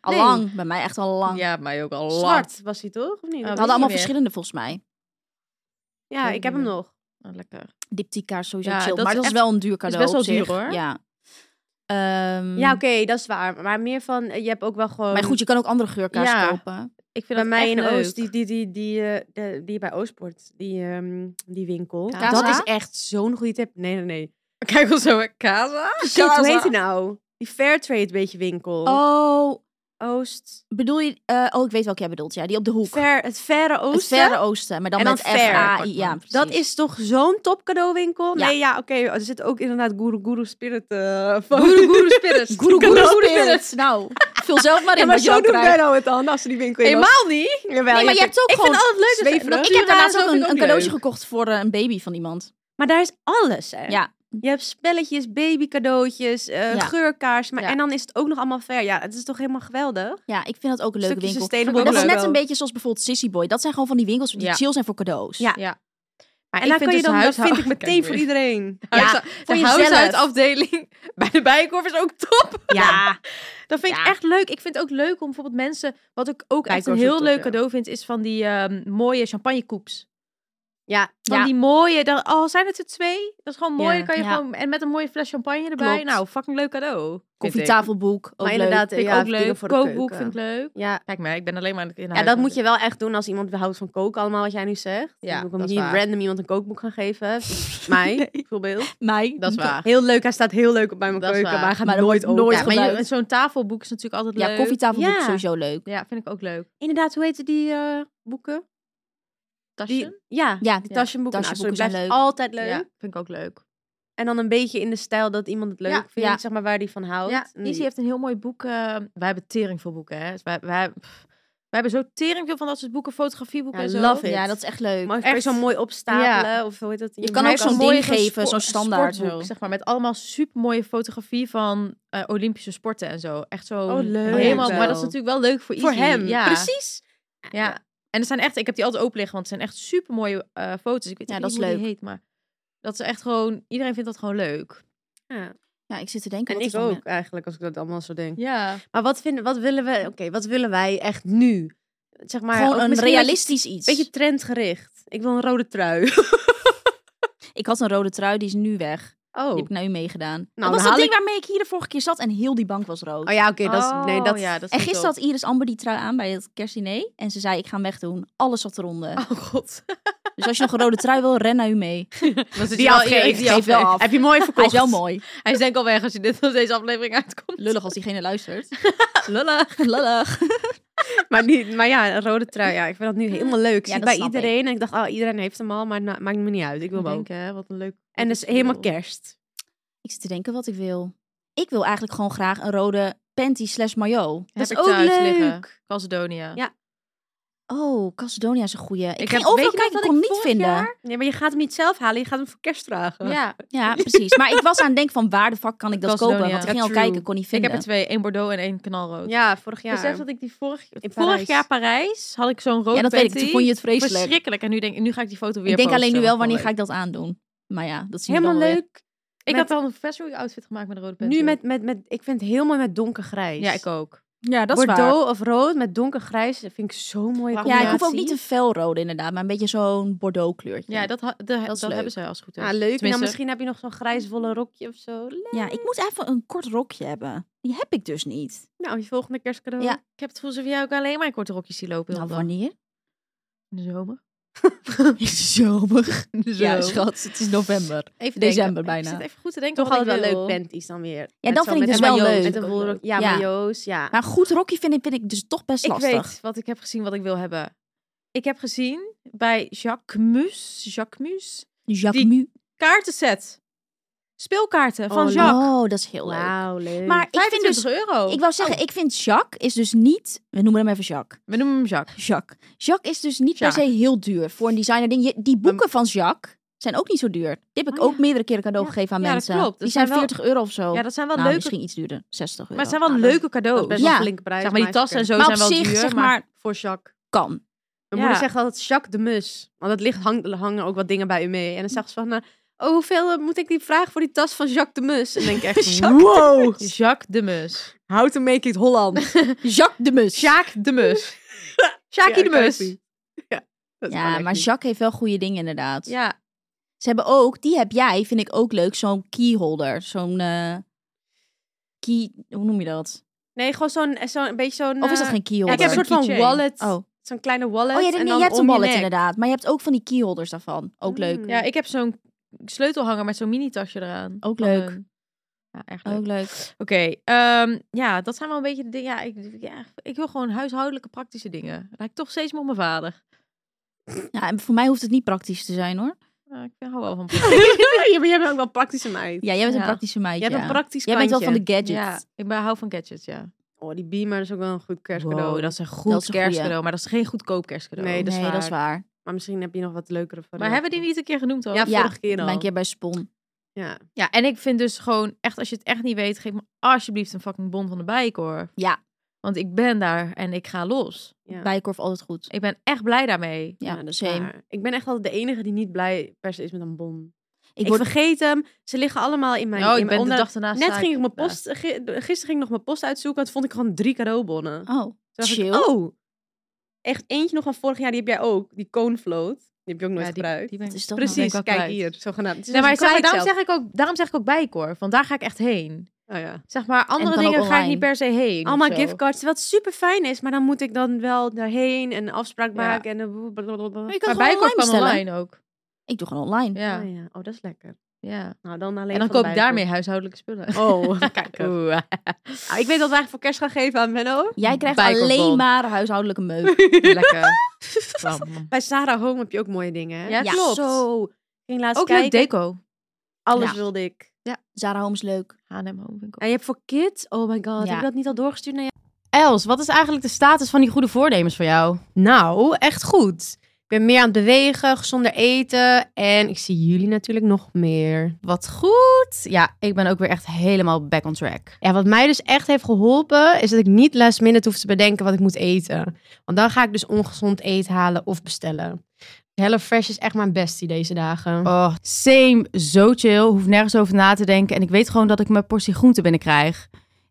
Speaker 4: Al lang. Bij mij echt al lang.
Speaker 3: Ja, mij ook al lang.
Speaker 5: Zwart was hij toch? Of niet?
Speaker 3: Oh,
Speaker 4: We
Speaker 3: weet
Speaker 4: hadden Nou, allemaal
Speaker 3: niet meer.
Speaker 4: verschillende volgens mij.
Speaker 5: ja, ik heb hem nog.
Speaker 3: Oh, lekker.
Speaker 4: Diptykaars sowieso
Speaker 3: Ja,
Speaker 4: chill.
Speaker 3: dat
Speaker 4: maar
Speaker 3: is
Speaker 4: dat is
Speaker 3: echt-
Speaker 4: wel een duur cadeau.
Speaker 3: best wel
Speaker 4: op zich.
Speaker 3: duur, hoor.
Speaker 4: Ja. Ehm,
Speaker 5: Ja, oké, dat is waar. Maar meer van, eh, je hebt ook wel gewoon...
Speaker 4: Maar goed, je kan ook andere geurkaars
Speaker 3: Ja.
Speaker 4: kopen.
Speaker 3: Ik vind
Speaker 5: bij
Speaker 3: dat
Speaker 5: mij
Speaker 3: echt
Speaker 5: in
Speaker 3: leuk.
Speaker 5: Oost, die, die, die, die, eh, de- die bij Oostport, die, ehm, die winkel.
Speaker 3: Casa?
Speaker 5: Dat is echt zo'n goede tip. Nee, nee, nee.
Speaker 3: <laughs> Kijk wel zo, hè. Kaza.
Speaker 5: Shit, hoe heet die nou? Die Fairtrade beetje winkel.
Speaker 4: Oh,
Speaker 5: Oost.
Speaker 4: bedoel je... eh, oh, ik weet welke jij bedoelt. Ja, die op de hoek.
Speaker 5: Ver, het verre oosten.
Speaker 4: Het verre oosten. Maar dan,
Speaker 5: En dan
Speaker 4: met
Speaker 5: ver.
Speaker 4: F-A-I. Ja, precies.
Speaker 5: Dat is toch zo'n top cadeauwinkel?
Speaker 4: Ja.
Speaker 5: Nee, ja, oké. er zit ook inderdaad Guru Guru Spirit. eh van.
Speaker 3: Guru
Speaker 5: <laughs>
Speaker 3: Guru Spirits.
Speaker 4: Guru Guru
Speaker 5: Cadeau
Speaker 4: Spirit. Nou, <laughs> vul zelf maar in
Speaker 5: Ja, maar
Speaker 4: wat je
Speaker 5: zo
Speaker 4: al
Speaker 5: doen
Speaker 4: krijgt.
Speaker 5: wij nou het dan, als ze die winkel in.
Speaker 3: Helemaal niet.
Speaker 5: Jawel,
Speaker 4: Nee, maar je hebt ook
Speaker 5: ik
Speaker 4: gewoon...
Speaker 5: vind altijd leuk.
Speaker 4: zweverig.
Speaker 5: Dat
Speaker 4: Ik heb daar laatst
Speaker 3: Dierenraden
Speaker 4: ook
Speaker 3: vind ik
Speaker 4: een, een
Speaker 3: ook
Speaker 4: cadeautje
Speaker 3: leuk.
Speaker 4: gekocht voor eh, een baby van iemand.
Speaker 5: Maar daar is alles, hè?
Speaker 4: Ja.
Speaker 5: Je hebt spelletjes, baby cadeautjes, eh,
Speaker 4: Ja.
Speaker 5: geurkaars. Maar,
Speaker 3: Ja.
Speaker 5: En dan is het ook nog allemaal ver. Ja, het is toch helemaal geweldig?
Speaker 4: Ja, ik vind dat ook een leuke
Speaker 5: Stukje
Speaker 4: winkel.
Speaker 5: sustainable
Speaker 4: Maar Dat is
Speaker 5: cadeau.
Speaker 4: net een beetje zoals bijvoorbeeld Sissy Boy. Dat zijn gewoon van die winkels die
Speaker 3: Ja.
Speaker 4: chill zijn voor cadeaus.
Speaker 5: Ja.
Speaker 3: Maar
Speaker 5: en dan
Speaker 3: vind
Speaker 5: kan je
Speaker 3: dus
Speaker 5: dan, dat vind ik
Speaker 3: huishouden-
Speaker 5: meteen
Speaker 3: <laughs>
Speaker 4: <laughs>
Speaker 3: Kijk
Speaker 5: voor
Speaker 3: weer.
Speaker 5: iedereen.
Speaker 3: De huishoud-
Speaker 4: voor
Speaker 3: de
Speaker 4: jezelf.
Speaker 3: huishoudafdeling <laughs> bij de Bijenkorf is ook top.
Speaker 4: Ja.
Speaker 3: Dat vind ik
Speaker 4: Ja.
Speaker 3: echt leuk. Ik vind het ook leuk om bijvoorbeeld mensen... Wat ik ook echt een
Speaker 5: Bijenkorf is
Speaker 3: heel
Speaker 5: top,
Speaker 3: leuk
Speaker 5: ja.
Speaker 3: cadeau vind... is van die ehm, mooie champagnekoeps.
Speaker 5: Ja,
Speaker 3: Van
Speaker 4: Ja.
Speaker 3: die mooie... Dan, al zijn het er twee. Dat is gewoon mooi.
Speaker 5: Ja.
Speaker 3: dan kan je
Speaker 4: Ja.
Speaker 3: gewoon, en met een mooie fles champagne erbij.
Speaker 4: Klopt.
Speaker 3: Nou, fucking leuk cadeau. vind ik.
Speaker 4: Koffietafelboek. Ook
Speaker 5: maar
Speaker 4: leuk.
Speaker 5: inderdaad,
Speaker 3: Vind ik
Speaker 5: ja,
Speaker 3: ook
Speaker 5: dingen
Speaker 3: leuk.
Speaker 5: voor de
Speaker 3: Kookboek
Speaker 5: keuken.
Speaker 3: vind ik leuk.
Speaker 5: Ja,
Speaker 3: Kijk maar, ik ben alleen maar in
Speaker 5: Ja, dat moet je wel echt doen als iemand houdt van koken allemaal wat jij nu zegt.
Speaker 3: Ja,
Speaker 5: Ja, ik
Speaker 3: dat
Speaker 5: moet
Speaker 3: is
Speaker 5: niet
Speaker 3: waar.
Speaker 5: random iemand een kookboek gaan
Speaker 3: <laughs>
Speaker 5: geven. Mij, bijvoorbeeld.
Speaker 4: Mij.
Speaker 3: Dat is waar.
Speaker 5: Heel leuk, hij staat heel leuk op bij mijn
Speaker 3: Dat is
Speaker 5: keuken,
Speaker 3: waar.
Speaker 5: maar hij gaat
Speaker 4: Maar dat
Speaker 5: nooit
Speaker 4: wordt
Speaker 5: open.
Speaker 4: nooit
Speaker 5: Ja,
Speaker 3: Ja,
Speaker 5: maar-
Speaker 3: maar je-
Speaker 4: gebruikt.
Speaker 3: zo'n tafelboek is natuurlijk altijd
Speaker 4: Ja,
Speaker 3: leuk.
Speaker 4: koffietafelboek
Speaker 5: Ja.
Speaker 4: is sowieso leuk.
Speaker 3: Ja, vind ik ook leuk.
Speaker 5: Inderdaad, hoe heette die eh, boeken? Die,
Speaker 3: Tasje?
Speaker 5: ja,
Speaker 4: Ja,
Speaker 5: die tasjenboeken. Nou, sorry,
Speaker 4: tasjenboeken
Speaker 5: blijft
Speaker 4: zijn leuk.
Speaker 5: altijd leuk.
Speaker 3: Ja, vind ik ook leuk.
Speaker 5: En dan een beetje in de stijl dat iemand het leuk
Speaker 3: Ja,
Speaker 5: vindt,
Speaker 4: ja.
Speaker 5: zeg maar waar die van houdt. Mm.
Speaker 3: Ja,
Speaker 5: En
Speaker 3: Izzy heeft een heel mooi boek. eh, wij hebben tering voor boeken, hè. Dus wij, wij, pff, We hebben zo tering veel van dat soort boeken, fotografieboeken
Speaker 5: Ja,
Speaker 3: en zo.
Speaker 5: love it.
Speaker 4: Ja, dat is echt leuk.
Speaker 5: Maar kan je
Speaker 3: Echt.
Speaker 5: zo mooi opstapelen of hoe heet dat? in
Speaker 4: Je kan
Speaker 3: Maar
Speaker 4: ook
Speaker 3: hij
Speaker 4: zo'n
Speaker 3: heeft
Speaker 4: ding
Speaker 3: mooi
Speaker 4: geven, zo'n
Speaker 3: spo-
Speaker 4: standaard.
Speaker 3: sportboek,
Speaker 4: zo.
Speaker 3: zeg maar, met allemaal super mooie fotografie van eh, Olympische sporten en zo. Echt zo
Speaker 5: Oh, leuk.
Speaker 3: helemaal. Maar dat is
Speaker 5: Wel.
Speaker 3: natuurlijk wel leuk voor
Speaker 5: Voor
Speaker 3: Izzy.
Speaker 5: hem,
Speaker 3: ja.
Speaker 4: Precies.
Speaker 3: Ja. En er zijn echt, ik heb die altijd open liggen, want het zijn echt super mooie foto's. Ik weet
Speaker 4: Ja,
Speaker 3: niet
Speaker 4: dat is
Speaker 3: hoe die
Speaker 4: leuk.
Speaker 3: heet, maar dat is echt gewoon. Iedereen vindt dat gewoon leuk.
Speaker 5: Ja.
Speaker 4: Ja, ik zit te denken.
Speaker 5: En
Speaker 4: wat is nou?
Speaker 5: ik
Speaker 4: nog
Speaker 5: ook eigenlijk, als ik dat allemaal zo denk.
Speaker 3: Ja.
Speaker 5: Maar wat, vinden, wat, willen we, oké, wat willen wij echt nu? Zeg maar,
Speaker 4: meer? Gewoon
Speaker 5: ook
Speaker 4: een
Speaker 5: misschien
Speaker 4: realistisch iets.
Speaker 5: Beetje, beetje trendgericht. Ik wil een rode trui.
Speaker 4: Ik had een rode trui, die is nu weg.
Speaker 5: <laughs> Oh, Nou,
Speaker 4: Die heb ik naar u meegedaan.
Speaker 5: dan
Speaker 4: dat was
Speaker 5: haal
Speaker 4: dat ding
Speaker 5: ik-
Speaker 4: waarmee ik hier de vorige keer zat en heel die bank was rood.
Speaker 5: oh ja, oké. dat is, nee,
Speaker 3: Oh,
Speaker 5: dat,
Speaker 3: ja, dat
Speaker 4: en
Speaker 3: is
Speaker 4: gisteren had Iris Amber die trui aan bij het kerstdiner. En ze zei, ik ga hem wegdoen. Alles zat eronder.
Speaker 3: <laughs> Oh
Speaker 4: <laughs>
Speaker 3: god.
Speaker 4: Dus als je nog een rode trui wil, ren naar u mee.
Speaker 3: Was het
Speaker 5: Die
Speaker 3: wel-
Speaker 5: afgeeft.
Speaker 3: die
Speaker 5: Dus Die
Speaker 4: Geef wel af.
Speaker 5: Heb je <laughs> mooi verkocht.
Speaker 4: Hij is wel mooi.
Speaker 3: Hij is denk ik al weg als je dit als deze aflevering uitkomt.
Speaker 4: Lullig als diegene luistert.
Speaker 3: <laughs> Lullig.
Speaker 4: <laughs> Lullig.
Speaker 5: Maar, niet, maar ja, een rode trui. Ja, ik vind dat nu helemaal leuk. Ik zie
Speaker 4: Ja,
Speaker 5: het
Speaker 4: dat
Speaker 5: bij
Speaker 4: snap ik.
Speaker 5: iedereen. En ik dacht, oh, iedereen heeft hem al, maar het maakt me niet uit. Ik wil
Speaker 3: Ik
Speaker 5: hem ook.
Speaker 3: denk, hè, wat een leuk.
Speaker 5: En het is helemaal kerst.
Speaker 4: Ik zit te denken wat ik wil. Ik wil eigenlijk gewoon graag een rode panty slash maillot.
Speaker 3: Dat
Speaker 4: Dat
Speaker 3: heb
Speaker 4: is
Speaker 3: ik
Speaker 4: Dus ook
Speaker 3: thuis
Speaker 4: leuk.
Speaker 3: liggen. Calcedonia.
Speaker 5: Ja,
Speaker 4: Oh, Casedonia is een goeie. Ik,
Speaker 3: Ik
Speaker 4: ging
Speaker 3: heb-
Speaker 4: overal
Speaker 3: weet je
Speaker 4: kijken,
Speaker 3: wat
Speaker 4: ik kon
Speaker 3: ik
Speaker 4: hem niet
Speaker 3: vorig
Speaker 4: vinden.
Speaker 3: jaar-
Speaker 5: Nee, maar je gaat hem niet zelf halen. Je gaat hem voor kerst dragen.
Speaker 3: ja.
Speaker 4: Ja, <laughs> precies. Maar ik was aan het denken van waar de fuck kan ik dat
Speaker 3: Casedonia.
Speaker 4: kopen? Want ik
Speaker 5: Ja,
Speaker 4: ging al
Speaker 5: true.
Speaker 4: kijken, kon niet
Speaker 3: Ik
Speaker 4: vinden.
Speaker 3: heb er twee. één Bordeaux en één knalrood.
Speaker 5: Ja, vorig jaar.
Speaker 3: Ik besef dat ik die vorig,
Speaker 5: In
Speaker 3: vorig
Speaker 5: Parijs.
Speaker 3: jaar Parijs had ik zo'n rood
Speaker 4: ja, dat weet ik. Toen vond je het vreselijk.
Speaker 3: verschrikkelijk. En nu denk ik, nu ga ik die foto weer
Speaker 4: Ik denk
Speaker 3: posten,
Speaker 4: alleen nu
Speaker 3: want
Speaker 4: wel
Speaker 3: vond
Speaker 4: wanneer
Speaker 3: ik
Speaker 4: ga ik dat aandoen. Maar ja, dat zien we
Speaker 5: Helemaal
Speaker 4: dan wel weer.
Speaker 5: leuk.
Speaker 3: Ik
Speaker 5: Met-
Speaker 3: had al een Fashion Week outfit gemaakt met een rode panty.
Speaker 5: Nu met, met, met, ik vind het heel mooi met donkergrijs.
Speaker 3: Ja, ik ook.
Speaker 4: Ja, dat
Speaker 5: Bordeaux of rood met donkergrijs, dat vind ik zo'n mooie
Speaker 3: Ja,
Speaker 4: Ja,
Speaker 5: combinatie.
Speaker 4: ik hoef ook niet een felrode inderdaad, maar een beetje zo'n bordeaux kleurtje.
Speaker 3: Ja, dat, ha- de- dat,
Speaker 4: leuk.
Speaker 3: hebben ze als het goed is.
Speaker 5: Ja, Ah, leuk. En dan
Speaker 3: Tenminste,
Speaker 5: misschien heb je nog zo'n grijs wollen rokje of zo. Leuk.
Speaker 4: ja, ik moet even een kort rokje hebben. Die heb ik dus niet.
Speaker 5: Nou, je volgende kerstcadeau.
Speaker 4: Ja.
Speaker 3: Ik heb het gevoel alsof jij ook alleen maar in korte rokjes die lopen. heel
Speaker 4: Nou,
Speaker 3: de dag.
Speaker 4: wanneer?
Speaker 3: In de zomer.
Speaker 4: Zomer.
Speaker 3: In de <laughs>
Speaker 4: Ja,
Speaker 3: zomer.
Speaker 4: schat, het is november.
Speaker 3: <laughs> Even denken.
Speaker 4: December bijna.
Speaker 3: Ik zit even goed te denken
Speaker 5: Toch
Speaker 3: wat ik
Speaker 5: altijd wel
Speaker 3: wil.
Speaker 5: leuk panties dan weer.
Speaker 4: Ja,
Speaker 5: Met
Speaker 4: dat
Speaker 5: zo-
Speaker 4: vind ik
Speaker 5: met
Speaker 4: dus
Speaker 5: een
Speaker 4: wel
Speaker 5: maillot,
Speaker 4: leuk.
Speaker 5: Met een wollen rok. Ja,
Speaker 4: Ja.
Speaker 5: maillots. Ja.
Speaker 4: Maar een goed rokje vind ik, vind ik dus toch best
Speaker 5: ik
Speaker 4: lastig.
Speaker 5: weet.
Speaker 3: Wat ik heb gezien, wat ik wil hebben. Ik heb gezien bij Jacquemus, Jacquemus
Speaker 4: Dus Jacques
Speaker 3: Die-
Speaker 4: Mu.
Speaker 3: kaartenset. Speelkaarten van
Speaker 5: Oh,
Speaker 3: Jacques. Nou,
Speaker 4: Oh, dat is heel leuk.
Speaker 5: Wauw, leuk.
Speaker 4: Maar ik vind
Speaker 3: 25
Speaker 4: dus...
Speaker 3: euro.
Speaker 4: Ik wou
Speaker 3: oh.
Speaker 4: zeggen, ik vind Jacques is dus niet... We noemen hem even Jacques.
Speaker 3: We noemen hem Jacques.
Speaker 4: Jacques. Jacques is dus niet per
Speaker 3: Jacques.
Speaker 4: se heel duur voor een designer ding. Je- Die boeken van Jacques zijn ook niet zo duur. Die heb ik
Speaker 3: Oh, ja.
Speaker 4: ook meerdere keren cadeau
Speaker 3: Ja.
Speaker 4: gegeven aan
Speaker 3: Ja, dat
Speaker 4: mensen.
Speaker 3: klopt. Dat
Speaker 4: Die zijn
Speaker 3: zijn wel-
Speaker 4: 40 euro of zo.
Speaker 3: Ja, dat zijn wel
Speaker 4: nou,
Speaker 3: leuke...
Speaker 4: misschien iets duurder. 60 euro.
Speaker 3: Maar het zijn wel leuke cadeaus.
Speaker 5: Dat is best wel
Speaker 4: Ja.
Speaker 5: een flinke prijs.
Speaker 3: oh, Zeg maar die
Speaker 5: is
Speaker 3: tassen en
Speaker 5: oké.
Speaker 3: zo
Speaker 4: Maar
Speaker 3: zijn wel
Speaker 4: op zich,
Speaker 3: duur,
Speaker 4: zeg
Speaker 3: maar...
Speaker 4: maar,
Speaker 3: voor Jacques. <laughs>
Speaker 4: kan.
Speaker 5: Mijn
Speaker 3: Ja.
Speaker 5: moeder zegt altijd Jacques de Mus. Want het ligt hang, hangen ook wat dingen bij u mee. En dan zegt ze van, eh, oh, hoeveel eh, moet ik die vragen voor die tas van Jacques de Mus? En dan denk ik
Speaker 4: <laughs>
Speaker 5: echt,
Speaker 4: Jacques
Speaker 5: wow,
Speaker 3: Jacques de Mus.
Speaker 5: how to make it Holland.
Speaker 4: Jacques de Mus.
Speaker 3: Jacques de Mus. <laughs> Jacques de Mus.
Speaker 5: <laughs>
Speaker 4: Ja, maar Jacques heeft wel goede dingen inderdaad.
Speaker 3: Ja.
Speaker 4: Ze hebben ook, die heb jij, vind ik ook leuk, zo'n keyholder. Zo'n eh, key, hoe noem je dat?
Speaker 5: Nee, gewoon zo'n, eh, zo'n een beetje zo'n...
Speaker 4: Of is dat
Speaker 5: eh,
Speaker 4: geen keyholder?
Speaker 5: ik heb een soort van
Speaker 3: keychain.
Speaker 5: wallet.
Speaker 4: Oh, oh
Speaker 5: Zo'n kleine wallet.
Speaker 4: ja,
Speaker 5: en
Speaker 4: nee,
Speaker 5: dan
Speaker 4: je hebt
Speaker 5: om
Speaker 4: een wallet
Speaker 5: nek.
Speaker 4: inderdaad. Maar je hebt ook van die keyholders daarvan. Ook leuk.
Speaker 5: Mm.
Speaker 3: ja, ik heb zo'n sleutelhanger met zo'n mini-tasje eraan.
Speaker 4: Ook
Speaker 5: Oh,
Speaker 3: Van
Speaker 4: leuk.
Speaker 3: hun. Ja, echt leuk.
Speaker 4: Ook leuk.
Speaker 3: Oké, ehm, ja, dat zijn wel een beetje de dingen. Ja ik, ja, ik wil gewoon huishoudelijke praktische dingen. Lijkt toch steeds meer op mijn vader.
Speaker 4: Ja, en voor mij hoeft het niet praktisch te zijn hoor.
Speaker 3: Ja, ik hou wel van
Speaker 5: <laughs> ja, maar jij bent ook wel praktische meid.
Speaker 4: Ja, jij bent
Speaker 3: Ja.
Speaker 4: een praktische meid.
Speaker 5: Jij bent een praktisch
Speaker 4: Jij bent wel van
Speaker 5: kantje.
Speaker 4: de gadgets.
Speaker 3: Ja, ik ben, hou van gadgets, ja.
Speaker 5: Oh, die beamer is ook wel een goed kerstcadeau.
Speaker 3: Wow, dat is een
Speaker 4: Dat
Speaker 3: goed
Speaker 4: is een goeie.
Speaker 3: kerstcadeau, maar dat is geen goedkoop kerstcadeau.
Speaker 5: Nee, dat is
Speaker 4: nee, dat is waar.
Speaker 5: Maar misschien heb je nog wat leukere voor
Speaker 3: Maar hebben die niet een keer genoemd al?
Speaker 5: Ja,
Speaker 4: Ja,
Speaker 5: vorige keer
Speaker 4: Ik
Speaker 5: al.
Speaker 4: ben een keer bij Spon.
Speaker 5: Ja.
Speaker 3: Ja, en ik vind dus gewoon echt, als je het echt niet weet, geef me alsjeblieft een fucking bon van de bijk hoor.
Speaker 4: Ja.
Speaker 3: Want ik ben daar en ik ga los.
Speaker 5: Ja.
Speaker 4: Bijenkorf altijd goed.
Speaker 3: Ik ben echt blij daarmee.
Speaker 4: Ja,
Speaker 5: dat is
Speaker 4: same.
Speaker 5: waar. Ik ben echt altijd de enige die niet blij per se is met een bon. Ik,
Speaker 4: Ik word
Speaker 5: vergeet hem. Ze liggen allemaal in mijn...
Speaker 3: oh,
Speaker 5: in
Speaker 3: ik
Speaker 5: mijn
Speaker 3: ben
Speaker 5: onder-
Speaker 3: de dag daarna
Speaker 5: Net ging ik mijn post... ge- Gisteren ging ik nog mijn post uitzoeken. en Toen vond ik gewoon drie cadeaubonnen.
Speaker 4: Oh,
Speaker 5: Toen dacht ik,
Speaker 4: chill.
Speaker 5: oh! Echt eeentje nog van vorig jaar. Die heb jij ook. Die Coonfloat. Die heb je ook nooit gebruikt.
Speaker 4: Wat is dat nou?
Speaker 5: Precies,
Speaker 3: ben ik wel
Speaker 5: kijk
Speaker 3: kwijt.
Speaker 5: hier. Zogenaamd. Het is
Speaker 3: Nee, maar,
Speaker 5: een
Speaker 3: zeg maar,
Speaker 5: kwijt
Speaker 3: daarom,
Speaker 5: zelf.
Speaker 3: zeg Dus ik ook, daarom zeg ik ook bijkorf, want daar ga ik echt heen.
Speaker 5: Oh, ja.
Speaker 3: Zeg maar, andere
Speaker 4: kan ook
Speaker 3: dingen ga ik
Speaker 4: online.
Speaker 3: niet per se heen.
Speaker 5: Allemaal
Speaker 3: of zo.
Speaker 5: giftcards. Wat super fijn is. Maar dan moet ik dan wel daarheen en een afspraak
Speaker 3: Ja.
Speaker 5: maken. En een blablabla.
Speaker 4: Maar je kan
Speaker 3: Maar
Speaker 4: het gewoon
Speaker 3: bijkorf
Speaker 4: online
Speaker 3: kan
Speaker 4: bestellen.
Speaker 3: online ook.
Speaker 4: Ik doe gewoon online.
Speaker 3: Ja,
Speaker 5: Oh, ja. oh, dat is lekker.
Speaker 3: ja.
Speaker 5: Nou, dan alleen
Speaker 3: En dan
Speaker 5: van
Speaker 3: koop ik
Speaker 5: Bijenkorf.
Speaker 3: daarmee huishoudelijke <laughs> spullen.
Speaker 5: <laughs> Oh, kijk. er.
Speaker 3: Oeh. <laughs>
Speaker 5: Ah, ik weet wat we eigenlijk voor kerst gaan geven aan Menno.
Speaker 4: Jij krijgt
Speaker 3: Bijenkorf
Speaker 4: alleen
Speaker 3: bon.
Speaker 4: maar huishoudelijke meuk.
Speaker 3: Lekker. Bam.
Speaker 5: Bij Sarah Home heb je ook mooie dingen, hè?
Speaker 3: Ja,
Speaker 4: Ja.
Speaker 3: klopt.
Speaker 5: Zo. Ik ging laatst
Speaker 3: Ook leuk
Speaker 5: kijken.
Speaker 3: deco.
Speaker 5: Alles
Speaker 4: Ja.
Speaker 5: wilde ik.
Speaker 4: Zara Homes leuk.
Speaker 3: H&M Homewinkel.
Speaker 5: En je hebt voor kids, oh my god,
Speaker 4: Ja.
Speaker 5: heb ik dat niet al doorgestuurd naar jou?
Speaker 3: Els, wat is eigenlijk de status van die goede voornemens voor jou?
Speaker 5: Nou, echt goed. Ik ben meer aan het bewegen, gezonder eten. En ik zie jullie natuurlijk nog meer.
Speaker 3: Wat goed. Ja, ik ben ook weer echt helemaal back on track.
Speaker 5: Ja, wat mij dus echt heeft geholpen, is dat ik niet last minute hoef te bedenken wat ik moet eten. Want dan ga ik dus ongezond eten halen of bestellen. HelloFresh is echt mijn bestie deze dagen.
Speaker 3: Oh, same. Zo chill. Hoef nergens over na te denken. En ik weet gewoon dat ik mijn portie groente binnenkrijg.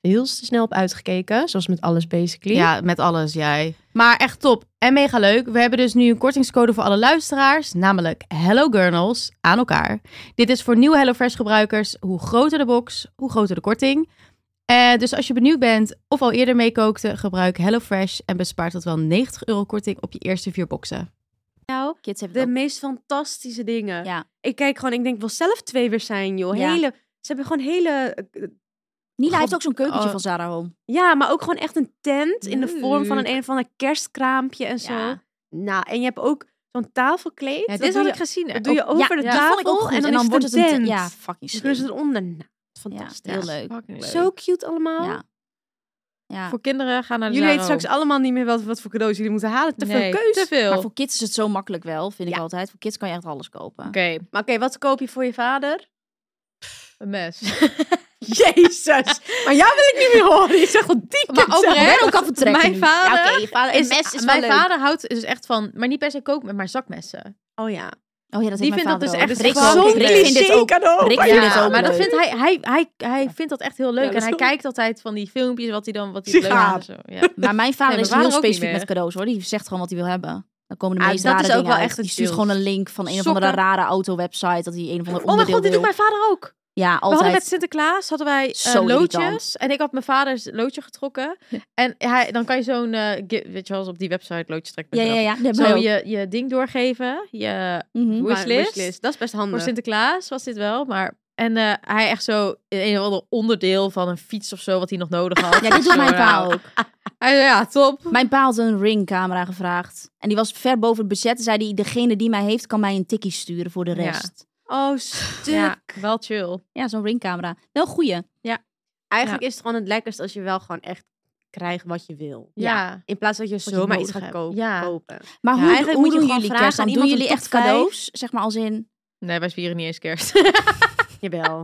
Speaker 5: heel te snel op uitgekeken. Zoals met alles basically.
Speaker 3: Ja, met alles, jij. Maar echt top en mega leuk. We hebben dus nu een kortingscode voor alle luisteraars, namelijk Hello Gurnals aan elkaar. Dit is voor nieuwe HelloFresh gebruikers. Hoe groter de box, hoe groter de korting. Eh, dus als je benieuwd bent of al eerder meekookte, gebruik HelloFresh en bespaart tot wel 90 euro korting op je eerste vier boxen.
Speaker 5: Nou,
Speaker 4: Kids hebben
Speaker 5: de
Speaker 4: het ook.
Speaker 5: meest fantastische dingen.
Speaker 4: Oh. Ja.
Speaker 5: Ik kijk gewoon, ik denk wel zelf twee weer zijn, joh.
Speaker 4: Ja.
Speaker 5: Hele, ze hebben gewoon hele... eh,
Speaker 4: Nila
Speaker 5: God,
Speaker 4: heeft ook zo'n keukentje
Speaker 5: oh.
Speaker 4: van Zara Home.
Speaker 5: Ja, maar ook gewoon echt een tent in de vorm van een
Speaker 4: Leuk.
Speaker 5: een of ander kerstkraampje en zo.
Speaker 4: Ja.
Speaker 5: Nou, en je hebt ook zo'n tafelkleed.
Speaker 3: Ja,
Speaker 5: dat
Speaker 3: dit
Speaker 5: doe
Speaker 3: had
Speaker 5: je,
Speaker 3: ik gezien.
Speaker 5: dat doe je
Speaker 4: ja,
Speaker 5: over de
Speaker 4: die
Speaker 5: tafel
Speaker 4: vond ik ook goed.
Speaker 5: en dan, is wordt het een tent.
Speaker 4: Ja, fucking
Speaker 5: Dus kunnen ze
Speaker 4: slim.
Speaker 5: eronder. Nou,
Speaker 4: Ja,
Speaker 5: fantastisch.
Speaker 4: heel leuk.
Speaker 5: Zo cute allemaal.
Speaker 4: Ja. Ja.
Speaker 3: Voor kinderen gaan naar de
Speaker 5: Jullie weten
Speaker 3: Zara
Speaker 5: straks allemaal niet meer wat, wat voor cadeaus jullie moeten halen. Te
Speaker 3: Nee,
Speaker 5: veel keus.
Speaker 3: te veel.
Speaker 4: Maar voor kids is het zo makkelijk wel, vind ik
Speaker 5: Ja.
Speaker 4: altijd. Voor kids kan je echt alles kopen.
Speaker 5: Maar oké, wat koop je voor je vader?
Speaker 3: Een <laughs> mes.
Speaker 5: Jezus. maar jou wil ik niet meer horen. Je zegt wel die
Speaker 3: Maar <laughs>
Speaker 5: kut zelf.
Speaker 3: oprecht,
Speaker 4: Ik ben ook al vertrekken
Speaker 3: Mijn
Speaker 4: nu.
Speaker 3: vader
Speaker 4: Ja, oké, je vader
Speaker 3: Is-
Speaker 4: een mes is
Speaker 3: mijn
Speaker 4: wel leuk.
Speaker 3: vader houdt dus echt van, maar niet per se koken, maar zakmessen.
Speaker 5: Oh ja.
Speaker 4: Oh ja, dat
Speaker 3: Die
Speaker 4: heeft mijn
Speaker 3: vindt dat
Speaker 4: vader
Speaker 3: dus
Speaker 4: ook.
Speaker 3: echt
Speaker 4: Rick
Speaker 3: gewoon
Speaker 4: ook.
Speaker 3: zo'n
Speaker 4: Rick vindt dit ook.
Speaker 5: cadeau.
Speaker 4: Rick vindt dit ook
Speaker 3: maar dat
Speaker 4: leuk.
Speaker 3: vindt hij, hij, hij, hij vindt dat echt heel
Speaker 5: oh,
Speaker 3: leuk.
Speaker 5: Ja, dat
Speaker 3: en
Speaker 5: is
Speaker 3: hij
Speaker 5: toch-
Speaker 3: kijkt altijd van die filmpjes wat hij dan wat hij leuk
Speaker 5: Sigaar.
Speaker 3: vindt. en
Speaker 5: <laughs>
Speaker 3: zo, Ja.
Speaker 4: Maar mijn vader
Speaker 3: Nee, mijn
Speaker 4: is
Speaker 3: vader
Speaker 4: heel
Speaker 3: ook niet
Speaker 4: specifiek
Speaker 3: meer.
Speaker 4: met cadeaus hoor. Die zegt gewoon wat hij wil hebben. Dan komen de
Speaker 3: Ah,
Speaker 4: meest
Speaker 3: dat
Speaker 4: rare
Speaker 3: is ook
Speaker 4: dingen
Speaker 3: wel
Speaker 4: uit.
Speaker 3: echt
Speaker 4: Die
Speaker 3: het
Speaker 4: stuurt
Speaker 3: deels.
Speaker 4: gewoon een link van een of
Speaker 3: Sokken.
Speaker 4: andere rare auto-website. Dat hij een of andere
Speaker 5: Oh mijn
Speaker 4: onderdeel
Speaker 5: god, dit doet
Speaker 4: wil.
Speaker 5: mijn vader ook.
Speaker 4: Ja,
Speaker 3: We hadden met
Speaker 4: altijd.
Speaker 3: Sinterklaas hadden wij eh,
Speaker 4: Zo
Speaker 3: loodjes.
Speaker 4: irritant.
Speaker 3: En ik had mijn vaders loodje getrokken. En hij, dan kan je zo'n, eh, gi- weet je wel, eens op die website loodjes trekken.
Speaker 4: Ja, ja, ja. Die hebben
Speaker 3: Zo
Speaker 4: wij ook.
Speaker 3: je, je ding doorgeven. Je,
Speaker 4: Mhm.
Speaker 3: Hoe- Wishlist.
Speaker 5: Dat is best
Speaker 3: voor
Speaker 5: handig.
Speaker 3: Sinterklaas was dit wel, maar... En eh, hij echt zo in een of ander onderdeel van een fiets of zo, wat hij nog nodig had.
Speaker 4: Ja, dit doet
Speaker 3: Zo,
Speaker 4: mijn
Speaker 3: nou.
Speaker 4: pa ook.
Speaker 3: Hij zei, ja, top.
Speaker 4: Mijn pa had een ringcamera gevraagd. En die was ver boven het budget. En zei hij, degene die mij heeft, kan mij een tikkie sturen voor de
Speaker 3: Ja.
Speaker 4: rest.
Speaker 5: Oh, stuk.
Speaker 3: Ja, wel chill.
Speaker 4: Ja, zo'n ringcamera. Wel goeie.
Speaker 5: Eigenlijk is het gewoon het lekkerst als je wel gewoon echt krijgt wat je wil.
Speaker 3: Ja.
Speaker 5: In plaats dat je
Speaker 3: je
Speaker 5: zomaar iets
Speaker 3: nodig
Speaker 5: gaat
Speaker 3: hebt.
Speaker 5: kopen.
Speaker 3: Ja.
Speaker 5: kopen.
Speaker 4: Maar
Speaker 3: Ja,
Speaker 4: hoe,
Speaker 5: eigenlijk
Speaker 4: hoe
Speaker 5: moet je
Speaker 4: doen
Speaker 5: gewoon
Speaker 4: jullie
Speaker 5: vragen
Speaker 4: kerst dan?
Speaker 5: aan
Speaker 4: Doen
Speaker 5: iemand
Speaker 4: jullie
Speaker 5: een
Speaker 4: echt
Speaker 5: top vijf?
Speaker 4: cadeaus? Zeg maar als in...
Speaker 3: Nee, wij vieren niet eens kerst.
Speaker 5: <laughs> Jawel.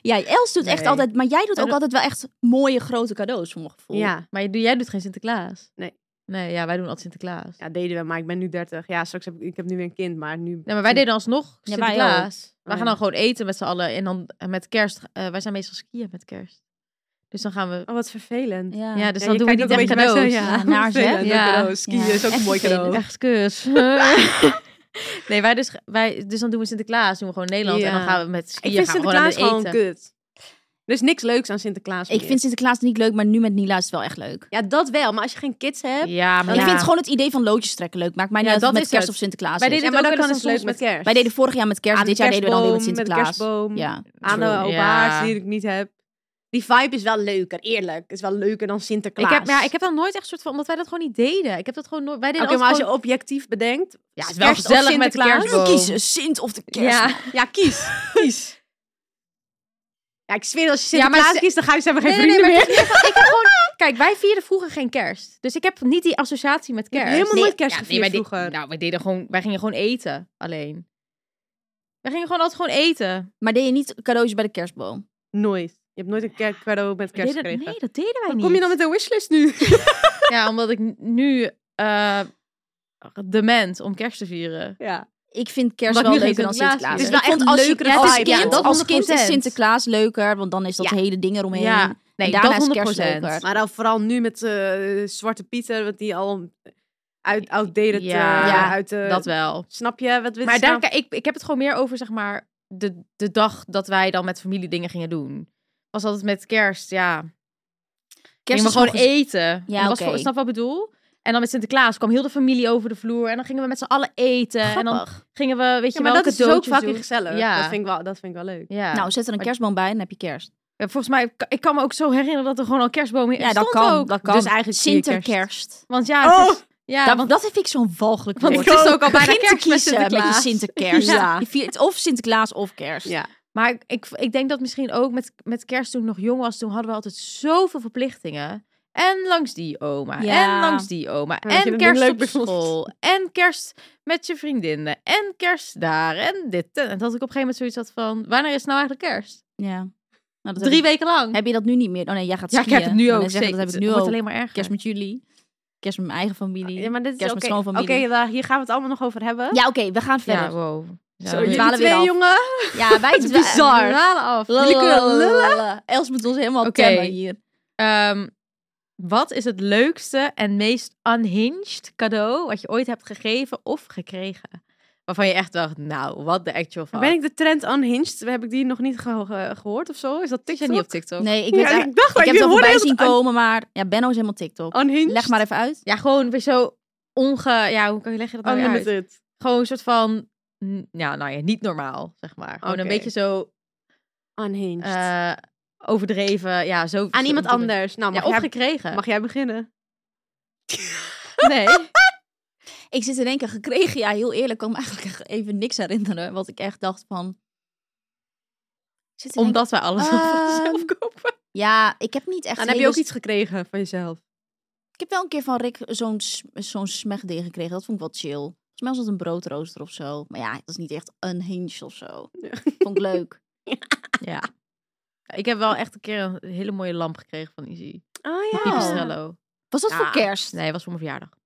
Speaker 4: Ja, Els doet echt
Speaker 3: Nee.
Speaker 4: altijd... Maar jij doet
Speaker 3: En
Speaker 4: ook
Speaker 3: dat-
Speaker 4: altijd wel echt mooie grote cadeaus, voor mijn gevoel.
Speaker 5: ja.
Speaker 3: Maar je- jij doet geen Sinterklaas?
Speaker 5: Nee.
Speaker 3: Nee, ja, wij doen altijd Sinterklaas.
Speaker 5: ja, deden we. Maar ik ben nu 30. Ja, straks heb ik, ik heb nu weer een kind. Maar nu...
Speaker 3: Nee, maar wij deden alsnog
Speaker 4: Ja, wij
Speaker 3: Sinterklaas. wij
Speaker 5: Oh,
Speaker 3: gaan
Speaker 5: ja.
Speaker 3: dan gewoon eten met z'n allen. En dan eh, met kerst. eh, wij zijn meestal skiën met kerst. Dus dan gaan we...
Speaker 5: Oh, wat vervelend.
Speaker 4: Ja.
Speaker 3: Ja, dus
Speaker 5: Ja,
Speaker 3: dan
Speaker 5: je
Speaker 3: doen we
Speaker 5: kijkt
Speaker 3: niet echt
Speaker 5: ook een beetje
Speaker 3: cadeaus.
Speaker 5: <laughs> bij zo,
Speaker 4: Ja, naar ze, hè?
Speaker 5: vervelend,
Speaker 3: Ja.
Speaker 5: een cadeau. Skiën
Speaker 4: Ja,
Speaker 5: is ook een
Speaker 3: <laughs>
Speaker 4: echt
Speaker 5: mooi cadeau.
Speaker 4: vervelend.
Speaker 5: <laughs>
Speaker 3: Echt kus. nee, wij dus, wij, dus dan doen we Sinterklaas. Doen we gewoon Nederland. En dan
Speaker 5: Ja.
Speaker 3: gaan we met
Speaker 5: Ik
Speaker 3: skiën
Speaker 5: vind
Speaker 3: gaan we gewoon aan
Speaker 5: Sinterklaas
Speaker 3: het
Speaker 5: gewoon
Speaker 3: eten.
Speaker 5: kut. Er is niks leuks aan Sinterklaas.
Speaker 4: Ik
Speaker 5: meer.
Speaker 4: vind Sinterklaas niet leuk, maar nu met Nila is het wel echt leuk.
Speaker 5: Ja, dat wel. Maar als je geen kids hebt...
Speaker 3: Ja, maar
Speaker 4: Ik
Speaker 3: ja.
Speaker 4: vind gewoon het idee van loodjes trekken leuk. Maakt mij niet
Speaker 3: Ja,
Speaker 4: uit of
Speaker 3: dat
Speaker 4: het
Speaker 3: is
Speaker 4: met kerst
Speaker 3: het.
Speaker 4: of Sinterklaas
Speaker 3: Wij
Speaker 4: is.
Speaker 3: deden
Speaker 5: Ja, maar
Speaker 3: het
Speaker 5: dan
Speaker 3: ook
Speaker 5: kan
Speaker 3: wel
Speaker 5: het
Speaker 3: eens leuk
Speaker 5: soms
Speaker 3: met
Speaker 5: met kerst.
Speaker 4: Wij deden vorig jaar met kerst,
Speaker 5: Aan Ah, de
Speaker 4: dit jaar deden we dan weer met
Speaker 5: kerstboom,
Speaker 4: Sinterklaas.
Speaker 5: Met de kerstboom.
Speaker 4: Ja.
Speaker 5: Aan de
Speaker 3: True,
Speaker 5: opa's
Speaker 3: ja.
Speaker 5: die ik niet heb. Die vibe is wel leuker, eerlijk. Het is wel leuker dan
Speaker 3: Ik
Speaker 5: Sinterklaas.
Speaker 3: heb, ja, ik heb dan nooit echt soort van... Omdat wij dat gewoon niet deden. Ik heb dat gewoon nooit... Wij
Speaker 5: Oké,
Speaker 3: deden
Speaker 5: maar
Speaker 3: altijd
Speaker 5: als
Speaker 3: gewoon...
Speaker 5: je objectief bedenkt...
Speaker 3: Ja, het is
Speaker 5: kerst
Speaker 3: wel
Speaker 5: of
Speaker 3: gezellig met de
Speaker 5: Sinterklaas?
Speaker 3: kerstboom.
Speaker 4: Kiezen, Sint of de kerst.
Speaker 5: Ja, ja kies.
Speaker 3: <laughs>
Speaker 5: kies. Ja, ik zweer als je
Speaker 3: Ja, maar
Speaker 5: Sinterklaas
Speaker 3: ze-
Speaker 5: kiest, dan gaan ze hebben geen
Speaker 3: <laughs> Nee, nee,
Speaker 5: vrienden
Speaker 3: nee, maar
Speaker 5: meer.
Speaker 3: het is meer van- ik heb
Speaker 5: <laughs>
Speaker 3: gewoon- Kijk, wij vierden vroeger geen kerst. Dus ik heb niet die associatie met kerst.
Speaker 5: helemaal nooit kerst
Speaker 3: ja,
Speaker 5: gevierd
Speaker 3: wij de-
Speaker 5: vroeger.
Speaker 3: nou, wij, deden gewoon, wij gingen gewoon eten alleen. Wij gingen gewoon altijd gewoon eten.
Speaker 4: Maar deed je niet cadeautjes bij de kerstboom?
Speaker 5: Nooit. Je hebt nooit een kerk- cadeau met
Speaker 3: We
Speaker 5: kerst
Speaker 3: deden-
Speaker 5: gekregen.
Speaker 3: nee, dat deden wij
Speaker 5: Hoe
Speaker 3: niet.
Speaker 5: kom je dan met een wishlist
Speaker 3: <laughs>
Speaker 5: nu?
Speaker 3: Ja, omdat ik n- nu eh dement om kerst te vieren.
Speaker 5: ja.
Speaker 4: Ik vind kerst
Speaker 3: Omdat ik nu
Speaker 4: wel
Speaker 3: geen
Speaker 4: leuker dan
Speaker 3: Sinterklaas
Speaker 4: Sinterklaas.
Speaker 5: Het is
Speaker 3: vind.
Speaker 5: wel echt
Speaker 4: Ik vond als,
Speaker 5: leukere
Speaker 4: je, als,
Speaker 5: vibe, ja,
Speaker 4: kind,
Speaker 5: dat
Speaker 4: als kind is
Speaker 3: 100%.
Speaker 4: Sinterklaas leuker, want dan is dat
Speaker 5: Ja.
Speaker 4: hele ding eromheen.
Speaker 3: Ja, nee,
Speaker 4: en daarna
Speaker 3: dat
Speaker 4: is kerst
Speaker 3: 100%.
Speaker 4: leuker.
Speaker 5: Maar dan vooral nu met eh, Zwarte Pieter, wat die al uit, outdated...
Speaker 3: Ja,
Speaker 5: eh, nou-
Speaker 4: ja,
Speaker 5: uit, de
Speaker 3: Dat wel.
Speaker 5: Snap je? Wat, we
Speaker 3: Maar
Speaker 5: staan-
Speaker 3: daar, kijk, ik, ik heb het gewoon meer over, zeg maar, de, de dag dat wij dan met familie dingen gingen doen. Was altijd met kerst, ja. Kerst
Speaker 4: Kerst
Speaker 3: we
Speaker 4: is
Speaker 3: gewoon
Speaker 4: nog eens-
Speaker 3: eten.
Speaker 4: Ja,
Speaker 3: Ja, was
Speaker 4: oké.
Speaker 3: voor, snap wat ik bedoel? En dan met Sinterklaas kwam heel de familie over de vloer. En dan gingen we met z'n allen eten. En dan
Speaker 4: Grappig.
Speaker 3: gingen we, weet je
Speaker 5: Ja, maar
Speaker 3: wel,
Speaker 5: dat is dus ook
Speaker 3: cadeautjes
Speaker 5: fucking
Speaker 3: doen.
Speaker 5: gezellig.
Speaker 3: Ja.
Speaker 5: Dat, vind ik wel, dat vind ik wel leuk.
Speaker 3: Ja.
Speaker 4: Nou, zet er een
Speaker 3: Maar-
Speaker 4: kerstboom bij en dan heb je kerst.
Speaker 3: Ja, volgens mij, ik kan me ook zo herinneren dat er gewoon al kerstbomen in
Speaker 4: Ja, dat
Speaker 3: stond
Speaker 4: kan,
Speaker 3: ook.
Speaker 4: dat kan. Oh!
Speaker 3: Dus eigenlijk zie je kerst.
Speaker 4: Sinterkerst.
Speaker 3: Want ja, het is- ja
Speaker 4: Ja,
Speaker 3: want
Speaker 4: dat vind ik zo'n walgelijk
Speaker 3: Want
Speaker 4: woord.
Speaker 3: het is ook al bijna
Speaker 4: Begin
Speaker 3: kerst
Speaker 4: te
Speaker 3: met
Speaker 4: kiezen met, je
Speaker 3: Sinterklaas.
Speaker 4: Sinterkerst.
Speaker 3: Ja.
Speaker 4: Je viert of Sinterklaas of kerst.
Speaker 5: Ja.
Speaker 3: Maar ik, ik, ik denk dat misschien ook met, met kerst toen ik nog jong was, toen hadden we altijd zoveel verplichtingen. En langs die oma.
Speaker 4: Ja.
Speaker 3: En langs die oma.
Speaker 5: Ja, dat je
Speaker 3: en
Speaker 5: het
Speaker 3: kerst
Speaker 5: leuk
Speaker 3: op
Speaker 5: bevond.
Speaker 3: school. En kerst met je vriendinnen. En kerst daar. En dit. En en dat ik op een gegeven moment zoiets had van, wanneer is het nou eigenlijk kerst?
Speaker 4: Ja. Nou, dat heb
Speaker 3: Drie
Speaker 4: ik-
Speaker 3: weken lang.
Speaker 4: Heb je dat nu niet meer? Oh nee, jij gaat
Speaker 3: ja, ik
Speaker 4: skiën.
Speaker 3: heb het nu
Speaker 4: Maar
Speaker 3: ook.
Speaker 4: dan zeggen,
Speaker 3: zeker.
Speaker 4: dat heb ik
Speaker 3: Het
Speaker 4: nu
Speaker 3: wordt
Speaker 4: ook.
Speaker 3: alleen maar erger.
Speaker 4: Kerst met jullie. Kerst met mijn eigen familie.
Speaker 5: Ja, maar dit is
Speaker 4: Kerst
Speaker 5: oké.
Speaker 4: met
Speaker 5: Oké,
Speaker 4: schoonfamilie.
Speaker 5: daar- hier gaan we het allemaal nog over hebben.
Speaker 4: Ja, oké, we gaan
Speaker 3: Ja,
Speaker 4: verder.
Speaker 3: wow. Ja,
Speaker 5: Zo,
Speaker 3: we
Speaker 5: jullie
Speaker 4: <laughs> dwalen
Speaker 5: twee
Speaker 4: weer af.
Speaker 5: jongen.
Speaker 4: Ja, wij
Speaker 3: Het is bizar. We dwalen af. Jullie kunnen lullen.
Speaker 4: lullen. Els moet ons helemaal
Speaker 3: Oké.
Speaker 4: temmen hier.
Speaker 3: Ehm, wat is het leukste en meest unhinged cadeau wat je ooit hebt gegeven of gekregen? Waarvan je echt dacht, nou, wat de actual fuck.
Speaker 5: Ben ik de trend unhinged? Heb ik die nog niet geho- ge- gehoord of zo? Is dat
Speaker 3: Zit
Speaker 5: TikTok?
Speaker 3: jij niet op TikTok?
Speaker 4: Nee, ik,
Speaker 5: Ja,
Speaker 4: weet eigenlijk-
Speaker 5: ik dacht dat
Speaker 4: ik heb
Speaker 5: je
Speaker 4: het al
Speaker 5: hoorde
Speaker 4: voorbij
Speaker 5: heel Oh,
Speaker 4: zien
Speaker 5: dat un-
Speaker 4: komen, maar ja, Benno is helemaal TikTok.
Speaker 5: Unhinged.
Speaker 4: Leg maar even uit.
Speaker 3: Ja, gewoon weer zo onge... Ja, hoe kan je leggen dat nou weer uit?
Speaker 5: Oh, Unlimited.
Speaker 3: Gewoon een soort van... mm, Ja, nou ja, niet normaal, zeg maar. Gewoon een
Speaker 5: Oké.
Speaker 3: beetje zo
Speaker 5: Unhinged.
Speaker 3: eh, overdreven. Ja, zo,
Speaker 5: Aan
Speaker 3: zo-
Speaker 5: iemand
Speaker 3: zo-
Speaker 5: anders. Nou,
Speaker 3: Ja,
Speaker 5: mag,
Speaker 3: of
Speaker 5: jij,
Speaker 3: gekregen.
Speaker 5: mag <laughs> jij beginnen?
Speaker 3: Nee.
Speaker 4: Ik zit in één keer gekregen. Ja, heel eerlijk, ik kan me eigenlijk echt even niks herinneren. Wat ik echt dacht van... Ik zit in
Speaker 3: <laughs>
Speaker 4: één
Speaker 3: Omdat wij alles al
Speaker 5: Ah.
Speaker 3: vanzelf
Speaker 4: Ehm,
Speaker 3: kopen.
Speaker 4: keer- Ja, ik heb niet echt...
Speaker 5: Dan heb je
Speaker 4: hele
Speaker 5: ook iets gekregen van jezelf.
Speaker 4: Ik heb wel een keer van Rick zo'n s- zo'n smegding gekregen. Dat vond ik wel chill. Volgens mij was dat een broodrooster of zo. Maar ja, dat is niet echt unhinged of zo.
Speaker 5: Ja.
Speaker 4: Vond ik leuk.
Speaker 3: Ja. Ik heb wel echt een keer een hele mooie lamp gekregen van Izzy.
Speaker 5: Oh
Speaker 3: Die Pipistrello.
Speaker 4: Was dat voor
Speaker 3: Ja.
Speaker 4: kerst?
Speaker 3: Nee, was voor mijn verjaardag.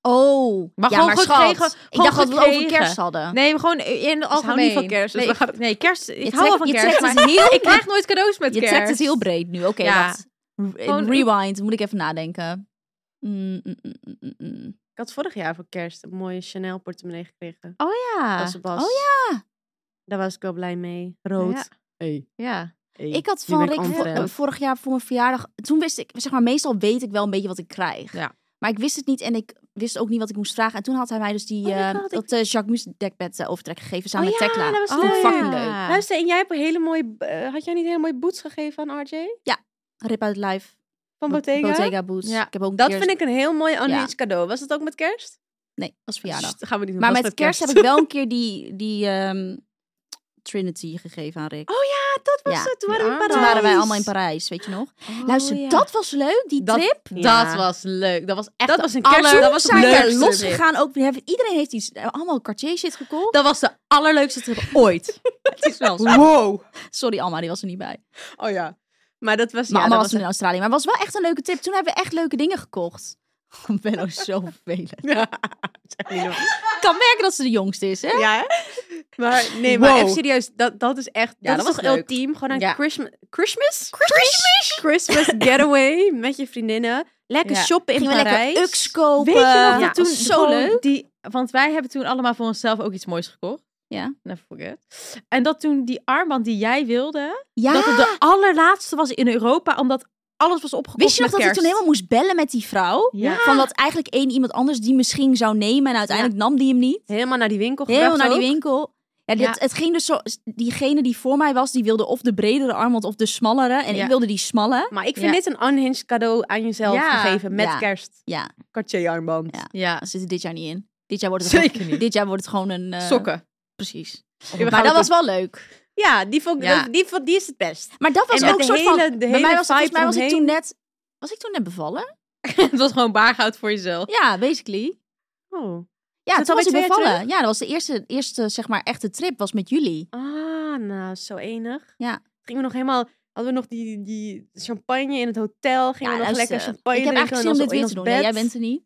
Speaker 4: Oh.
Speaker 3: Maar
Speaker 4: ja,
Speaker 3: gewoon
Speaker 4: maar
Speaker 3: goed
Speaker 4: schat,
Speaker 3: gekregen,
Speaker 4: Ik
Speaker 3: gewoon
Speaker 4: dacht dat we het over
Speaker 3: gekregen.
Speaker 4: kerst hadden.
Speaker 3: Nee, maar gewoon in het
Speaker 5: hou
Speaker 3: algemeen.
Speaker 5: niet van kerst, dus
Speaker 3: nee,
Speaker 5: dan gaat
Speaker 3: ik, nee, kerst. Ik
Speaker 4: Je
Speaker 3: hou wel
Speaker 4: trekt-
Speaker 3: van
Speaker 4: je
Speaker 3: kerst.
Speaker 4: trekt
Speaker 3: maar
Speaker 4: het heel
Speaker 3: <laughs> ik krijg dus nooit cadeaus met
Speaker 4: Je
Speaker 3: kerst.
Speaker 4: trekt het heel breed nu. Oké,
Speaker 3: Ja.
Speaker 4: wacht. Eh,
Speaker 3: Gewoon-
Speaker 4: Rewind. Moet ik even nadenken. Mm, mm, mm, mm, mm, mm.
Speaker 5: Ik had vorig jaar voor kerst een mooie Chanel portemonnee gekregen.
Speaker 3: Oh ja.
Speaker 5: Dat was,
Speaker 4: Oh ja.
Speaker 5: Daar was ik wel blij mee. Rood.
Speaker 3: Ja.
Speaker 5: Hey,
Speaker 3: Ja.
Speaker 5: hey.
Speaker 4: Ik had
Speaker 5: Nu
Speaker 4: van
Speaker 5: ben ik
Speaker 4: Rick
Speaker 5: on
Speaker 4: vor-
Speaker 5: trend.
Speaker 4: eh, vorig jaar voor mijn verjaardag... Toen wist ik... Zeg maar, meestal weet ik wel een beetje wat ik krijg.
Speaker 3: Ja.
Speaker 4: Maar ik wist het niet en ik wist ook niet wat ik moest vragen. En toen had hij mij dus die,
Speaker 5: Oh my
Speaker 4: eh,
Speaker 5: God, ik-
Speaker 4: dat eh, Jacques Mus dekbed eh, overtrek gegeven samen
Speaker 5: Oh
Speaker 4: met
Speaker 5: ja,
Speaker 4: Tekla.
Speaker 5: dat was
Speaker 4: vond ik
Speaker 5: leuk.
Speaker 4: fucking leuk.
Speaker 3: Ja.
Speaker 5: Luister, en jij hebt een hele mooie... eh, had jij niet een hele mooie boots gegeven aan RJ?
Speaker 4: Rip uit live.
Speaker 5: Van Bottega?
Speaker 4: Boots.
Speaker 3: Ja.
Speaker 4: Ik heb ook een
Speaker 5: Dat
Speaker 4: keer-
Speaker 5: vind ik een heel mooi unhinged
Speaker 4: Ja.
Speaker 5: cadeau. Was dat ook met kerst?
Speaker 4: Nee, was verjaardag.
Speaker 5: Sst, gaan we niet doen.
Speaker 4: maar
Speaker 5: dat
Speaker 4: met
Speaker 5: is
Speaker 4: kerst, heb ik wel een keer die, die ehm, Trinity gegeven aan Rick.
Speaker 5: Oh ja, <laughs> dat was
Speaker 4: Ja.
Speaker 5: het. Toen waren we in
Speaker 3: Ja.
Speaker 5: Parijs. Oh,
Speaker 4: Toen waren wij allemaal in Parijs, weet je nog? Luister, dat was leuk, die
Speaker 3: Dat-
Speaker 4: trip.
Speaker 3: Dat was leuk. Dat was echt
Speaker 5: Dat was een
Speaker 3: de aller-
Speaker 5: kerst-
Speaker 3: dat
Speaker 4: Toen
Speaker 3: was
Speaker 4: zijn
Speaker 3: leuk.
Speaker 4: we losgegaan. Ook, we hebben- iedereen heeft iets, eh, allemaal Cartier shit gekocht.
Speaker 3: Dat was de allerleukste trip <laughs> ooit.
Speaker 4: Dat is <laughs> wel zo.
Speaker 5: Wow.
Speaker 4: Sorry Alma, die was er niet bij.
Speaker 5: Oh ja. Maar dat was... ja,
Speaker 4: Maar allemaal
Speaker 5: dat
Speaker 4: was
Speaker 5: was
Speaker 4: in Australië. Maar het was wel echt een leuke tip. Toen hebben we echt leuke dingen gekocht. <laughs> Ik ben ook zo vervelend.
Speaker 5: Ja, dat is echt niet normaal.
Speaker 4: Ik kan merken dat ze de jongste is, hè?
Speaker 5: Ja, hè? Maar
Speaker 4: <laughs>
Speaker 5: nee, maar
Speaker 4: Wow.
Speaker 5: even serieus. Dat, dat is echt...
Speaker 3: Ja,
Speaker 5: dat,
Speaker 3: dat
Speaker 5: is
Speaker 3: was
Speaker 5: toch
Speaker 3: leuk.
Speaker 5: ultiem? Gewoon een
Speaker 3: Ja.
Speaker 5: Christmas... Christmas? Christmas?
Speaker 4: <laughs>
Speaker 5: getaway met je vriendinnen. Lekker
Speaker 3: Ja.
Speaker 5: shoppen in
Speaker 4: Gingen we
Speaker 5: Parijs.
Speaker 4: lekker UX kopen.
Speaker 5: Weet je nog dat
Speaker 4: ja,
Speaker 5: toen
Speaker 4: was zo
Speaker 3: gewoon
Speaker 4: leuk.
Speaker 3: Die, want wij hebben toen allemaal voor onszelf ook iets moois gekocht.
Speaker 4: Ja.
Speaker 3: Never forget. En dat toen die armband die jij wilde,
Speaker 4: Ja.
Speaker 3: dat het de allerlaatste was in Europa, omdat alles was opgekocht
Speaker 4: Wist je nog
Speaker 3: met
Speaker 4: dat ik
Speaker 3: kerst.
Speaker 4: toen helemaal moest bellen met die vrouw?
Speaker 3: Ja.
Speaker 4: Van dat eigenlijk één iemand anders die misschien zou nemen. En uiteindelijk nam die hem niet.
Speaker 5: Helemaal naar die winkel
Speaker 4: Helemaal
Speaker 5: gebracht
Speaker 4: naar die
Speaker 5: ook.
Speaker 4: winkel. Ja, dit,
Speaker 3: Ja.
Speaker 4: Het ging dus zo... Diegene die voor mij was, die wilde of de bredere armband of de smallere. En
Speaker 3: Ja.
Speaker 4: ik wilde die smalle.
Speaker 5: Maar ik vind
Speaker 3: Ja.
Speaker 5: dit een unhinged cadeau aan jezelf
Speaker 3: Ja.
Speaker 5: gegeven met
Speaker 4: Ja.
Speaker 5: kerst.
Speaker 4: Ja,
Speaker 5: Cartier-armband.
Speaker 4: Ja.
Speaker 3: Ja,
Speaker 4: dat zit er dit jaar niet in. Dit jaar wordt het, gewoon,
Speaker 3: zeker niet.
Speaker 4: dit jaar wordt het gewoon een... eh,
Speaker 3: Sokken.
Speaker 4: Precies.
Speaker 3: we
Speaker 4: maar
Speaker 3: gaan
Speaker 4: dat
Speaker 3: het
Speaker 4: was wel leuk.
Speaker 5: Ja, die, vond, ik-
Speaker 3: Ja.
Speaker 5: Die, vond- die is het best.
Speaker 4: Maar dat was
Speaker 5: En met
Speaker 4: ook een
Speaker 5: de
Speaker 4: soort
Speaker 5: hele-
Speaker 4: van...
Speaker 5: de
Speaker 4: bij
Speaker 5: hele
Speaker 4: mij was, het- volgens
Speaker 5: vibe
Speaker 4: mij was ik toen
Speaker 5: eromheen.
Speaker 4: net... Was ik toen net bevallen?
Speaker 3: <laughs> Het was gewoon baargoud voor jezelf.
Speaker 4: Ja, basically.
Speaker 5: Oh.
Speaker 4: Ja,
Speaker 5: dat
Speaker 4: toen was
Speaker 5: alweer
Speaker 4: ik
Speaker 5: twee jaar
Speaker 4: bevallen. Ja, dat was de eerste, eerste, zeg maar, echte trip was met jullie.
Speaker 5: Ah, nou, zo enig.
Speaker 4: Ja.
Speaker 5: Gingen we nog helemaal... Hadden we nog die, die champagne in het hotel? Gingen
Speaker 4: ja,
Speaker 5: we nog
Speaker 4: luister,
Speaker 5: lekker champagne
Speaker 4: Ik heb
Speaker 5: drinken
Speaker 4: eigenlijk
Speaker 5: in
Speaker 4: zin om
Speaker 5: ons-
Speaker 4: dit
Speaker 5: in
Speaker 4: weer
Speaker 5: ons
Speaker 4: te doen.
Speaker 5: bed?
Speaker 4: Ja, jij bent er niet.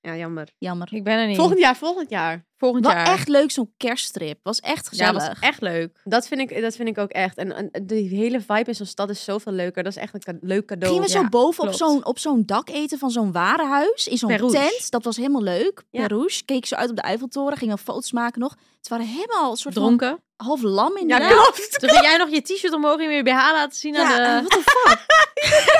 Speaker 5: Ja, jammer.
Speaker 4: Jammer.
Speaker 3: Ik ben er niet.
Speaker 5: Volgend jaar, volgend jaar.
Speaker 3: Volgend
Speaker 4: Wel
Speaker 3: jaar.
Speaker 4: echt leuk zo'n kersttrip. Was echt
Speaker 3: ja,
Speaker 4: gezellig.
Speaker 3: was echt leuk.
Speaker 5: Dat vind, ik, dat vind ik ook echt. En, en die hele vibe in zo'n stad is zoveel leuker. Dat is echt een ka- leuk cadeau.
Speaker 4: Gingen we
Speaker 3: ja,
Speaker 4: zo boven op
Speaker 3: klopt.
Speaker 4: zo'n, op zo'n dak eten van zo'n warenhuis in zo'n
Speaker 3: Perouche.
Speaker 4: tent. Dat was helemaal leuk.
Speaker 5: Ja.
Speaker 4: Perouche. Keek zo uit op de Eiffeltoren. Gingen we foto's maken nog. Het waren helemaal een soort van
Speaker 3: Dronken.
Speaker 4: half lam in
Speaker 3: Ja,
Speaker 4: de
Speaker 3: klopt. Toen ging jij nog je t-shirt omhoog in je BH laten zien aan de...
Speaker 4: wat de fuck?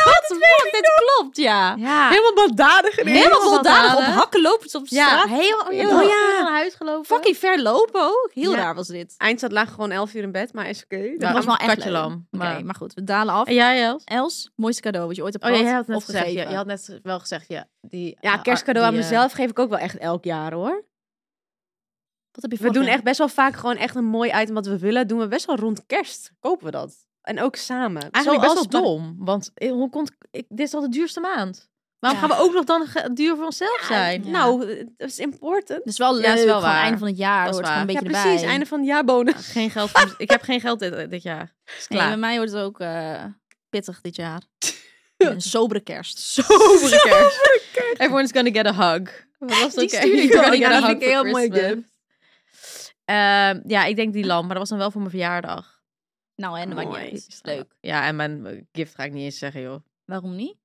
Speaker 4: Wat de fuck? Dit klopt, ja.
Speaker 3: Ja.
Speaker 5: Helemaal baldadig.
Speaker 4: Helemaal
Speaker 3: Ah. Helemaal
Speaker 4: voldadig op
Speaker 3: baldadig.
Speaker 4: hakken lopend op
Speaker 3: Ja.
Speaker 4: straat. Heel,
Speaker 5: Heel-
Speaker 3: Oh
Speaker 4: ja.
Speaker 3: ja. Naar huis gelopen.
Speaker 4: Fucking ver lopen ook. Heel
Speaker 5: Ja.
Speaker 4: raar was dit.
Speaker 5: Eindstad lag gewoon 11 uur in bed, maar is oké.
Speaker 4: Dat
Speaker 5: Dan-
Speaker 4: was wel echt
Speaker 3: katje
Speaker 4: leuk.
Speaker 3: lam,
Speaker 4: Oké,
Speaker 3: maar-
Speaker 4: maar goed. We dalen af.
Speaker 3: En jij, Els?
Speaker 4: Els, mooiste cadeau wat je ooit hebt
Speaker 3: Oh, ja,
Speaker 4: gehad.
Speaker 3: jij had net
Speaker 4: of
Speaker 3: gezegd. Je,
Speaker 4: gegeven.
Speaker 3: je had net wel gezegd, ja. Die,
Speaker 5: Ja,
Speaker 3: eh,
Speaker 5: kerstcadeau aan
Speaker 3: die, eh,
Speaker 5: mezelf geef ik ook wel echt elk jaar hoor.
Speaker 4: Wat heb
Speaker 5: We
Speaker 4: je
Speaker 5: doen
Speaker 4: voorgegeven?
Speaker 5: echt best wel vaak gewoon echt een mooi item wat we willen. Doen we best wel rond kerst. Kopen we dat. En ook samen.
Speaker 3: Eigenlijk
Speaker 5: Zoals
Speaker 3: best wel dom. Want eh, hoe komt... Ik, dit is al de duurste maand. Waarom
Speaker 4: Ja.
Speaker 3: gaan we ook nog dan ge- duur voor onszelf zijn?
Speaker 4: Ja.
Speaker 5: Nou, het is important.
Speaker 4: Dat is wel leuk.
Speaker 3: Ja, is wel
Speaker 4: Gewoon
Speaker 3: waar.
Speaker 4: einde van het
Speaker 3: Dat
Speaker 4: jaar. Dat
Speaker 3: is
Speaker 4: hoort gewoon een
Speaker 3: waar.
Speaker 5: Ja,
Speaker 4: beetje erbij.
Speaker 5: precies. Einde van het jaar bonus.
Speaker 3: Geen geld voor- ik heb geen geld dit, dit jaar. Is
Speaker 4: Nee,
Speaker 3: klaar.
Speaker 4: bij mij wordt het ook eh, pittig dit <laughs> jaar. een sobere <laughs> kerst.
Speaker 3: <laughs> Sobere kerst. Oh, Everyone's gonna get a hug. Wat was dat
Speaker 5: Die
Speaker 3: ook weer?
Speaker 5: stuurde
Speaker 3: <laughs>
Speaker 5: ik
Speaker 3: You're
Speaker 5: ook.
Speaker 3: gonna
Speaker 5: Ja,
Speaker 3: get a
Speaker 5: die
Speaker 3: hug
Speaker 5: vind ik
Speaker 3: for
Speaker 5: een heel mooi
Speaker 3: Christmas. Ehm, ja, ik denk die lamp, maar dat was dan wel voor mijn verjaardag.
Speaker 4: Nou, en dat maakt niet
Speaker 5: Mooi.
Speaker 4: uit. Leuk.
Speaker 3: Ja, en mijn gift ga ik niet eens zeggen, joh.
Speaker 4: Waarom niet?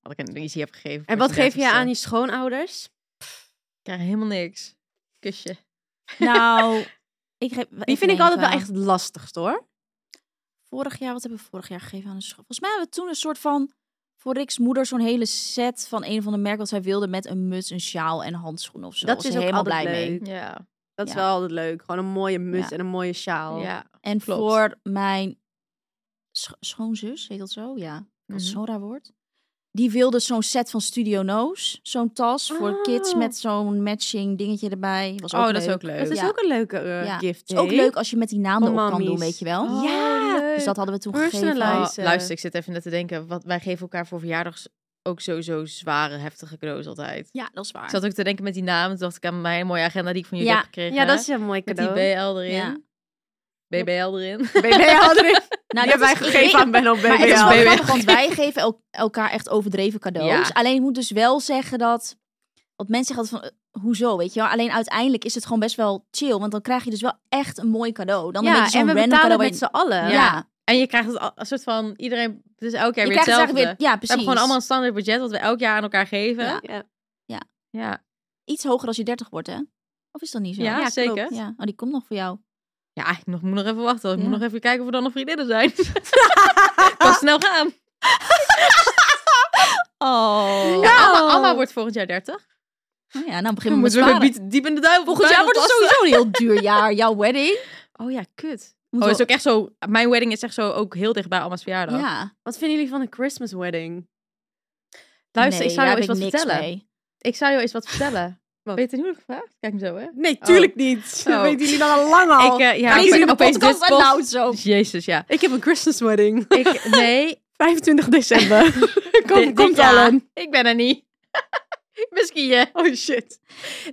Speaker 3: Wat ik een easy heb gegeven.
Speaker 5: En wat geef je aan je schoonouders?
Speaker 3: Ik krijg helemaal niks. Kusje.
Speaker 4: <laughs> Nou, ik geef,
Speaker 5: Die vind ik altijd wel echt lastig hoor.
Speaker 4: Vorig jaar, wat hebben we vorig jaar gegeven aan de school? Volgens mij hebben we toen een soort van voor Rick's moeder zo'n hele set van een van de merken wat zij wilde met een muts, een sjaal en handschoenen of zo.
Speaker 5: Dat
Speaker 4: Was
Speaker 5: is
Speaker 4: ze
Speaker 5: ook
Speaker 4: helemaal
Speaker 5: altijd
Speaker 4: blij mee.
Speaker 5: leuk.
Speaker 3: Ja.
Speaker 5: Dat is
Speaker 4: Ja.
Speaker 5: wel altijd leuk. Gewoon een mooie muts
Speaker 4: Ja.
Speaker 5: en een mooie sjaal.
Speaker 3: Ja.
Speaker 4: En
Speaker 3: Klopt.
Speaker 4: voor mijn scho- schoonzus, heet dat zo? Ja, dat is
Speaker 3: Mhm.
Speaker 4: zo'n raar woord. Die wilde zo'n set van Studio No's, zo'n tas voor kids
Speaker 5: Oh.
Speaker 4: met zo'n matching dingetje erbij. Was
Speaker 3: Oh,
Speaker 4: ook
Speaker 3: dat
Speaker 4: leuk.
Speaker 3: is ook leuk.
Speaker 5: Dat is
Speaker 4: Ja.
Speaker 5: ook een leuke eh,
Speaker 4: Ja.
Speaker 5: gift.
Speaker 4: Het is ook
Speaker 5: hè?
Speaker 4: leuk als je met die naam
Speaker 5: Voor
Speaker 4: erop kan doen,
Speaker 5: mammies.
Speaker 4: weet je wel.
Speaker 5: Oh,
Speaker 3: Ja.
Speaker 5: leuk.
Speaker 4: Dus dat hadden we toen gegeven.
Speaker 5: Personalized.
Speaker 3: Oh,
Speaker 5: Luister.
Speaker 3: luister, ik zit even net te denken. Wat, wij geven elkaar voor verjaardags ook sowieso zware, heftige cadeaus altijd.
Speaker 4: Ja, dat is waar.
Speaker 3: Ik zat ook te denken met die namen. Toen dacht ik aan mijn mooie agenda die ik van jullie
Speaker 4: Ja.
Speaker 3: heb gekregen.
Speaker 5: Ja, dat is een mooi
Speaker 3: Met die
Speaker 5: cadeau. <laughs>
Speaker 3: BL erin.
Speaker 4: Ja.
Speaker 3: BBL erin.
Speaker 4: <laughs>
Speaker 5: BB-houder.
Speaker 4: Nou,
Speaker 5: die hebben wij
Speaker 4: is- ik weet-
Speaker 5: gegeven aan Benno
Speaker 4: Maar het is
Speaker 5: BBL.
Speaker 4: wel
Speaker 3: BBL.
Speaker 4: grappig, want wij geven el- elkaar echt overdreven cadeaus.
Speaker 3: Ja.
Speaker 4: Alleen ik moet dus wel zeggen dat... Want mensen zeggen altijd van, eh, hoezo, weet je wel? Alleen uiteindelijk is het gewoon best wel chill. Want dan krijg je dus wel echt een mooi cadeau. Dan een beetje
Speaker 5: Ja,
Speaker 4: zo'n
Speaker 5: en we
Speaker 4: random
Speaker 5: betalen
Speaker 4: cadeau. waar
Speaker 5: met z'n allen.
Speaker 4: je-
Speaker 3: allen.
Speaker 4: Ja,
Speaker 3: En je krijgt het al- een soort van iedereen. Het is elk jaar
Speaker 4: je
Speaker 3: weer
Speaker 4: krijgt dus
Speaker 3: hetzelfde.
Speaker 4: eigenlijk weer... Ja,
Speaker 3: we
Speaker 4: precies.
Speaker 3: hebben gewoon allemaal een standaard budget wat we elk jaar aan elkaar geven.
Speaker 4: Ja.
Speaker 5: Ja.
Speaker 3: ja.
Speaker 4: Iets hoger als je 30 wordt, hè? Of is dat niet zo?
Speaker 3: Ja,
Speaker 4: klopt.
Speaker 3: zeker.
Speaker 4: Ja. Oh, die komt nog voor jou.
Speaker 3: Ja, ik nog, moet nog even wachten. want Ik
Speaker 4: Ja.
Speaker 3: moet nog even kijken of er dan nog vriendinnen
Speaker 4: <laughs>
Speaker 3: zijn. Kan snel gaan.
Speaker 4: Oh.
Speaker 3: Ja, Amma, Amma wordt volgend jaar 30.
Speaker 4: ja, nou
Speaker 3: Dan <laughs>
Speaker 4: beginnen we met
Speaker 3: moeten we
Speaker 4: sparen.
Speaker 3: diep- diep in de duivel.
Speaker 4: Volgend jaar wordt het sowieso een heel duur jaar. Jouw wedding.
Speaker 3: Oh ja, kut.
Speaker 4: Moeten
Speaker 3: Oh,
Speaker 4: we-
Speaker 3: is ook echt zo. Mijn wedding is echt zo ook heel dichtbij Amma's verjaardag.
Speaker 4: Ja.
Speaker 5: Wat vinden jullie van een Christmas wedding? Luister,
Speaker 4: Nee,
Speaker 5: ik zou jou
Speaker 4: daar
Speaker 5: eens wat
Speaker 4: heb ik niks
Speaker 5: vertellen.
Speaker 4: mee.
Speaker 3: Ik zou jou eens wat
Speaker 4: <laughs>
Speaker 3: vertellen. Ben je ten huwelijk gevraagd? Kijk me zo, hè?
Speaker 5: Nee, tuurlijk niet.
Speaker 3: Oh.
Speaker 5: Dat weten jullie dan al lang
Speaker 4: Oh.
Speaker 5: al.
Speaker 3: Ik, eh, ja,
Speaker 5: Deze
Speaker 3: ik ben
Speaker 5: in de
Speaker 3: opeens
Speaker 4: podcast Nou.
Speaker 3: dit post-
Speaker 4: announced ook.
Speaker 3: Jezus, ja.
Speaker 5: Ik heb een Christmas wedding. <laughs>
Speaker 3: Ik,
Speaker 4: <laughs>
Speaker 3: nee,
Speaker 5: 25 <laughs> december.
Speaker 3: dit-
Speaker 5: Kom,
Speaker 3: dit
Speaker 5: komt al
Speaker 3: jaar.
Speaker 5: aan.
Speaker 3: Ik ben er
Speaker 4: <laughs>
Speaker 3: niet. Misschien je.
Speaker 5: Oh shit.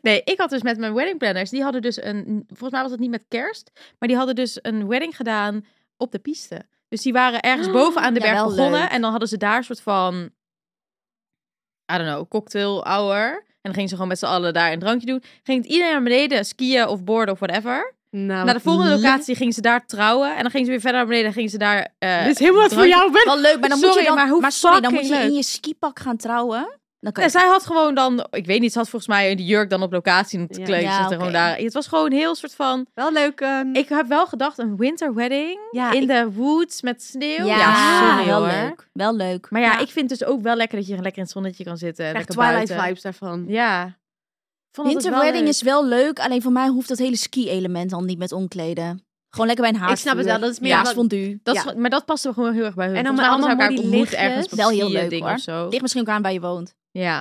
Speaker 3: Nee, ik had dus met mijn wedding planners, die hadden dus een, volgens mij was het niet met kerst, maar die hadden dus een wedding gedaan op de piste. Dus die waren ergens boven aan de
Speaker 4: Ja,
Speaker 3: berg
Speaker 4: wel
Speaker 3: begonnen
Speaker 4: Oh, leuk.
Speaker 3: en dan hadden ze daar een soort van, I don't know, cocktail hour. En dan gingen ze gewoon met z'n allen daar een drankje doen. Ging het iedereen naar beneden skiën of boarden of whatever.
Speaker 5: Nou,
Speaker 3: naar de volgende
Speaker 5: le-
Speaker 3: locatie gingen ze daar trouwen en dan gingen ze weer verder naar beneden en gingen ze daar... eh,
Speaker 5: Dit is helemaal wat voor
Speaker 3: drankje-
Speaker 5: jou. Ben.
Speaker 4: Dus- Wel leuk, maar dan moet
Speaker 3: Sorry,
Speaker 4: je dan,
Speaker 3: maar hoe
Speaker 4: sorry, dan moet je
Speaker 3: fucking
Speaker 4: in
Speaker 3: leuk.
Speaker 4: je skipak gaan trouwen. Dan kan
Speaker 3: Ja,
Speaker 4: je,
Speaker 3: zij had gewoon dan, ik weet niet, ze had volgens mij die jurk dan op locatie en het
Speaker 5: Ja.
Speaker 3: kleed
Speaker 4: Ja,
Speaker 3: zat er
Speaker 4: oké.
Speaker 3: gewoon daar. Het was gewoon heel soort van...
Speaker 5: Wel leuk. ehm,
Speaker 3: Ik heb wel gedacht een winter wedding
Speaker 5: ja,
Speaker 3: in
Speaker 5: ik-
Speaker 3: de woods met sneeuw.
Speaker 4: ja,
Speaker 3: sorry
Speaker 4: wel
Speaker 3: hoor.
Speaker 4: leuk. Wel leuk.
Speaker 3: Ah, Maar ja, ik vind dus ook wel lekker dat je lekker in het zonnetje kan zitten. en
Speaker 5: krijg
Speaker 3: lekker
Speaker 5: Twilight
Speaker 3: buiten.
Speaker 5: vibes daarvan.
Speaker 3: Ja. Ik vond het
Speaker 4: Winter
Speaker 3: wel
Speaker 4: wedding
Speaker 3: leuk.
Speaker 4: is wel leuk, alleen voor mij hoeft dat hele ski-element dan niet met omkleden. Gewoon lekker bij een haar.
Speaker 5: Ik snap het wel, dat is meer
Speaker 4: ja,
Speaker 5: wat-
Speaker 4: fondue.
Speaker 3: Dat
Speaker 5: ja.
Speaker 3: is- Maar dat past er gewoon heel erg bij hun.
Speaker 5: En dan
Speaker 3: Volgens mij
Speaker 5: met
Speaker 3: hadden ze
Speaker 5: allemaal mooie
Speaker 3: elkaar ontmoet ergens
Speaker 5: lichtjes.
Speaker 3: op
Speaker 4: Wel heel
Speaker 3: een
Speaker 4: leuk,
Speaker 3: ding
Speaker 4: hoor.
Speaker 3: of zo.
Speaker 4: Ligt misschien ook aan waar je woont.
Speaker 3: Ja.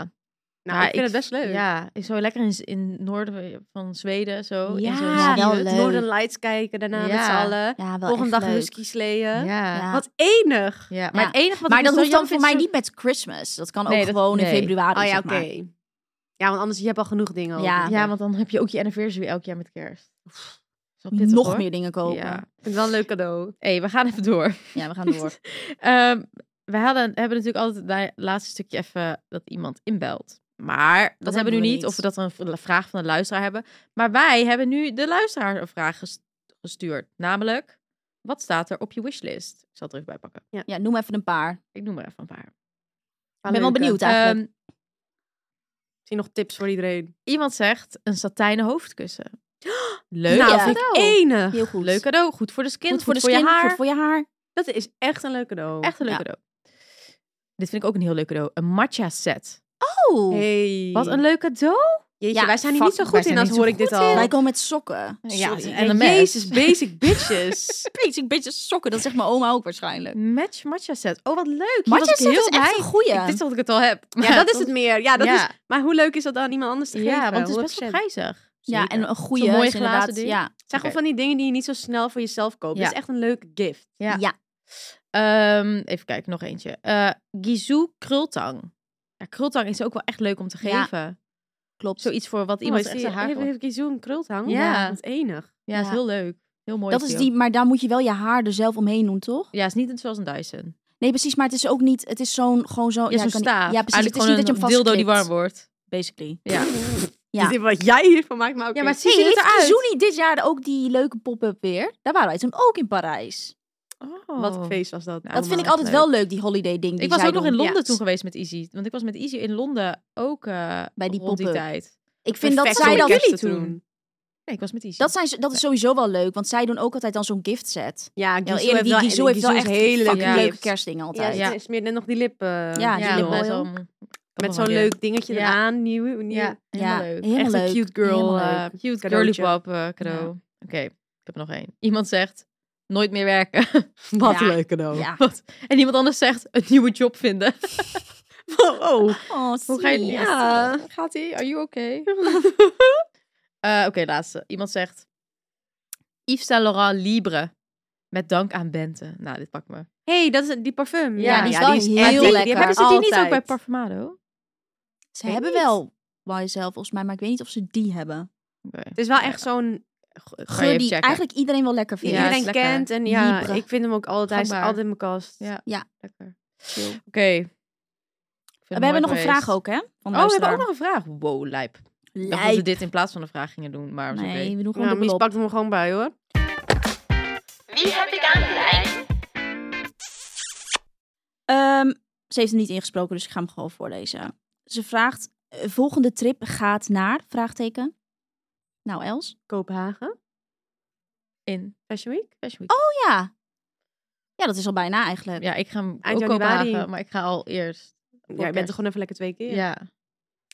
Speaker 5: Nou,
Speaker 3: Maar
Speaker 5: ik vind het best leuk.
Speaker 3: Ja, ik zo lekker in, in noorden van Zweden zo. in zo'n
Speaker 4: Ja,
Speaker 5: Ja,
Speaker 4: wel
Speaker 5: het
Speaker 4: leuk.
Speaker 5: Northern Lights kijken daarna met
Speaker 3: Ja.
Speaker 5: z'n allen.
Speaker 4: Ja, wel
Speaker 5: Volgende
Speaker 4: echt
Speaker 5: dag
Speaker 4: leuk.
Speaker 5: husky sleeën.
Speaker 3: Ja.
Speaker 4: Ja.
Speaker 5: Wat enig.
Speaker 3: Ja, maar
Speaker 4: Ja.
Speaker 3: het enige wat
Speaker 4: maar
Speaker 3: ik
Speaker 4: dat
Speaker 3: zo
Speaker 4: hoeft
Speaker 3: jammer
Speaker 4: dan voor
Speaker 3: vind
Speaker 4: mij
Speaker 3: is
Speaker 4: niet met Christmas. Dat kan
Speaker 3: Nee,
Speaker 4: ook
Speaker 3: dat-
Speaker 4: gewoon in
Speaker 3: nee.
Speaker 4: februari,
Speaker 5: Oh ja,
Speaker 4: zeg
Speaker 5: oké.
Speaker 4: maar.
Speaker 5: Ja, want anders je hebt al genoeg dingen.
Speaker 4: Ja.
Speaker 5: over.
Speaker 3: zo- Ah, Ja, want dan heb je ook je anniversary elk jaar met kerst. Is wel pittig,
Speaker 4: Nog
Speaker 3: hoor.
Speaker 4: meer dingen kopen.
Speaker 3: Ja.
Speaker 4: Ja,
Speaker 5: Ik vind het wel een leuk cadeau.
Speaker 3: hey, we gaan even door.
Speaker 4: we gaan door.
Speaker 3: Ehm we hadden, hebben natuurlijk altijd het laatste stukje even dat iemand inbelt. Maar dat, hebben
Speaker 4: hebben
Speaker 3: we nu
Speaker 4: we
Speaker 3: niet,
Speaker 4: niet.
Speaker 3: of we dat een v- vraag van de luisteraar hebben. Maar wij hebben nu de luisteraar een vraag ges- gestuurd. Namelijk, wat staat er op je wishlist? Ik zal het er even bij pakken.
Speaker 4: Ja, noem even een paar.
Speaker 3: Ik noem maar even een paar.
Speaker 4: Ik ben wel benieuwd eigenlijk.
Speaker 3: Ehm,
Speaker 5: Misschien nog tips voor iedereen.
Speaker 3: iemand zegt een satijnen
Speaker 4: <gasps>
Speaker 3: hoofdkussen. Leuk
Speaker 5: nou,
Speaker 4: ja.
Speaker 5: vind ik
Speaker 4: cadeau.
Speaker 5: enig. <laughs>
Speaker 4: Heel goed.
Speaker 3: Leuk cadeau. Goed voor de skin,
Speaker 4: Goed
Speaker 3: goed,
Speaker 4: voor de
Speaker 3: voor
Speaker 4: skin,
Speaker 3: je haar.
Speaker 4: goed voor je haar.
Speaker 5: Dat is echt een leuk cadeau.
Speaker 3: Echt een leuk
Speaker 4: Ja.
Speaker 3: cadeau. Dit vind ik ook een heel leuk cadeau. Een matcha set.
Speaker 4: Oh,
Speaker 5: Hey.
Speaker 3: Wat een leuk cadeau.
Speaker 5: Jeetje,
Speaker 4: Ja,
Speaker 5: wij zijn hier
Speaker 3: fuck,
Speaker 5: niet zo
Speaker 3: wij
Speaker 5: goed
Speaker 3: zijn
Speaker 5: in als
Speaker 3: niet zo
Speaker 5: hoor ik dit
Speaker 3: goed
Speaker 5: al.
Speaker 3: in.
Speaker 4: wij komen met sokken.
Speaker 3: Ja,
Speaker 4: Sorry.
Speaker 3: en een mes.
Speaker 5: Jezus,
Speaker 3: <laughs>
Speaker 5: basic bitches.
Speaker 4: Beetje, een beetje sokken, dat zegt mijn oma ook waarschijnlijk.
Speaker 3: Match matcha set. Oh, wat leuk. Hier was
Speaker 4: Matcha
Speaker 3: ik
Speaker 4: set
Speaker 3: heel
Speaker 4: is echt
Speaker 3: blij.
Speaker 4: een goeie.
Speaker 3: Ik wist dat ik het al heb.
Speaker 5: ja,
Speaker 3: <laughs>
Speaker 5: dat is het meer. Ja, dat
Speaker 3: Ja.
Speaker 5: Is, maar hoe leuk is dat dan iemand anders te geven?
Speaker 3: Ja, want het is best wel
Speaker 5: 100%.
Speaker 3: prijzig.
Speaker 4: ja, en een goede
Speaker 3: Zo'n mooi
Speaker 4: is inderdaad-
Speaker 3: glazen ding.
Speaker 4: Ja.
Speaker 5: Het zijn gewoon van die dingen die je niet zo snel voor jezelf koopt.
Speaker 3: Ja. Oh,
Speaker 5: Het is echt een leuk gift.
Speaker 3: Ja.
Speaker 4: Ja.
Speaker 3: Ehm, even kijken, nog eentje. Eh Gizou krultang. Ja, krultang is ook wel echt leuk om te
Speaker 4: Ja.
Speaker 3: geven.
Speaker 4: klopt.
Speaker 3: Zoiets voor wat iemand
Speaker 5: Oh,
Speaker 3: echt
Speaker 5: zie
Speaker 3: zijn
Speaker 5: je,
Speaker 3: haar
Speaker 5: Heb,
Speaker 3: voor-
Speaker 5: heb ik hier zo'n krultang?
Speaker 3: Ja.
Speaker 5: Dat is enig.
Speaker 3: Ja, is
Speaker 4: Ja.
Speaker 3: heel leuk. Heel mooi.
Speaker 4: dat is
Speaker 3: video.
Speaker 4: die, maar daar moet je wel je haar er zelf omheen doen, toch?
Speaker 3: Ja, is niet zoals een Dyson.
Speaker 4: Nee, precies, maar het is ook niet, het is zo'n, gewoon zo,
Speaker 3: Ja, zo'n
Speaker 4: ik kan niet-
Speaker 3: staaf.
Speaker 4: Oh, Ja, precies,
Speaker 3: Eigenlijk
Speaker 4: het is
Speaker 3: gewoon
Speaker 4: niet dat je
Speaker 3: een
Speaker 4: hem
Speaker 3: dildo die warm
Speaker 4: vastklikt,
Speaker 3: wordt.
Speaker 4: Basically.
Speaker 3: Ja.
Speaker 5: <laughs>
Speaker 4: <laughs> Ja.
Speaker 5: Is Dus dit wat jij hiervan maakt? Maar oké.
Speaker 3: Ja, maar zie
Speaker 4: Hey,
Speaker 3: ziet het
Speaker 4: heeft
Speaker 3: eruit.
Speaker 4: Kizuni dit jaar ook die leuke pop-up weer? Daar waren wij toen ook in Parijs.
Speaker 5: Wat
Speaker 4: Oh.
Speaker 5: een feest was dat.
Speaker 3: Nou,
Speaker 4: dat vind ik
Speaker 3: echt
Speaker 4: altijd wel leuk, die holiday ding die
Speaker 3: Ik was
Speaker 4: zij
Speaker 3: ook nog in
Speaker 4: doen.
Speaker 3: Londen
Speaker 4: Ja.
Speaker 3: toen geweest met Easy. Want ik was met Easy in Londen ook eh,
Speaker 4: Bij die
Speaker 3: rond die
Speaker 4: pop-up.
Speaker 3: tijd.
Speaker 4: Ik vind dat
Speaker 5: Perfect
Speaker 4: zij
Speaker 5: om
Speaker 4: dat...
Speaker 5: kerst
Speaker 3: jullie
Speaker 5: te
Speaker 3: toen.
Speaker 5: doen.
Speaker 3: Nee, ik was met Easy.
Speaker 4: Dat, zijn, ze- dat is sowieso wel leuk, want zij doen ook altijd dan zo'n gift set.
Speaker 5: Ja,
Speaker 4: Heel
Speaker 5: Gizou
Speaker 4: eerlijk, die Gizou heeft wel
Speaker 5: Gizou is
Speaker 4: echt
Speaker 5: hele
Speaker 4: fucking
Speaker 3: leuke
Speaker 4: leuke
Speaker 5: gifts.
Speaker 4: kerstdingen
Speaker 5: Ja,
Speaker 4: altijd.
Speaker 5: ja. ze smeert net nog die lip. eh,
Speaker 4: Ja,
Speaker 3: ja,
Speaker 4: die
Speaker 3: wel
Speaker 4: lip oil.
Speaker 3: zo'n-
Speaker 5: met
Speaker 3: wel
Speaker 5: zo'n
Speaker 3: weer.
Speaker 5: leuk dingetje
Speaker 3: Ja.
Speaker 5: aan. Nieuw, nieuw.
Speaker 3: Ja, helemaal
Speaker 4: Ja,
Speaker 3: leuk.
Speaker 4: helemaal
Speaker 5: echt
Speaker 4: leuk,
Speaker 5: een cute girl.
Speaker 4: helemaal leuk.
Speaker 5: eh, cute
Speaker 3: Girly
Speaker 5: cadeautje.
Speaker 3: pop eh, cadeau. Oké, ik heb er nog één. Iemand zegt, nooit meer werken.
Speaker 5: Wat
Speaker 4: Ja.
Speaker 5: een leuk cadeau.
Speaker 4: Ja.
Speaker 3: <laughs> Wat? En iemand anders zegt, een nieuwe job
Speaker 4: <laughs>
Speaker 3: vinden.
Speaker 5: Oh,
Speaker 4: Oh,
Speaker 3: Hoe ga je
Speaker 4: sweet.
Speaker 5: Ja.
Speaker 3: Gaat ie? Are you okay? Eh, Oké, laatste. Iemand zegt, Yves Saint Laurent Libre. Met dank aan Bente. Nou, dit pakt me.
Speaker 5: hey, dat is die parfum.
Speaker 3: Ja, die
Speaker 4: is wel heel
Speaker 5: echt- die-
Speaker 4: lekker.
Speaker 5: Die hebben ze
Speaker 3: Zit
Speaker 5: die
Speaker 3: die
Speaker 5: niet ook bij parfum.
Speaker 3: Parfumado?
Speaker 4: Ze
Speaker 5: Weet
Speaker 4: hebben
Speaker 5: niet.
Speaker 4: wel Why Zelf, volgens mij, maar ik weet niet of ze die hebben.
Speaker 3: Oké.
Speaker 5: Het is wel echt zo'n
Speaker 3: Ga je
Speaker 4: Geur
Speaker 3: even
Speaker 4: die
Speaker 3: checken.
Speaker 4: eigenlijk iedereen wel lekker
Speaker 5: die
Speaker 4: vindt.
Speaker 3: Ja, het is
Speaker 5: iedereen
Speaker 3: lekker.
Speaker 5: kent. En ja,
Speaker 4: Libre.
Speaker 5: ik vind hem ook altijd. Hij is
Speaker 3: Gangbaar.
Speaker 5: altijd in mijn kast.
Speaker 3: Ja.
Speaker 4: Ja.
Speaker 3: Lekker.
Speaker 4: Chill.
Speaker 3: Oké. We
Speaker 4: We hebben nog een vraag ook, hè? Van de
Speaker 3: Oh, we hebben
Speaker 4: luisteraar.
Speaker 3: ook nog een vraag. Wow, lijp. Ik dacht dat we
Speaker 4: Lijp.
Speaker 3: dit in plaats van een vraag gingen doen, maar was oké.
Speaker 4: Nee, we doen gewoon
Speaker 5: Nou,
Speaker 4: dubbel
Speaker 5: Mies
Speaker 4: op.
Speaker 5: pakt hem er gewoon bij hoor.
Speaker 1: Wie heb ik aan de lijn?
Speaker 4: Ehm, ze heeft hem niet ingesproken, dus ik ga hem gewoon voorlezen. Ze vraagt, eh, volgende trip gaat naar, vraagteken. Nou, Els?
Speaker 5: Kopenhagen.
Speaker 3: in
Speaker 5: Fashion Week.
Speaker 3: Fashion Week.
Speaker 4: Oh ja. Ja, dat is al bijna eigenlijk.
Speaker 3: Ja, ik ga hem
Speaker 5: Eind
Speaker 3: ook
Speaker 5: januari.
Speaker 3: Kopenhagen, maar ik ga al eerst.
Speaker 5: Ja, je bent er gewoon even lekker twee keer.
Speaker 3: Ja.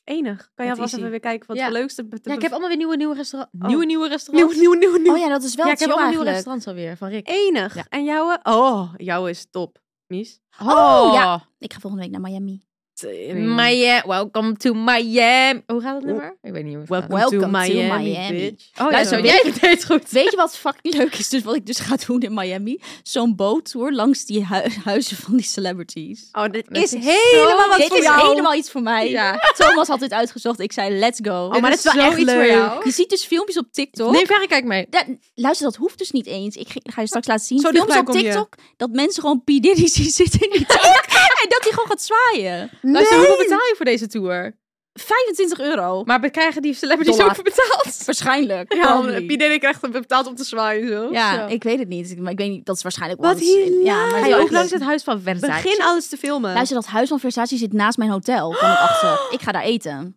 Speaker 5: Enig. Kan je
Speaker 3: Met
Speaker 5: alvast
Speaker 3: Izzy.
Speaker 5: even weer kijken wat
Speaker 3: Ja.
Speaker 5: het leukste... be- te
Speaker 3: ja, ik
Speaker 5: be-
Speaker 3: heb allemaal weer nieuwe, nieuwe restaurants.
Speaker 5: Oh.
Speaker 3: Nieuwe, nieuwe restaurants.
Speaker 5: Nieuw, nieuw, nieuw, nieuw.
Speaker 4: Oh ja, dat is wel
Speaker 3: ja, ik heb
Speaker 4: chill
Speaker 3: allemaal nieuwe
Speaker 4: eigenlijk.
Speaker 3: restaurants alweer van Rick.
Speaker 5: Enig.
Speaker 3: Ja.
Speaker 5: En jouwe? Oh, jouwe is top. Mies.
Speaker 4: Oh, ja. Ik ga volgende week naar Miami.
Speaker 5: Tering.
Speaker 3: Miami. Welcome to Miami. Hoe gaat het nummer? Ik weet niet hoe het gaat.
Speaker 5: Welcome, to
Speaker 4: Welcome to
Speaker 5: Miami,
Speaker 4: Miami.
Speaker 5: bitch.
Speaker 3: Oh,
Speaker 4: Luister,
Speaker 3: Luister, jij <laughs> deed goed.
Speaker 4: Weet je wat fucking leuk is? Dus wat ik dus ga doen in Miami? Zo'n boottour langs die hui- huizen van die celebrities.
Speaker 5: Oh, dit
Speaker 3: Dat
Speaker 5: is
Speaker 3: is
Speaker 5: helemaal wat
Speaker 4: dit
Speaker 5: voor
Speaker 4: is
Speaker 5: jou.
Speaker 4: helemaal iets voor mij.
Speaker 3: Ja.
Speaker 4: Thomas had dit uitgezocht. Ik zei, let's go.
Speaker 5: Oh, maar dat is wel echt
Speaker 3: zoiets voor
Speaker 5: leuk.
Speaker 3: jou.
Speaker 4: Je ziet dus filmpjes op TikTok.
Speaker 3: Nee, verre kijk mee.
Speaker 4: Daar- luister, dat hoeft dus niet eens. Ik ge- ga je straks laten zien.
Speaker 5: Zo
Speaker 4: filmpjes
Speaker 5: dichtbij
Speaker 4: op
Speaker 5: kom je.
Speaker 4: TikTok. Dat mensen gewoon P. Diddy zien zitten in
Speaker 5: <laughs>
Speaker 4: die tank. en dat hij gewoon gaat zwaaien.
Speaker 3: Luister, hoeveel betaal je voor deze tour?
Speaker 4: 25 euro.
Speaker 3: Maar we krijgen die celebrities
Speaker 4: Dollar.
Speaker 3: ook voor betaald.
Speaker 4: Waarschijnlijk.
Speaker 5: Ja,
Speaker 4: Probably.
Speaker 5: Piet en ik echt betaald om te zwaaien. Zo.
Speaker 4: ja
Speaker 3: Zo.
Speaker 4: ik weet het niet. Maar ik weet niet, dat is waarschijnlijk
Speaker 5: Wat
Speaker 4: onzin. Ja, maar
Speaker 5: hilarisch.
Speaker 3: Ga je
Speaker 4: het is wel
Speaker 3: ook
Speaker 4: echt
Speaker 3: langs
Speaker 4: leuk.
Speaker 3: het dus huis van Versace?
Speaker 5: Begin alles te
Speaker 3: Eh,
Speaker 5: filmen.
Speaker 4: Luister, dat huis van Versace zit naast mijn hotel. Kwam ik achter.
Speaker 3: <gasps>
Speaker 4: Ik ga daar eten.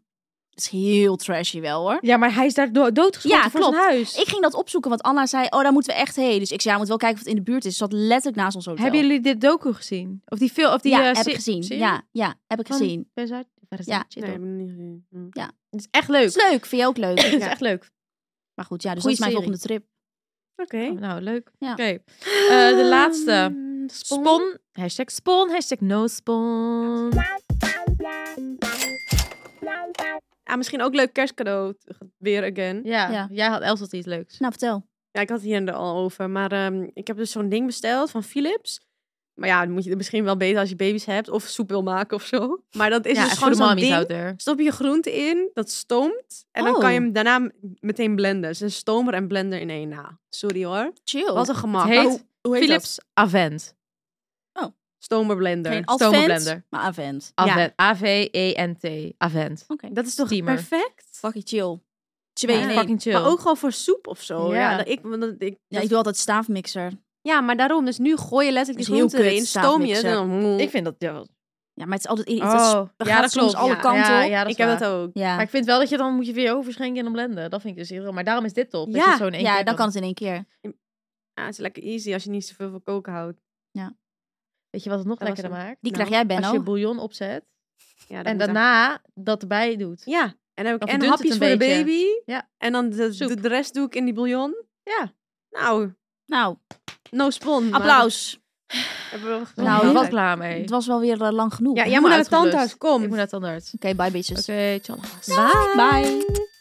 Speaker 4: Dat is heel trashy wel hoor.
Speaker 3: Ja, maar hij is daar do- doodgeschoten
Speaker 4: Ja,
Speaker 3: voor
Speaker 4: klopt.
Speaker 3: zijn huis.
Speaker 4: Ik ging dat opzoeken, want Anna zei, oh, daar moeten we echt heen. Dus ik zei, ja, moet wel kijken of het in de buurt is. Het zat letterlijk naast ons hotel.
Speaker 3: Hebben jullie dit docu gezien? Of die film? Of die,
Speaker 4: ja,
Speaker 3: eh,
Speaker 4: heb
Speaker 3: se-
Speaker 4: ik gezien.
Speaker 3: serie
Speaker 4: Ja, ja, heb ik
Speaker 3: van
Speaker 4: gezien.
Speaker 3: Versace? Versace,
Speaker 5: Nee,
Speaker 3: toch?
Speaker 5: heb ik niet gezien. Hm.
Speaker 3: Het is echt leuk.
Speaker 4: Het is leuk, vind je ook
Speaker 3: <laughs> Het is
Speaker 4: leuk.
Speaker 3: echt leuk.
Speaker 4: Maar goed, ja, dus
Speaker 3: Goeie
Speaker 4: dat is mijn
Speaker 3: serie.
Speaker 4: volgende trip.
Speaker 5: Oké.
Speaker 3: Oh, nou, leuk.
Speaker 4: Ja.
Speaker 3: Oké. Eh, de laatste.
Speaker 5: Mm,
Speaker 3: Spon.
Speaker 5: Ehm, Spon.
Speaker 3: Hashtag spon. Hashtag no spon.
Speaker 5: Ah, misschien ook leuk kerstcadeau. t- Weer again.
Speaker 3: Ja,
Speaker 4: Ja.
Speaker 3: jij had Els had iets leuks.
Speaker 4: Nou, vertel.
Speaker 5: Ja, ik had het hier al over. Maar ehm, ik heb dus zo'n ding besteld van Philips. Maar ja, dan moet je het misschien wel beter als je baby's hebt. Of soep wil maken of zo. Maar dat is
Speaker 3: ja,
Speaker 5: dus gewoon
Speaker 3: echt voor de
Speaker 5: zo'n
Speaker 3: mommies
Speaker 5: ding.
Speaker 3: out there.
Speaker 5: Stop je groente in, dat stoomt. En dan
Speaker 4: Oh.
Speaker 5: kan je hem daarna m- meteen blenden. Dus een stomer en blender in één. Nou, sorry hoor.
Speaker 4: Chill.
Speaker 5: Wat een gemak. Oh,
Speaker 3: Het Oh. heet
Speaker 5: hoe, hoe heet
Speaker 3: Philips Avent.
Speaker 5: dat? Stomerblender.
Speaker 4: Geen
Speaker 5: Stomerblender.
Speaker 4: advent, maar avent.
Speaker 3: Ah.
Speaker 5: Avent.
Speaker 3: A-V-E-n-t. E Avent.
Speaker 4: Oké,
Speaker 5: Dat is toch
Speaker 3: Steamer.
Speaker 5: perfect?
Speaker 4: fucking chill. Twee
Speaker 3: Twee,
Speaker 4: in één.
Speaker 3: fucking chill.
Speaker 5: Maar ook gewoon voor soep of zo. Ja,
Speaker 3: Ja.
Speaker 5: dat ik, want dat- ik,
Speaker 4: Ja, ik doe altijd staafmixer.
Speaker 5: ja, maar daarom. Dus nu gooi je letterlijk die
Speaker 4: Dat is heel
Speaker 5: groenten erin,
Speaker 4: kut,
Speaker 5: stoom je het en
Speaker 4: staafmixer.
Speaker 5: dan...
Speaker 3: ik vind dat... Ja, wel-
Speaker 4: Ja, maar het is altijd iets.
Speaker 3: oh,
Speaker 4: dat
Speaker 3: ja,
Speaker 4: gaat
Speaker 3: dat
Speaker 4: soms
Speaker 3: klopt.
Speaker 4: alle
Speaker 3: ja.
Speaker 4: kanten
Speaker 3: ja,
Speaker 4: op.
Speaker 3: ja, dat
Speaker 5: ik
Speaker 3: is
Speaker 5: heb dat
Speaker 3: waar.
Speaker 5: ook.
Speaker 4: Ja,
Speaker 3: Maar ik vind wel dat je dan moet je weer overschenken en dan blenden. Dat vind ik dus irritant. Maar daarom is dit top. dat
Speaker 5: Ja,
Speaker 3: je het zo in één
Speaker 4: Ah, ja
Speaker 3: keer
Speaker 4: dan kan het in één keer.
Speaker 5: Ja, het is lekker easy als je niet zoveel van koken houdt.
Speaker 3: Weet je wat het nog
Speaker 5: Dat was
Speaker 3: lekkerder
Speaker 5: hem.
Speaker 3: maakt?
Speaker 4: Die
Speaker 5: Nou,
Speaker 4: krijg jij,
Speaker 3: Als je
Speaker 4: Benno.
Speaker 3: bouillon opzet
Speaker 5: Ja, dat
Speaker 3: en
Speaker 5: moet
Speaker 3: daarna dat erbij doet.
Speaker 5: echt- Ja, en dan heb ik
Speaker 3: Dan
Speaker 5: en
Speaker 3: verdunt het
Speaker 5: hapjes
Speaker 3: een
Speaker 5: voor de
Speaker 3: beetje.
Speaker 5: baby.
Speaker 3: Ja.
Speaker 5: En dan de,
Speaker 3: Soep.
Speaker 5: de, de rest doe ik in die bouillon.
Speaker 3: Ja.
Speaker 5: Nou,
Speaker 4: Nou,
Speaker 5: no spon. maar
Speaker 4: applaus.
Speaker 5: dat hebben we
Speaker 4: Nou,
Speaker 5: gedaan.
Speaker 3: ik
Speaker 4: heerlijk.
Speaker 3: was klaar mee.
Speaker 4: Het was wel weer eh, lang genoeg.
Speaker 5: Ja,
Speaker 4: Oké,
Speaker 5: jij
Speaker 3: moet
Speaker 5: moet naar de
Speaker 3: uitgerust.
Speaker 5: tandarts. Kom.
Speaker 4: Dus-
Speaker 3: Ik moet naar het tandarts.
Speaker 4: bye bitches.
Speaker 3: Oké, tjallas.
Speaker 4: Bye.